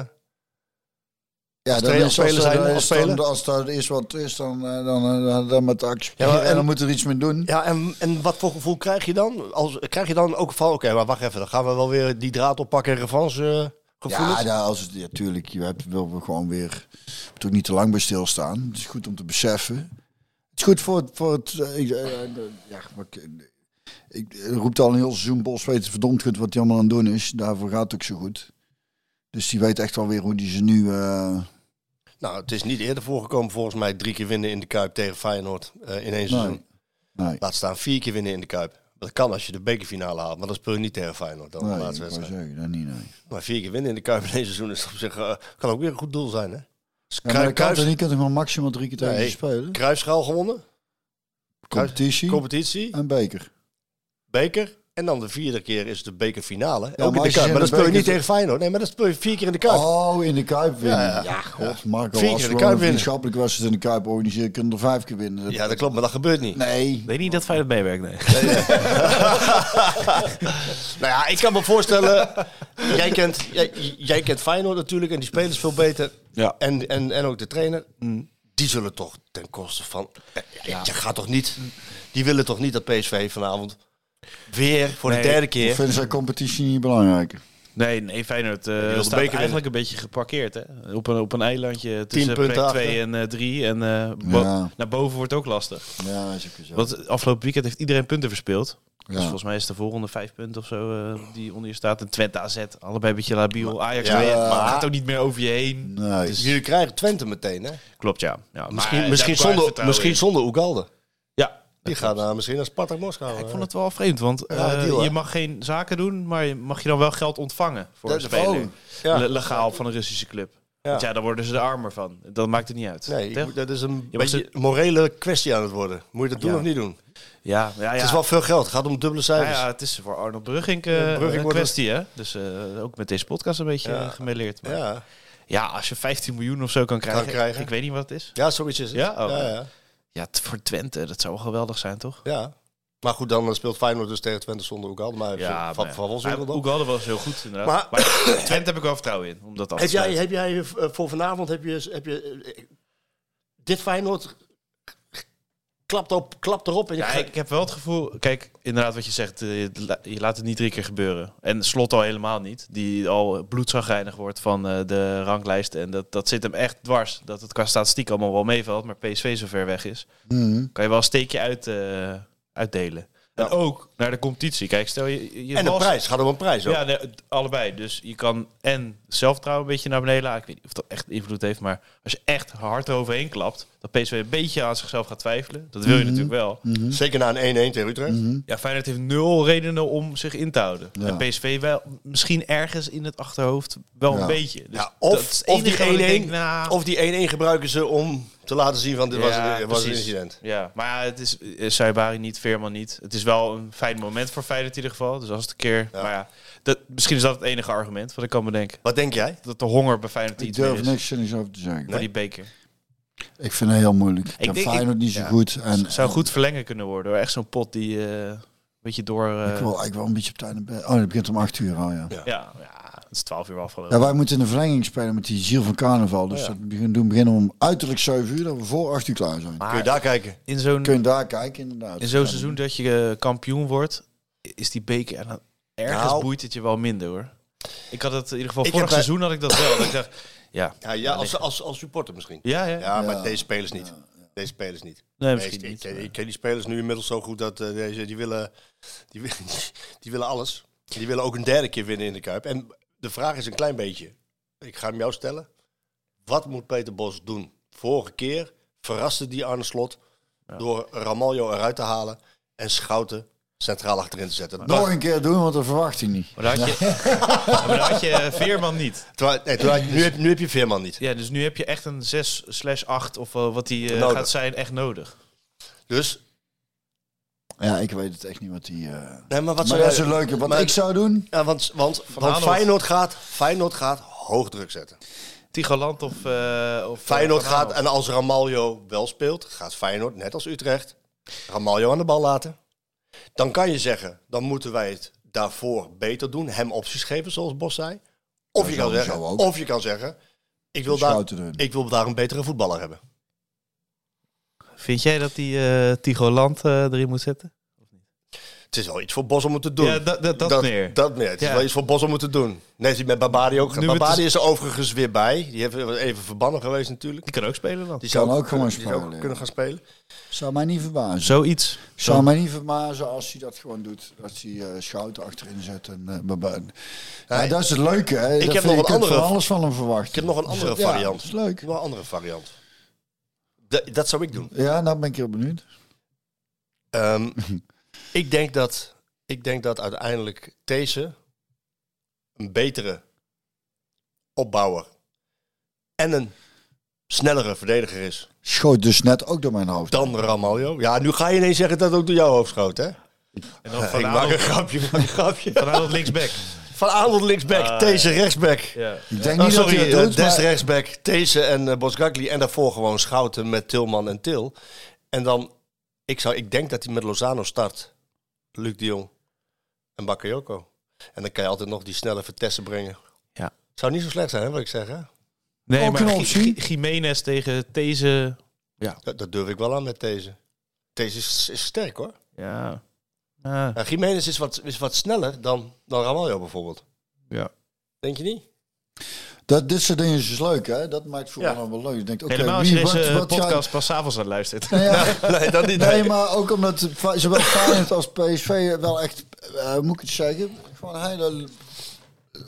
Speaker 3: ja dan
Speaker 7: trainer-
Speaker 3: is, als,
Speaker 7: speler
Speaker 3: zijn,
Speaker 7: zijn,
Speaker 3: als,
Speaker 7: als speler?
Speaker 3: Dan, als dat is wat het is, dan, eh, dan, eh, dan, dan met de actie.
Speaker 7: Ja, maar-
Speaker 3: en, dan
Speaker 7: en-
Speaker 3: moet er iets mee doen.
Speaker 7: Ja, en, en wat voor gevoel krijg je dan? Als, krijg je dan ook van, oké, maar wacht even, dan gaan we wel weer die draad oppakken en revanche eh, gevoelens?
Speaker 3: Ja, nou, als het, ja, tuurlijk. Je hebt, wil we gewoon weer. Je moet ook niet te lang bij stilstaan. Het is goed om te beseffen. Het is goed voor het. Voor het eh, ik, eh, eh, ja, maar ik, ik roep al een heel seizoen Bos weet verdomd goed wat hij allemaal aan het doen is. Daarvoor gaat het ook zo goed. Dus die weet echt wel weer hoe die ze nu. eh,
Speaker 7: Nou, het is niet eerder voorgekomen volgens mij drie keer winnen in de Kuip tegen Feyenoord eh in één
Speaker 3: nee,
Speaker 7: seizoen.
Speaker 3: nee.
Speaker 7: Laat staan vier keer winnen in de Kuip. Dat kan als je de bekerfinale haalt, maar dat speel je niet tegen Feyenoord dan de
Speaker 3: Nee, ik
Speaker 7: laatste
Speaker 3: wou
Speaker 7: wedstrijd.
Speaker 3: zeggen, dat niet, nee.
Speaker 7: Maar vier keer winnen in de Kuip in één seizoen is op zich, eh, kan ook weer een goed doel zijn, hè? Dus
Speaker 3: Ja,
Speaker 7: Kruis-
Speaker 3: maar dat kan
Speaker 7: Kruis-
Speaker 3: toch niet? Je kunt toch maar maximaal drie keer tegen
Speaker 7: Nee.
Speaker 3: ze spelen?
Speaker 7: Kruisschaal gewonnen,
Speaker 3: Competitie
Speaker 7: competitie,
Speaker 3: en beker.
Speaker 7: beker. En dan de vierde keer is de bekerfinale.
Speaker 3: maar
Speaker 7: ook in
Speaker 3: als je
Speaker 7: de Kuip,
Speaker 3: in
Speaker 7: maar
Speaker 3: de
Speaker 7: dat speel je
Speaker 3: beker-
Speaker 7: niet tegen Feyenoord. Nee, maar dat speel je vier keer in de Kuip.
Speaker 3: Oh, in de Kuip winnen.
Speaker 7: Ja, ja.
Speaker 3: Ja, god, Marco,
Speaker 7: Vier keer
Speaker 3: als
Speaker 7: in de
Speaker 3: we een
Speaker 7: Kuip winnen.
Speaker 3: vriendschappelijke wedstrijd in de Kuip organiseren, kunnen we er vijf keer winnen. Dat-
Speaker 7: Ja, dat klopt, maar dat gebeurt niet.
Speaker 3: Nee.
Speaker 8: Ik weet niet dat Feyenoord meewerkt, nee.
Speaker 7: Nou ja, ik kan me voorstellen. jij, kent, jij, jij kent Feyenoord natuurlijk en die spelers veel beter.
Speaker 8: Ja.
Speaker 7: En, en, en ook de trainer. Die zullen toch ten koste van. eh, Je gaat toch niet. Die willen toch niet dat PSV vanavond weer voor
Speaker 8: Nee.
Speaker 7: de derde
Speaker 3: Ik
Speaker 7: keer.
Speaker 3: vind zijn competitie niet belangrijk.
Speaker 8: Nee, nee Feyenoord eh
Speaker 7: wil de
Speaker 8: staat
Speaker 7: beker
Speaker 8: eigenlijk een beetje geparkeerd. Hè? Op, een, op een eilandje tussen
Speaker 7: punten
Speaker 8: plek
Speaker 7: achter.
Speaker 8: 2 en 3. en eh, bo-
Speaker 3: Ja.
Speaker 8: naar boven wordt ook lastig.
Speaker 3: Ja, is ook zo.
Speaker 8: Want het afgelopen weekend heeft iedereen punten verspeeld. Dus
Speaker 3: Ja.
Speaker 8: volgens mij is de volgende vijf punten of zo eh, die onder je staat. En Twente AZ, allebei een beetje labiel. Ajax
Speaker 7: Ja,
Speaker 8: weer,
Speaker 7: maar-
Speaker 8: gaat ook niet meer over je heen.
Speaker 3: Nee.
Speaker 8: Dus-
Speaker 7: Jullie krijgen Twente meteen, hè?
Speaker 8: Klopt, ja. ja
Speaker 7: Misschien, misschien,
Speaker 8: maar daar eh, kan je
Speaker 7: zonder,
Speaker 8: vertrouwen
Speaker 7: misschien
Speaker 8: in.
Speaker 7: zonder Oegalde.
Speaker 8: Ja.
Speaker 7: Die gaat naar, misschien naar Spartak Moskou. eh.
Speaker 8: Ik vond het wel vreemd, want
Speaker 7: Ja,
Speaker 8: eh,
Speaker 7: deal, hè?
Speaker 8: je mag geen zaken doen, maar je mag je dan wel geld ontvangen voor
Speaker 7: Dat-
Speaker 8: een speler.
Speaker 7: oh, ja.
Speaker 8: Le- legaal van een Russische club.
Speaker 7: Ja.
Speaker 8: Want ja, daar worden ze de armer van. Dat maakt het niet uit.
Speaker 7: Nee, ik
Speaker 8: Toch?
Speaker 7: moet- dat is een
Speaker 8: Je mag
Speaker 7: beetje een morele kwestie aan het worden. Moet je dat doen
Speaker 8: Ja.
Speaker 7: of niet doen?
Speaker 8: Ja, ja, ja.
Speaker 7: Het is wel veel geld. Het gaat om dubbele
Speaker 8: Ja,
Speaker 7: cijfers.
Speaker 8: ja, het is voor Arnold Brugging, eh,
Speaker 7: Brugging
Speaker 8: een
Speaker 7: wordt
Speaker 8: kwestie, hè? Dus eh, ook met deze podcast een beetje
Speaker 7: Ja.
Speaker 8: eh, gemêleerd. Maar ja.
Speaker 7: ja.
Speaker 8: als je 15 miljoen of zo kan krijgen,
Speaker 7: krijgen.
Speaker 8: ik weet niet wat het is.
Speaker 7: Ja, zoiets is het.
Speaker 8: Ja? Oh.
Speaker 7: ja, ja,
Speaker 8: Ja, t- voor Twente, dat zou wel geweldig zijn, toch?
Speaker 7: ja. Maar goed, dan eh, speelt Feyenoord dus tegen Twente zonder Oegalde. Maar ja, van, van ons
Speaker 8: ook
Speaker 7: dan.
Speaker 8: hadden was heel goed, inderdaad.
Speaker 7: Maar-
Speaker 8: Maar, Twente heb ik wel vertrouwen in, om dat af te
Speaker 7: Heb jij,
Speaker 8: sluiten.
Speaker 7: heb jij eh, voor vanavond, heb je, heb je eh, dit Feyenoord klapt, op, klapt erop en je
Speaker 8: Ja,
Speaker 7: gaat-
Speaker 8: ik heb wel het gevoel, kijk, inderdaad wat je zegt, eh, je la- je laat het niet drie keer gebeuren. En slot al helemaal niet, die al bloedzagrijnig wordt van eh, de ranglijst. En dat, dat zit hem echt dwars, dat het qua statistiek allemaal wel meevalt, maar PSV zo ver weg is.
Speaker 7: Mhm.
Speaker 8: Kan je wel een steekje uit, eh, uitdelen. En ook naar de competitie. Kijk, stel je... je
Speaker 7: Nou. en de
Speaker 8: was-
Speaker 7: prijs. Gaat om een prijs ook.
Speaker 8: Ja, nee, het- allebei. Dus je kan en zelfvertrouwen een beetje naar beneden laten. Ik weet niet of dat echt invloed heeft, maar als je echt hard eroverheen klapt, dat PSV een beetje aan zichzelf gaat twijfelen. Dat wil
Speaker 7: Mhm.
Speaker 8: je natuurlijk wel.
Speaker 7: Zeker na een 1-1 tegen Utrecht.
Speaker 8: Ja, Feyenoord heeft nul redenen om zich in te houden. En PSV wel misschien ergens in het achterhoofd wel
Speaker 3: Ja.
Speaker 8: een beetje. Dus
Speaker 7: Ja,
Speaker 8: dat is
Speaker 7: of,
Speaker 8: het
Speaker 7: of die
Speaker 8: enige wat ik
Speaker 7: 1-1
Speaker 8: denk, nou,
Speaker 7: of die 1-1 gebruiken ze om te laten zien van dit was,
Speaker 8: Ja,
Speaker 7: een- was een
Speaker 8: precies.
Speaker 7: incident.
Speaker 8: Ja, maar ja, het is eh, Saibari niet, Veerman niet. Het is wel een fijn moment voor Feyenoord in ieder geval. Dus als het een keer... Maar ja, dat, misschien is dat het enige argument wat ik kan bedenken.
Speaker 7: Wat denk jij?
Speaker 8: Dat de honger bij Feyenoord
Speaker 3: Ik
Speaker 8: iets meer
Speaker 3: durf
Speaker 8: is.
Speaker 3: niks zinnigs over te zeggen.
Speaker 8: Voor die beker.
Speaker 3: Ik vind het heel moeilijk. Ik ken
Speaker 8: denk-
Speaker 3: Feyenoord
Speaker 8: ik-
Speaker 3: niet zo
Speaker 8: ja.
Speaker 3: goed. En,
Speaker 8: Zou goed verlengen kunnen worden. hoor. Echt zo'n pot die... eh, beetje door... eh,
Speaker 3: Ik wil eigenlijk wel een beetje op tijd naar bed. Oh, het begint om 8 uur al, ja.
Speaker 8: ja, ja, het is 12 uur afgelopen.
Speaker 3: Ja, wij moeten in de verlenging spelen met die ziel van carnaval. Dus dat begin- doen beginnen om uiterlijk 7 uur, dat we voor 8 uur klaar zijn.
Speaker 7: Kun je daar kijken?
Speaker 8: in zo'n
Speaker 3: Kun je daar kijken, inderdaad.
Speaker 8: in zo'n seizoen dat je eh, kampioen wordt, is die beker en dan ergens
Speaker 7: Nou.
Speaker 8: boeit het je wel minder hoor. Ik had het in ieder geval
Speaker 7: Ik
Speaker 8: vorig
Speaker 7: heb bij-
Speaker 8: seizoen had ik dat wel. dat ik dacht, ja,
Speaker 7: Ja, ja als, als, als supporter misschien. Ja,
Speaker 8: ja, ja,
Speaker 7: maar deze spelers niet. Deze spelers niet.
Speaker 8: nee,
Speaker 7: Nee, eh,
Speaker 8: misschien
Speaker 7: ik, ik,
Speaker 8: niet.
Speaker 7: ken- ik ken die spelers nu inmiddels zo goed dat eh, deze, die, willen, die, willen- die willen alles. Die willen ook een derde keer winnen in de Kuip. En de vraag is een klein beetje. Ik ga hem jou stellen. Wat moet Peter Bos doen? Vorige keer verraste die Arne Slot door Ramaljo eruit te halen en Schouten centraal achterin te zetten.
Speaker 3: Nog een keer doen, want dat verwacht hij niet.
Speaker 8: Maar daar had je, Ja, maar daar had je eh, Veerman niet.
Speaker 7: Terwijl- nee, terwijl- nu, heb, nu heb je Veerman niet.
Speaker 8: Ja, dus nu heb je echt een 6 slash 8 of eh, wat die eh,
Speaker 7: Nodig.
Speaker 8: gaat zijn echt nodig.
Speaker 7: Dus,
Speaker 3: Ja, ik weet het echt niet wat die... eh
Speaker 7: nee, maar wat
Speaker 3: Maar
Speaker 7: zou
Speaker 3: dat
Speaker 7: jij-
Speaker 3: is een leuke. Wat
Speaker 7: maar-
Speaker 3: ik zou doen...
Speaker 7: Ja, want, want, want
Speaker 8: Aanholt.
Speaker 7: Feyenoord, gaat, Feyenoord gaat hoog druk zetten.
Speaker 8: Tigaland of, eh
Speaker 7: Feyenoord
Speaker 8: of of Van Aanholt.
Speaker 7: gaat, en als Ramaljo wel speelt, gaat Feyenoord, net als Utrecht, Ramaljo aan de bal laten. Dan kan je zeggen, dan moeten wij het daarvoor beter doen. Hem opties geven, zoals Bos zei. Of, je, kan
Speaker 3: sowieso
Speaker 7: zeggen,
Speaker 3: ook.
Speaker 7: of je kan zeggen, ik wil, daar,
Speaker 3: Schouten erin.
Speaker 7: ik wil daar een betere voetballer hebben.
Speaker 8: Vind jij dat die eh Tigoland eh, erin moet zetten?
Speaker 7: Het is wel iets voor Bos om het te doen.
Speaker 8: Ja, dat- dat- dat meer.
Speaker 7: Dat meer. Het is
Speaker 8: Ja.
Speaker 7: wel iets voor Bos om het te doen. Net als die met Babadi ook.
Speaker 8: Nu het
Speaker 7: Babadi is er overigens weer bij. Die heeft even verbannen geweest natuurlijk.
Speaker 8: Die kan ook spelen dan.
Speaker 7: Die
Speaker 3: Kan ook gewoon
Speaker 7: die zou
Speaker 3: spelen, ja.
Speaker 7: kunnen gaan spelen.
Speaker 3: Zou mij niet verbazen.
Speaker 8: Zoiets.
Speaker 3: Zou mij niet verbazen als hij dat gewoon doet. Als hij eh, Schouten achterin zet. En, eh, baba- ja, dat is het leuke. Hè. Ik
Speaker 7: heb
Speaker 3: heb
Speaker 7: nog
Speaker 3: nog
Speaker 7: een andere
Speaker 3: van
Speaker 7: v-
Speaker 3: alles van hem verwacht.
Speaker 7: Ik heb nog een andere
Speaker 3: Ja,
Speaker 7: variant.
Speaker 3: dat is leuk.
Speaker 7: Nog een andere variant. Da- dat zou ik doen.
Speaker 3: Ja, nou ben ik heel benieuwd.
Speaker 7: Ehm, ik, denk dat, ik denk dat uiteindelijk deze een betere opbouwer en een snellere verdediger is
Speaker 3: Schoot dus net ook door mijn hoofd.
Speaker 7: dan Ramaljo. Ja, nu ga je ineens zeggen dat het ook door jouw hoofd schoot, hè?
Speaker 8: En dan
Speaker 7: ik
Speaker 8: Van
Speaker 7: maak een
Speaker 8: Aanholt,
Speaker 7: grapje, ik maak een grapje.
Speaker 8: van Aanholt linksback.
Speaker 7: Van Aanholt linksback,
Speaker 8: Ah,
Speaker 7: deze rechtsback.
Speaker 8: Ja.
Speaker 3: ik denk
Speaker 7: Oh,
Speaker 3: niet
Speaker 7: sorry,
Speaker 3: dat
Speaker 7: eh,
Speaker 3: hij het doet,
Speaker 7: Des
Speaker 3: maar-
Speaker 7: rechtsback, These en eh Bosgagli. En daarvoor gewoon Schouten met Tilman en Til. En dan, ik, zou, ik denk dat hij met Lozano start. Luc de Jong en Bakayoko. En dan kan je altijd nog die snelle vertessen brengen.
Speaker 8: Ja.
Speaker 7: Zou niet zo slecht zijn, hè, wat ik zeg. Hè?
Speaker 8: Nee,
Speaker 3: Ook
Speaker 8: maar
Speaker 3: een
Speaker 8: Gi-
Speaker 3: optie.
Speaker 8: Gi- Gimenez tegen deze.
Speaker 7: Dat, dat durf ik wel aan met deze. Deze is, is sterk hoor.
Speaker 8: Ja. Ah,
Speaker 7: Ja, Jiménez is wat, is wat sneller dan, dan Ramaljo bijvoorbeeld.
Speaker 8: Ja.
Speaker 7: Denk je niet?
Speaker 3: Dat, dit soort dingen is dus leuk, hè? Dat maakt voetbal
Speaker 7: Ja.
Speaker 3: allemaal leuk. Je denkt, oké,
Speaker 8: Helemaal als je
Speaker 3: wie,
Speaker 8: deze eh,
Speaker 3: wat, wat
Speaker 8: podcast
Speaker 3: Gaat...
Speaker 8: pas avonds aan luistert.
Speaker 3: Nou ja,
Speaker 7: Nee, dat niet.
Speaker 3: nee, maar ook omdat fa- zowel Feyenoord als PSV wel echt, eh, moet ik het zeggen, gewoon hele eh,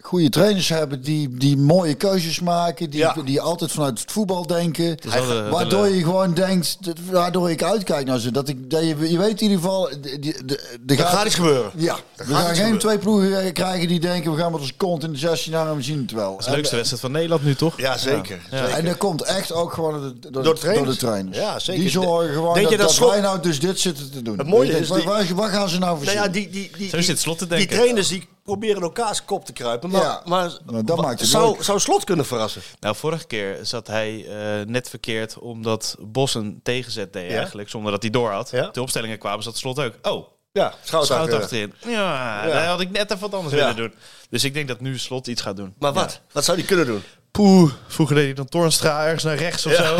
Speaker 3: goede trainers hebben die, die mooie keuzes maken, die,
Speaker 7: Ja.
Speaker 3: die altijd vanuit het voetbal denken.
Speaker 8: is wel de-
Speaker 3: waardoor
Speaker 8: de-
Speaker 3: je gewoon denkt, dat- waardoor ik uitkijk naar ze. Dat ik, dat je, je weet in ieder geval, de, de, de, de
Speaker 7: Dat gaat iets gebeuren.
Speaker 3: Ja, we
Speaker 7: gaat
Speaker 3: gaan
Speaker 7: iets
Speaker 3: geen
Speaker 7: gebeuren.
Speaker 3: twee ploegen krijgen die denken, we gaan met ons kont in de 16 jaar en we zien het wel.
Speaker 8: Dat is de leukste wedstrijd van Nederland nu, toch?
Speaker 7: Ja, zeker.
Speaker 8: Ja.
Speaker 3: En dat komt echt ook gewoon door de, door,
Speaker 7: Door
Speaker 3: de,
Speaker 7: trainers.
Speaker 3: door de trainers.
Speaker 7: Ja, zeker.
Speaker 3: Die zorgen gewoon
Speaker 7: Denk
Speaker 3: dat,
Speaker 7: je dat
Speaker 3: dat
Speaker 7: Slot-
Speaker 3: wij nou dus dit zitten te doen.
Speaker 7: Het mooie
Speaker 3: Ik denk,
Speaker 7: is
Speaker 3: waar,
Speaker 7: die-
Speaker 3: waar, waar gaan ze nou voor
Speaker 7: Nou ja,
Speaker 3: zitten?
Speaker 7: die, die, die,
Speaker 8: Zo
Speaker 7: die-
Speaker 8: zit Slot te
Speaker 7: die
Speaker 8: denken.
Speaker 7: trainers die proberen elkaars kop te kruipen. Maar,
Speaker 3: Ja,
Speaker 7: maar,
Speaker 3: maar dat
Speaker 7: wa-
Speaker 3: maakt het
Speaker 7: zou,
Speaker 3: leuk.
Speaker 7: zou Slot kunnen verrassen?
Speaker 8: Nou, vorige keer zat hij eh, net verkeerd omdat Bos een tegenzet deed
Speaker 7: Ja.
Speaker 8: eigenlijk, zonder dat hij door had.
Speaker 7: Ja.
Speaker 8: De opstellingen kwamen, zat Slot ook. Oh,
Speaker 7: Ja, schout
Speaker 8: schout
Speaker 7: achterin.
Speaker 8: achterin. Ja,
Speaker 7: Ja.
Speaker 8: daar had ik net even wat anders
Speaker 7: Ja.
Speaker 8: willen doen. Dus ik denk dat nu Slot iets gaat doen.
Speaker 7: Maar wat? Wat zou die kunnen doen?
Speaker 8: Poeh, vroeger deed hij dan Tornstra ergens naar rechts of zo.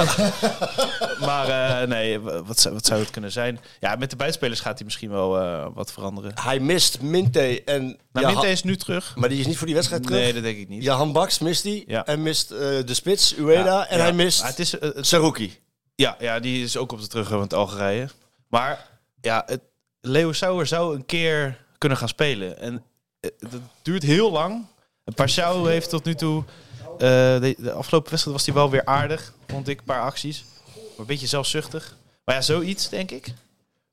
Speaker 8: maar eh, nee, w- wat zou, wat zou het kunnen zijn? Ja, met de buitenspelers gaat hij misschien wel eh, wat veranderen.
Speaker 7: Hij mist Minte en...
Speaker 8: Nou,
Speaker 7: Ja,
Speaker 8: Minte
Speaker 7: Ha-
Speaker 8: is nu terug.
Speaker 7: Maar die is niet voor die wedstrijd terug.
Speaker 8: Nee, dat denk ik niet.
Speaker 7: Jahan Baks mist die.
Speaker 8: Ja.
Speaker 7: En mist eh, de spits, Ueda. en
Speaker 8: Ja.
Speaker 7: hij mist
Speaker 8: Maar het is, eh, het-
Speaker 7: Saruki.
Speaker 8: ja, ja, die is ook op de teruggang van het Algerije. Maar ja, het, Leo Sauer zou een keer kunnen gaan spelen. En eh, dat duurt heel lang. Paschau heeft tot nu toe... eh, de, de afgelopen wedstrijd was hij wel weer aardig, vond ik, een paar acties. Maar een beetje zelfzuchtig. Maar ja, zoiets, denk ik.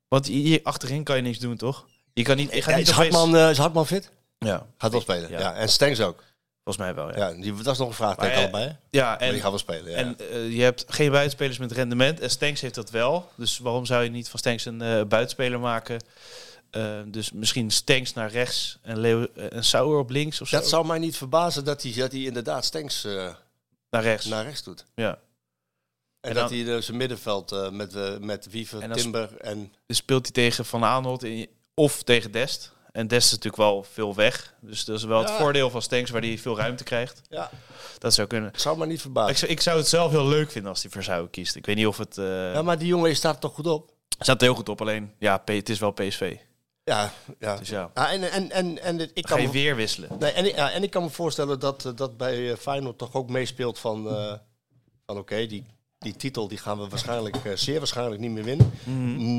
Speaker 8: Want hier achterin kan je niks doen, toch? Je kan niet... Je gaat
Speaker 7: Ja,
Speaker 8: niet
Speaker 7: is,
Speaker 8: opeens-
Speaker 7: Hartman, eh, is Hartman fit?
Speaker 8: Ja,
Speaker 7: Gaat wel spelen. Ja.
Speaker 8: Ja.
Speaker 7: En Stengs ook.
Speaker 8: volgens mij wel, ja. Ja,
Speaker 7: Ja, die, dat is nog een vraag
Speaker 8: Maar,
Speaker 7: tegen
Speaker 8: eh,
Speaker 7: allebei. hè? Maar
Speaker 8: en
Speaker 7: die gaan wel spelen. Ja.
Speaker 8: En eh, je hebt geen buitenspelers met rendement. En Stenks heeft dat wel. Dus waarom zou je niet van Stenks een eh buitenspeler maken? Eh, dus misschien Stenks naar rechts en, Leo, eh, en Sauer op links of zo.
Speaker 7: dat zou mij niet verbazen dat hij dat hij inderdaad Stengs eh,
Speaker 8: naar rechts.
Speaker 7: naar rechts doet.
Speaker 8: Ja.
Speaker 7: En,
Speaker 8: En
Speaker 7: dat dus
Speaker 8: dan-
Speaker 7: hij eh, zijn middenveld eh, met, eh met Wiever,
Speaker 8: En als-
Speaker 7: Timber en...
Speaker 8: Dus speelt hij tegen Van Aanholt in, of tegen Dest. En Dest is natuurlijk wel veel weg. Dus dat is wel het voordeel van Stenks, waar hij veel ruimte krijgt.
Speaker 7: Ja.
Speaker 8: Dat zou kunnen.
Speaker 7: Het zou me niet
Speaker 8: Ik
Speaker 7: verbazen.
Speaker 8: zou, ik zou het zelf heel leuk vinden als hij voor Zou kiest. Ik weet niet of het... eh
Speaker 7: Ja, maar die jongen die staat er toch goed op?
Speaker 8: staat heel goed op, alleen ja, P- het is wel PSV.
Speaker 7: Ja, ja.
Speaker 8: Dus ja,
Speaker 7: Ah, en, en, en, en dit- ik
Speaker 8: ga
Speaker 7: kan
Speaker 8: je
Speaker 7: me,
Speaker 8: weer wisselen.
Speaker 7: nee, en, ik- ja, en ik kan me voorstellen dat, eh, dat bij eh, Feyenoord toch ook meespeelt van... eh, van oké, die, die titel die gaan we waarschijnlijk, eh, zeer waarschijnlijk niet meer winnen.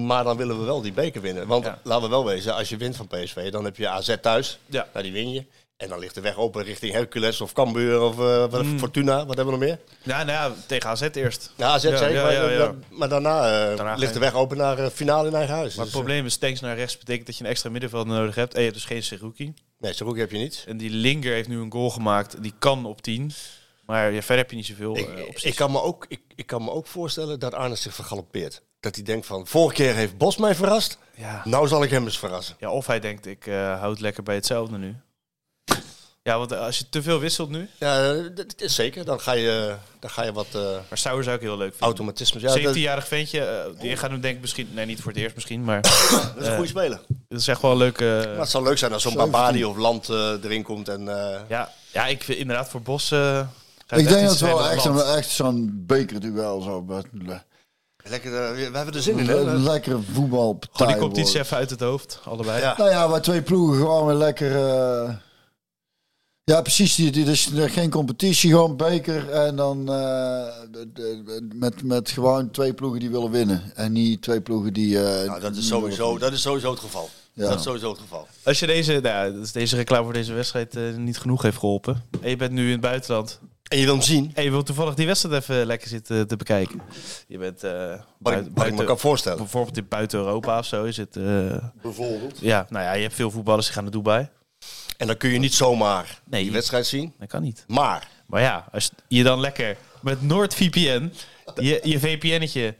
Speaker 7: Maar dan willen we wel die beker winnen. Want
Speaker 8: Mhm. Ja.
Speaker 7: laten we wel wezen, als je wint van PSV, dan heb je AZ thuis.
Speaker 8: Ja.
Speaker 7: Nou, die win je. En dan ligt de weg open richting Hercules of Cambuur of eh, wat,
Speaker 8: Mhm.
Speaker 7: Fortuna. Wat hebben we nog meer?
Speaker 8: Ja, nou ja, tegen AZ eerst.
Speaker 7: Ja, AZ
Speaker 8: Ja,
Speaker 7: zeker.
Speaker 8: ja,
Speaker 7: maar,
Speaker 8: ja, ja.
Speaker 7: maar- maar daarna, eh,
Speaker 8: Daarna
Speaker 7: ligt de
Speaker 8: geen-
Speaker 7: weg open naar eh, finale in eigen huis.
Speaker 8: Maar het
Speaker 7: Dus, eh,
Speaker 8: probleem is, Stenks naar rechts betekent dat je een extra middenveld nodig hebt. En je hebt dus geen Seruki.
Speaker 7: nee, Saruki heb je niet.
Speaker 8: En die Linger heeft nu een goal gemaakt. Die kan op 10. Maar ja, verder heb je niet zoveel eh,
Speaker 7: Ik,
Speaker 8: opties.
Speaker 7: ik, kan me ook, ik, ik kan me ook voorstellen dat Arne zich vergalopeert. Dat hij denkt van, vorige keer heeft Bos mij verrast,
Speaker 8: ja.
Speaker 7: nou zal ik hem eens verrassen.
Speaker 8: ja, of hij denkt, ik eh, houd lekker bij hetzelfde nu. Ja, want eh, als je te veel wisselt nu...
Speaker 7: Ja, eh, dat dat is zeker. Dan ga je, dan ga je wat eh
Speaker 8: Maar Sauer zou ik heel leuk vinden.
Speaker 7: automatisme... Ja, dat,
Speaker 8: 17-jarig ventje, eh, die gaat hem denk ik misschien... Nee, niet voor het eerst misschien, maar...
Speaker 7: dat is een
Speaker 8: eh,
Speaker 7: goede speler.
Speaker 8: dat is echt wel een leuke... eh,
Speaker 7: Maar het zou leuk zijn als zo'n
Speaker 3: 17.
Speaker 7: Babadi of Land eh, erin komt. En, eh,
Speaker 8: ja, ja, ik vind inderdaad voor Bos... eh, gaat het
Speaker 3: Ik denk
Speaker 8: echt
Speaker 3: dat
Speaker 8: iets
Speaker 3: het wel
Speaker 8: zijn
Speaker 3: echt,
Speaker 8: land.
Speaker 3: een- echt zo'n bekerduel zou worden.
Speaker 7: lekker, eh, we hebben er zin in, hè?
Speaker 3: Een lekkere voetbalpartij
Speaker 8: Gewoon die competitie
Speaker 3: worden.
Speaker 8: even uit het hoofd, allebei.
Speaker 7: Ja.
Speaker 3: Nou ja, waar twee ploegen gewoon weer lekker... eh, Ja, precies. Dit dit is geen competitie, gewoon beker. En dan eh, de- de- met, met gewoon twee ploegen die willen winnen. En niet twee ploegen die... eh,
Speaker 7: Nou, dat, is
Speaker 3: niet
Speaker 7: sowieso,
Speaker 3: willen
Speaker 7: dat is sowieso het geval.
Speaker 3: Ja.
Speaker 7: Dat is sowieso het geval.
Speaker 8: Als je deze, nou, ja, als deze reclame voor deze wedstrijd eh, niet genoeg heeft geholpen... en je bent nu in het buitenland...
Speaker 7: En je wil hem zien,
Speaker 8: en je wilt toevallig die wedstrijd even lekker zitten te bekijken... je bent eh buiten,
Speaker 7: wat ik, wat ik me
Speaker 8: buiten-
Speaker 7: kan voorstellen.
Speaker 8: bijvoorbeeld in buiten Europa of zo... Is het, eh,
Speaker 7: Bijvoorbeeld.
Speaker 8: ja, nou ja, je hebt veel voetballers die gaan naar Dubai.
Speaker 7: En dan kun je niet zomaar
Speaker 8: Nee.
Speaker 7: die wedstrijd zien.
Speaker 8: Dat kan niet.
Speaker 7: Maar
Speaker 8: Maar ja, als je dan lekker met NoordVPN... je, je VPN'tje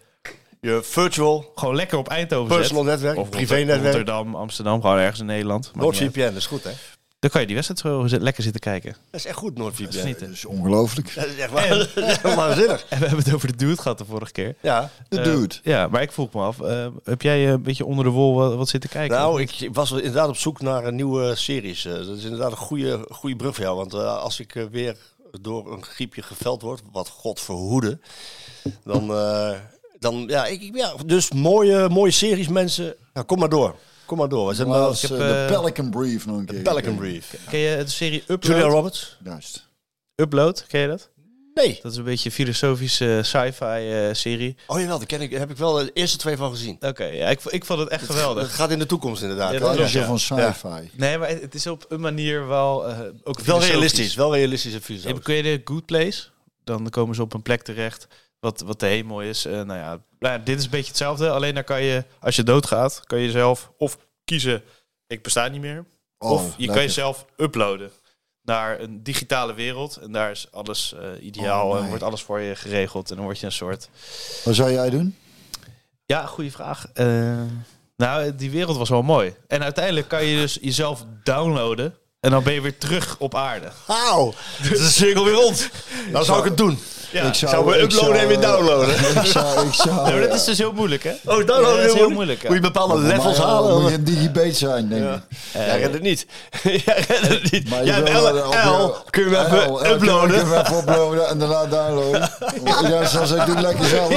Speaker 7: je virtual
Speaker 8: gewoon lekker op Eindhoven zet...
Speaker 7: Personal netwerk,
Speaker 8: Of
Speaker 7: privé-netwerk.
Speaker 8: Rotterdam, Amsterdam, gewoon ergens in Nederland. Maakt niet uit.
Speaker 7: NordVPN, dat is goed, hè?
Speaker 8: Dan kan je die wedstrijd zo zit- lekker zitten kijken.
Speaker 7: Dat is echt goed,
Speaker 8: Dat is
Speaker 7: NordVPN.
Speaker 8: niet, hè?
Speaker 3: Dat is ongelooflijk.
Speaker 7: Dat is echt, waar, dat is echt waanzinnig.
Speaker 8: En we hebben het over de dude gehad de vorige keer.
Speaker 7: Ja.
Speaker 3: De dude.
Speaker 8: Eh, Ja, maar ik vroeg me af, eh, heb jij eh, een beetje onder de wol wat, wat zitten kijken?
Speaker 7: Nou, ik was wel inderdaad op zoek naar een nieuwe series. Eh, Dat is inderdaad een goede, goede brug voor jou. Want eh, als ik eh, weer door een griepje geveld word, wat god verhoede, dan... eh, dan ja, ik, ik- ja, dus mooie, mooie series, mensen. Nou, kom maar door. Kom maar door. We zijn
Speaker 3: Maar
Speaker 7: wel eh,
Speaker 3: als,
Speaker 8: heb,
Speaker 3: eh, de
Speaker 8: eh,
Speaker 3: Pelican Brief nog een keer.
Speaker 7: Pelican Brief.
Speaker 8: Ken je de serie Upload?
Speaker 7: Julia Roberts?
Speaker 3: Juist.
Speaker 8: Upload, ken je dat?
Speaker 7: Nee.
Speaker 8: Dat is een beetje een filosofische eh, sci-fi eh, serie.
Speaker 7: Oh jawel, daar, ken ik, daar heb ik wel de eerste twee van gezien.
Speaker 8: Oké, ja, ik, v- ik vond het echt
Speaker 7: Dat
Speaker 8: geweldig.
Speaker 7: gaat in de toekomst inderdaad.
Speaker 8: Ja,
Speaker 7: hè?
Speaker 8: dat
Speaker 3: Dat
Speaker 8: klopt,
Speaker 3: is
Speaker 8: ja.
Speaker 3: van sci-fi.
Speaker 8: Nee, maar het, het is op een manier wel... eh, ook
Speaker 7: Wel
Speaker 8: filosofisch.
Speaker 7: realistisch, wel realistisch en filosofisch.
Speaker 8: Heb- Ken je de Good Place? Dan komen ze op een plek terecht wat, wat de hemel is. Eh, nou, ja, nou ja, dit is een beetje hetzelfde. Alleen dan kan je, als je doodgaat, kan je zelf of kiezen... Ik besta niet meer.
Speaker 3: Oh,
Speaker 8: of je kan
Speaker 3: lekker.
Speaker 8: jezelf uploaden naar een digitale wereld. En daar is alles eh, ideaal
Speaker 3: Oh, nee.
Speaker 8: en wordt alles voor je geregeld. En dan word je een soort...
Speaker 3: Wat zou jij doen?
Speaker 8: Ja, goede vraag. Eh, nou, die wereld was wel mooi. En uiteindelijk kan je dus jezelf downloaden. En dan ben je weer terug op aarde.
Speaker 7: Auw, dat is de cirkel weer rond. Oh, Dan zou ik het doen.
Speaker 8: Ja,
Speaker 3: zou,
Speaker 7: Zou we
Speaker 3: ik
Speaker 7: uploaden en weer
Speaker 3: zou-
Speaker 7: downloaden?
Speaker 3: Ik zou... Ik zou
Speaker 8: maar dat is dus heel moeilijk, hè?
Speaker 7: Oh,
Speaker 8: Ja, dat
Speaker 7: downloaden
Speaker 8: is heel
Speaker 7: heel moeilijk.
Speaker 8: moeilijk, ja.
Speaker 7: Moet je bepaalde levels
Speaker 3: Maar, eh,
Speaker 7: halen?
Speaker 3: Moet
Speaker 7: of-
Speaker 3: je een digibate zijn, denk ik.
Speaker 7: Eh, Jij redt het niet. Jij redt het niet.
Speaker 3: Maar
Speaker 7: Jij hebt
Speaker 3: wil
Speaker 7: L,
Speaker 8: eh,
Speaker 3: wel-
Speaker 7: L, kun je hem
Speaker 3: L, L,
Speaker 7: even
Speaker 3: Kun je
Speaker 7: uploaden?
Speaker 3: hem even uploaden en daarna downloaden. ja, zoals ik doe, lekker zelf.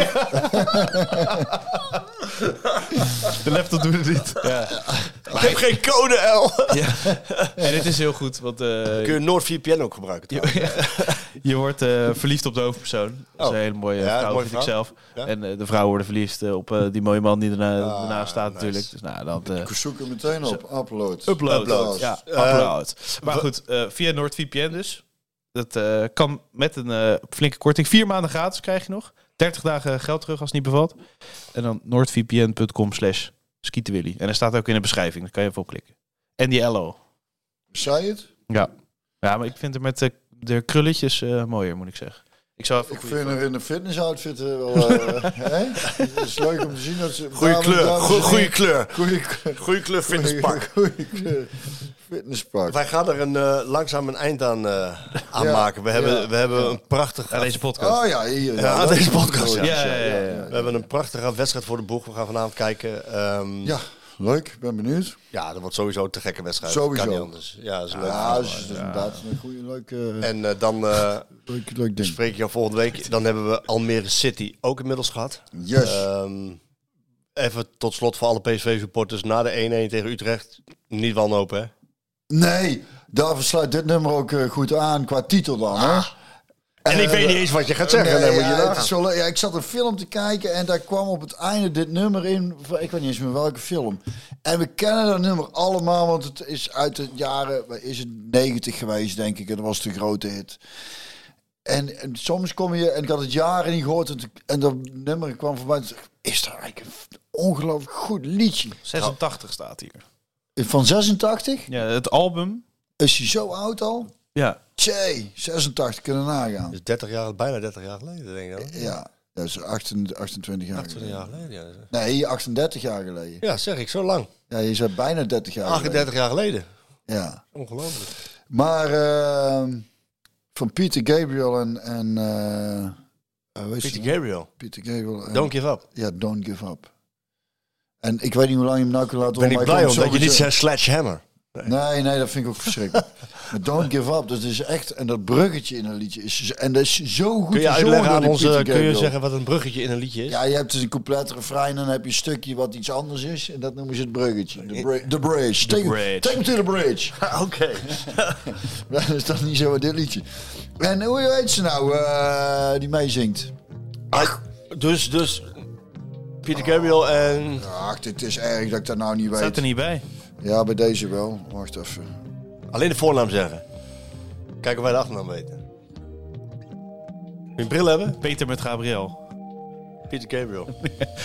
Speaker 8: De laptop doet het niet.
Speaker 7: Ik heb geen code L.
Speaker 8: En het is heel goed, want eh,
Speaker 7: Kun je NordVPN ook gebruiken? trouwens?
Speaker 8: je wordt eh, verliefd op de hoofdpersoon. Dat is
Speaker 7: Oh.
Speaker 8: een hele mooie
Speaker 7: Ja,
Speaker 8: vrouw,
Speaker 7: mooie
Speaker 8: vind ik
Speaker 7: vrouw.
Speaker 8: zelf.
Speaker 7: Ja. Ah,
Speaker 8: En eh, de vrouwen worden verliefd eh, op eh, die mooie man die erna, ernaast staat natuurlijk. Dus nou, dat... eh,
Speaker 3: Ik zoek hem meteen op. Upload.
Speaker 8: Upload.
Speaker 3: Upload.
Speaker 8: Ja,
Speaker 7: Eh,
Speaker 8: upload. Maar goed, eh, via NordVPN dus. Dat eh, kan met een eh, flinke korting. Vier maanden gratis krijg je nog. 30 dagen geld terug als het niet bevalt. En dan noordvpn.com slash skietenwilly. En er staat ook in de beschrijving. Daar kan je even op klikken. En die LO.
Speaker 3: Zei je het?
Speaker 8: Ja. Ja, maar ik vind hem met de, de krulletjes eh, mooier, moet ik zeggen. Ik zou even
Speaker 3: Ik
Speaker 8: goeie-
Speaker 3: vind er in een fitness outfit wel... eh, hè? Het is leuk om te zien dat ze...
Speaker 7: Goeie kleur, goe- goeie kleur.
Speaker 3: Goede kleur.
Speaker 7: Goeie kleur fitnesspak.
Speaker 3: Goeie kleur. Fitnesspak.
Speaker 7: Wij gaan er een, eh, langzaam een eind aan, eh, aan
Speaker 3: Ja.
Speaker 7: maken. We hebben,
Speaker 3: Ja.
Speaker 7: we hebben een prachtig...
Speaker 8: aan deze podcast.
Speaker 3: Oh ja, hier.
Speaker 7: Ja, aan
Speaker 3: dat-
Speaker 7: deze podcast, ja.
Speaker 8: Oh, ja, ja, ja, ja.
Speaker 7: We hebben een prachtige wedstrijd voor de boeg. We gaan vanavond kijken. ehm,
Speaker 3: Ja, Leuk, ik ben benieuwd.
Speaker 7: Ja, dat wordt sowieso een te gekke wedstrijd.
Speaker 3: Sowieso.
Speaker 7: Kan niet anders. Ja, dat is een leuk
Speaker 3: Ja,
Speaker 7: verhaal.
Speaker 3: dat is, dat is inderdaad een goede, leuk, eh,
Speaker 7: En eh, dan eh,
Speaker 3: leuk, leuk ding.
Speaker 7: spreek ik jou volgende week. Dan hebben we Almere City ook inmiddels gehad.
Speaker 3: Yes.
Speaker 7: Ehm, even tot slot voor alle PSV-supporters. Na de 1-1 tegen Utrecht. Niet wanhoop, hè?
Speaker 3: nee, daarvoor sluit dit nummer ook eh, goed aan qua titel dan, hè?
Speaker 7: Ah, En ik weet niet eens wat je gaat zeggen.
Speaker 3: Nee,
Speaker 7: dan moet je
Speaker 3: ja,
Speaker 7: nagaan.
Speaker 3: het is zo leuk. Ja, ik zat een film te kijken en daar kwam op het einde dit nummer in. van- Ik weet niet eens meer welke film. En we kennen dat nummer allemaal, want het is uit de jaren wat is het 90 geweest, denk ik. En dat was de grote hit. En, en soms kom je, en ik had het jaren niet gehoord, en, en dat nummer kwam voorbij. en toen dacht ik, Is dat eigenlijk een ongelooflijk goed liedje?
Speaker 8: 86 staat hier.
Speaker 3: Van 86?
Speaker 8: Ja, het album.
Speaker 3: Is hij zo oud al?
Speaker 8: Ja.
Speaker 3: Tjee, 86 kunnen nagaan.
Speaker 7: Dat is 30 jaar, bijna 30 jaar geleden, denk ik dan.
Speaker 3: Ja, dat is 28, 28 jaar
Speaker 7: 28
Speaker 3: geleden.
Speaker 7: jaar geleden, ja.
Speaker 3: Nee, 38 jaar geleden.
Speaker 7: Ja, zeg ik, zo lang.
Speaker 3: Ja, je zei bijna 30 jaar. geleden.
Speaker 7: 38 jaar geleden.
Speaker 3: Ja.
Speaker 7: Ongelooflijk.
Speaker 3: Maar ehm, van Peter Gabriel en. en eh, hoe heet ze
Speaker 7: Peter
Speaker 3: nou?
Speaker 7: Gabriel.
Speaker 3: Peter Gabriel. en-
Speaker 7: Don't give up.
Speaker 3: Ja, don't give up. En ik weet niet hoe lang je hem nou kan laten
Speaker 7: Ben
Speaker 3: horen,
Speaker 7: ik
Speaker 3: maar
Speaker 7: blij
Speaker 3: kom
Speaker 7: omdat je
Speaker 3: zo
Speaker 7: niet
Speaker 3: meteen-
Speaker 7: zegt sledgehammer.
Speaker 3: Nee, nee, dat vind ik ook verschrikkelijk. maar don't give up, dat is echt. En dat bruggetje in een liedje is. zo- En dat is zo goed.
Speaker 7: Kun je
Speaker 3: gezongen
Speaker 7: uitleggen aan
Speaker 3: door
Speaker 7: ons,
Speaker 3: Peter
Speaker 7: eh, kun je
Speaker 3: Gabriel.
Speaker 7: zeggen wat een bruggetje in een liedje is?
Speaker 3: Ja, je hebt dus een compleet refrein en dan heb je een stukje wat iets anders is. En dat noemen ze het bruggetje. De bri- de bridge. Take,
Speaker 8: bridge.
Speaker 3: take me to the bridge.
Speaker 7: Oké.
Speaker 3: Ja, Dat is toch niet zo met dit liedje. En hoe heet ze nou eh, die meezingt?
Speaker 7: Dus, dus, Peter Gabriel en...
Speaker 3: Ach, dit is erg dat ik dat nou niet weet.
Speaker 8: Staat er niet bij.
Speaker 3: Ja, bij deze wel. Wacht even.
Speaker 7: Alleen de voornaam zeggen. Kijken of wij de achternaam weten. Wil je een bril hebben?
Speaker 8: Peter met Gabriel.
Speaker 7: Peter Gabriel. Oh,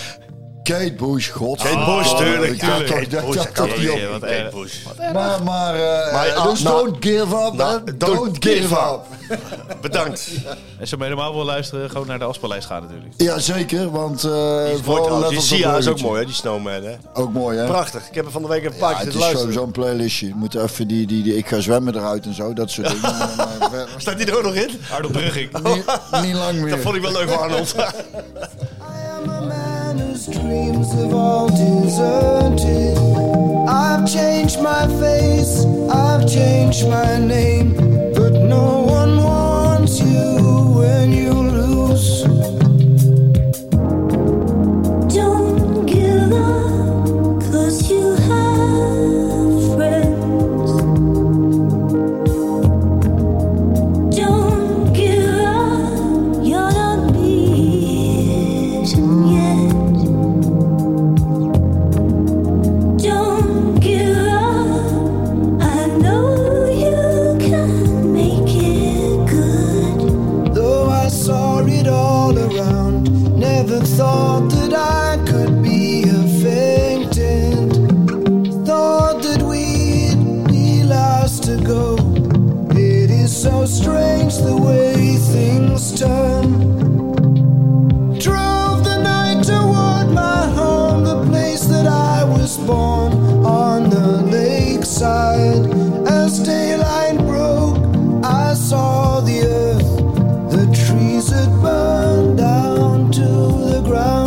Speaker 3: Kate Bush, god.
Speaker 7: Kate Bush, tuurlijk,
Speaker 3: ik dacht
Speaker 7: tuurlijk.
Speaker 3: toch- dat- dat- dat-
Speaker 8: Bush,
Speaker 3: joh.
Speaker 8: ja, wat
Speaker 7: Kate
Speaker 8: erg.
Speaker 7: Bush.
Speaker 3: Maar, maar, eh,
Speaker 7: Maar, ah,
Speaker 3: dus
Speaker 7: nou-
Speaker 3: don't give up,
Speaker 7: nou,
Speaker 3: hè.
Speaker 7: don't
Speaker 3: Don't give
Speaker 7: give
Speaker 3: up.
Speaker 7: Bedankt.
Speaker 8: En zo helemaal wil luisteren, gewoon naar de afspeellijst gaan natuurlijk.
Speaker 3: Ja, zeker, want... eh, vooral
Speaker 7: Mooi trouwens. oh, Die
Speaker 3: Levels of
Speaker 7: Sia is ook
Speaker 3: Loyalty.
Speaker 7: mooi, hè? Die Snowman, hè?
Speaker 3: Ook mooi, hè?
Speaker 7: Prachtig. Ik heb er van de week een paar
Speaker 3: Ja,
Speaker 7: keer
Speaker 3: het is
Speaker 7: te luisteren.
Speaker 3: sowieso een playlistje. Je moet even die, die, die ik ga zwemmen eruit en zo, dat soort dingen. Maar, eh, verder-
Speaker 7: Staat die er ook nog in?
Speaker 8: Arno Brugging.
Speaker 3: niet, niet lang meer.
Speaker 7: Dat vond ik wel leuk van Arnold.
Speaker 9: I am a man whose dreams have all deserted. I've changed my face, I've changed my name. But no one wants you when you lose.
Speaker 10: Don't give up, cause you have friends. Don't give up, you're not beaten yet. Don't give up, I know you can make it good.
Speaker 9: Though I saw it all around, never thought that I could be a fainted. Thought that we'd be last to go. It is so strange the way things turn. Drove the night toward my home, the place that I was born on the lakeside. As daylight broke, I saw the earth. The trees had burned down to the ground.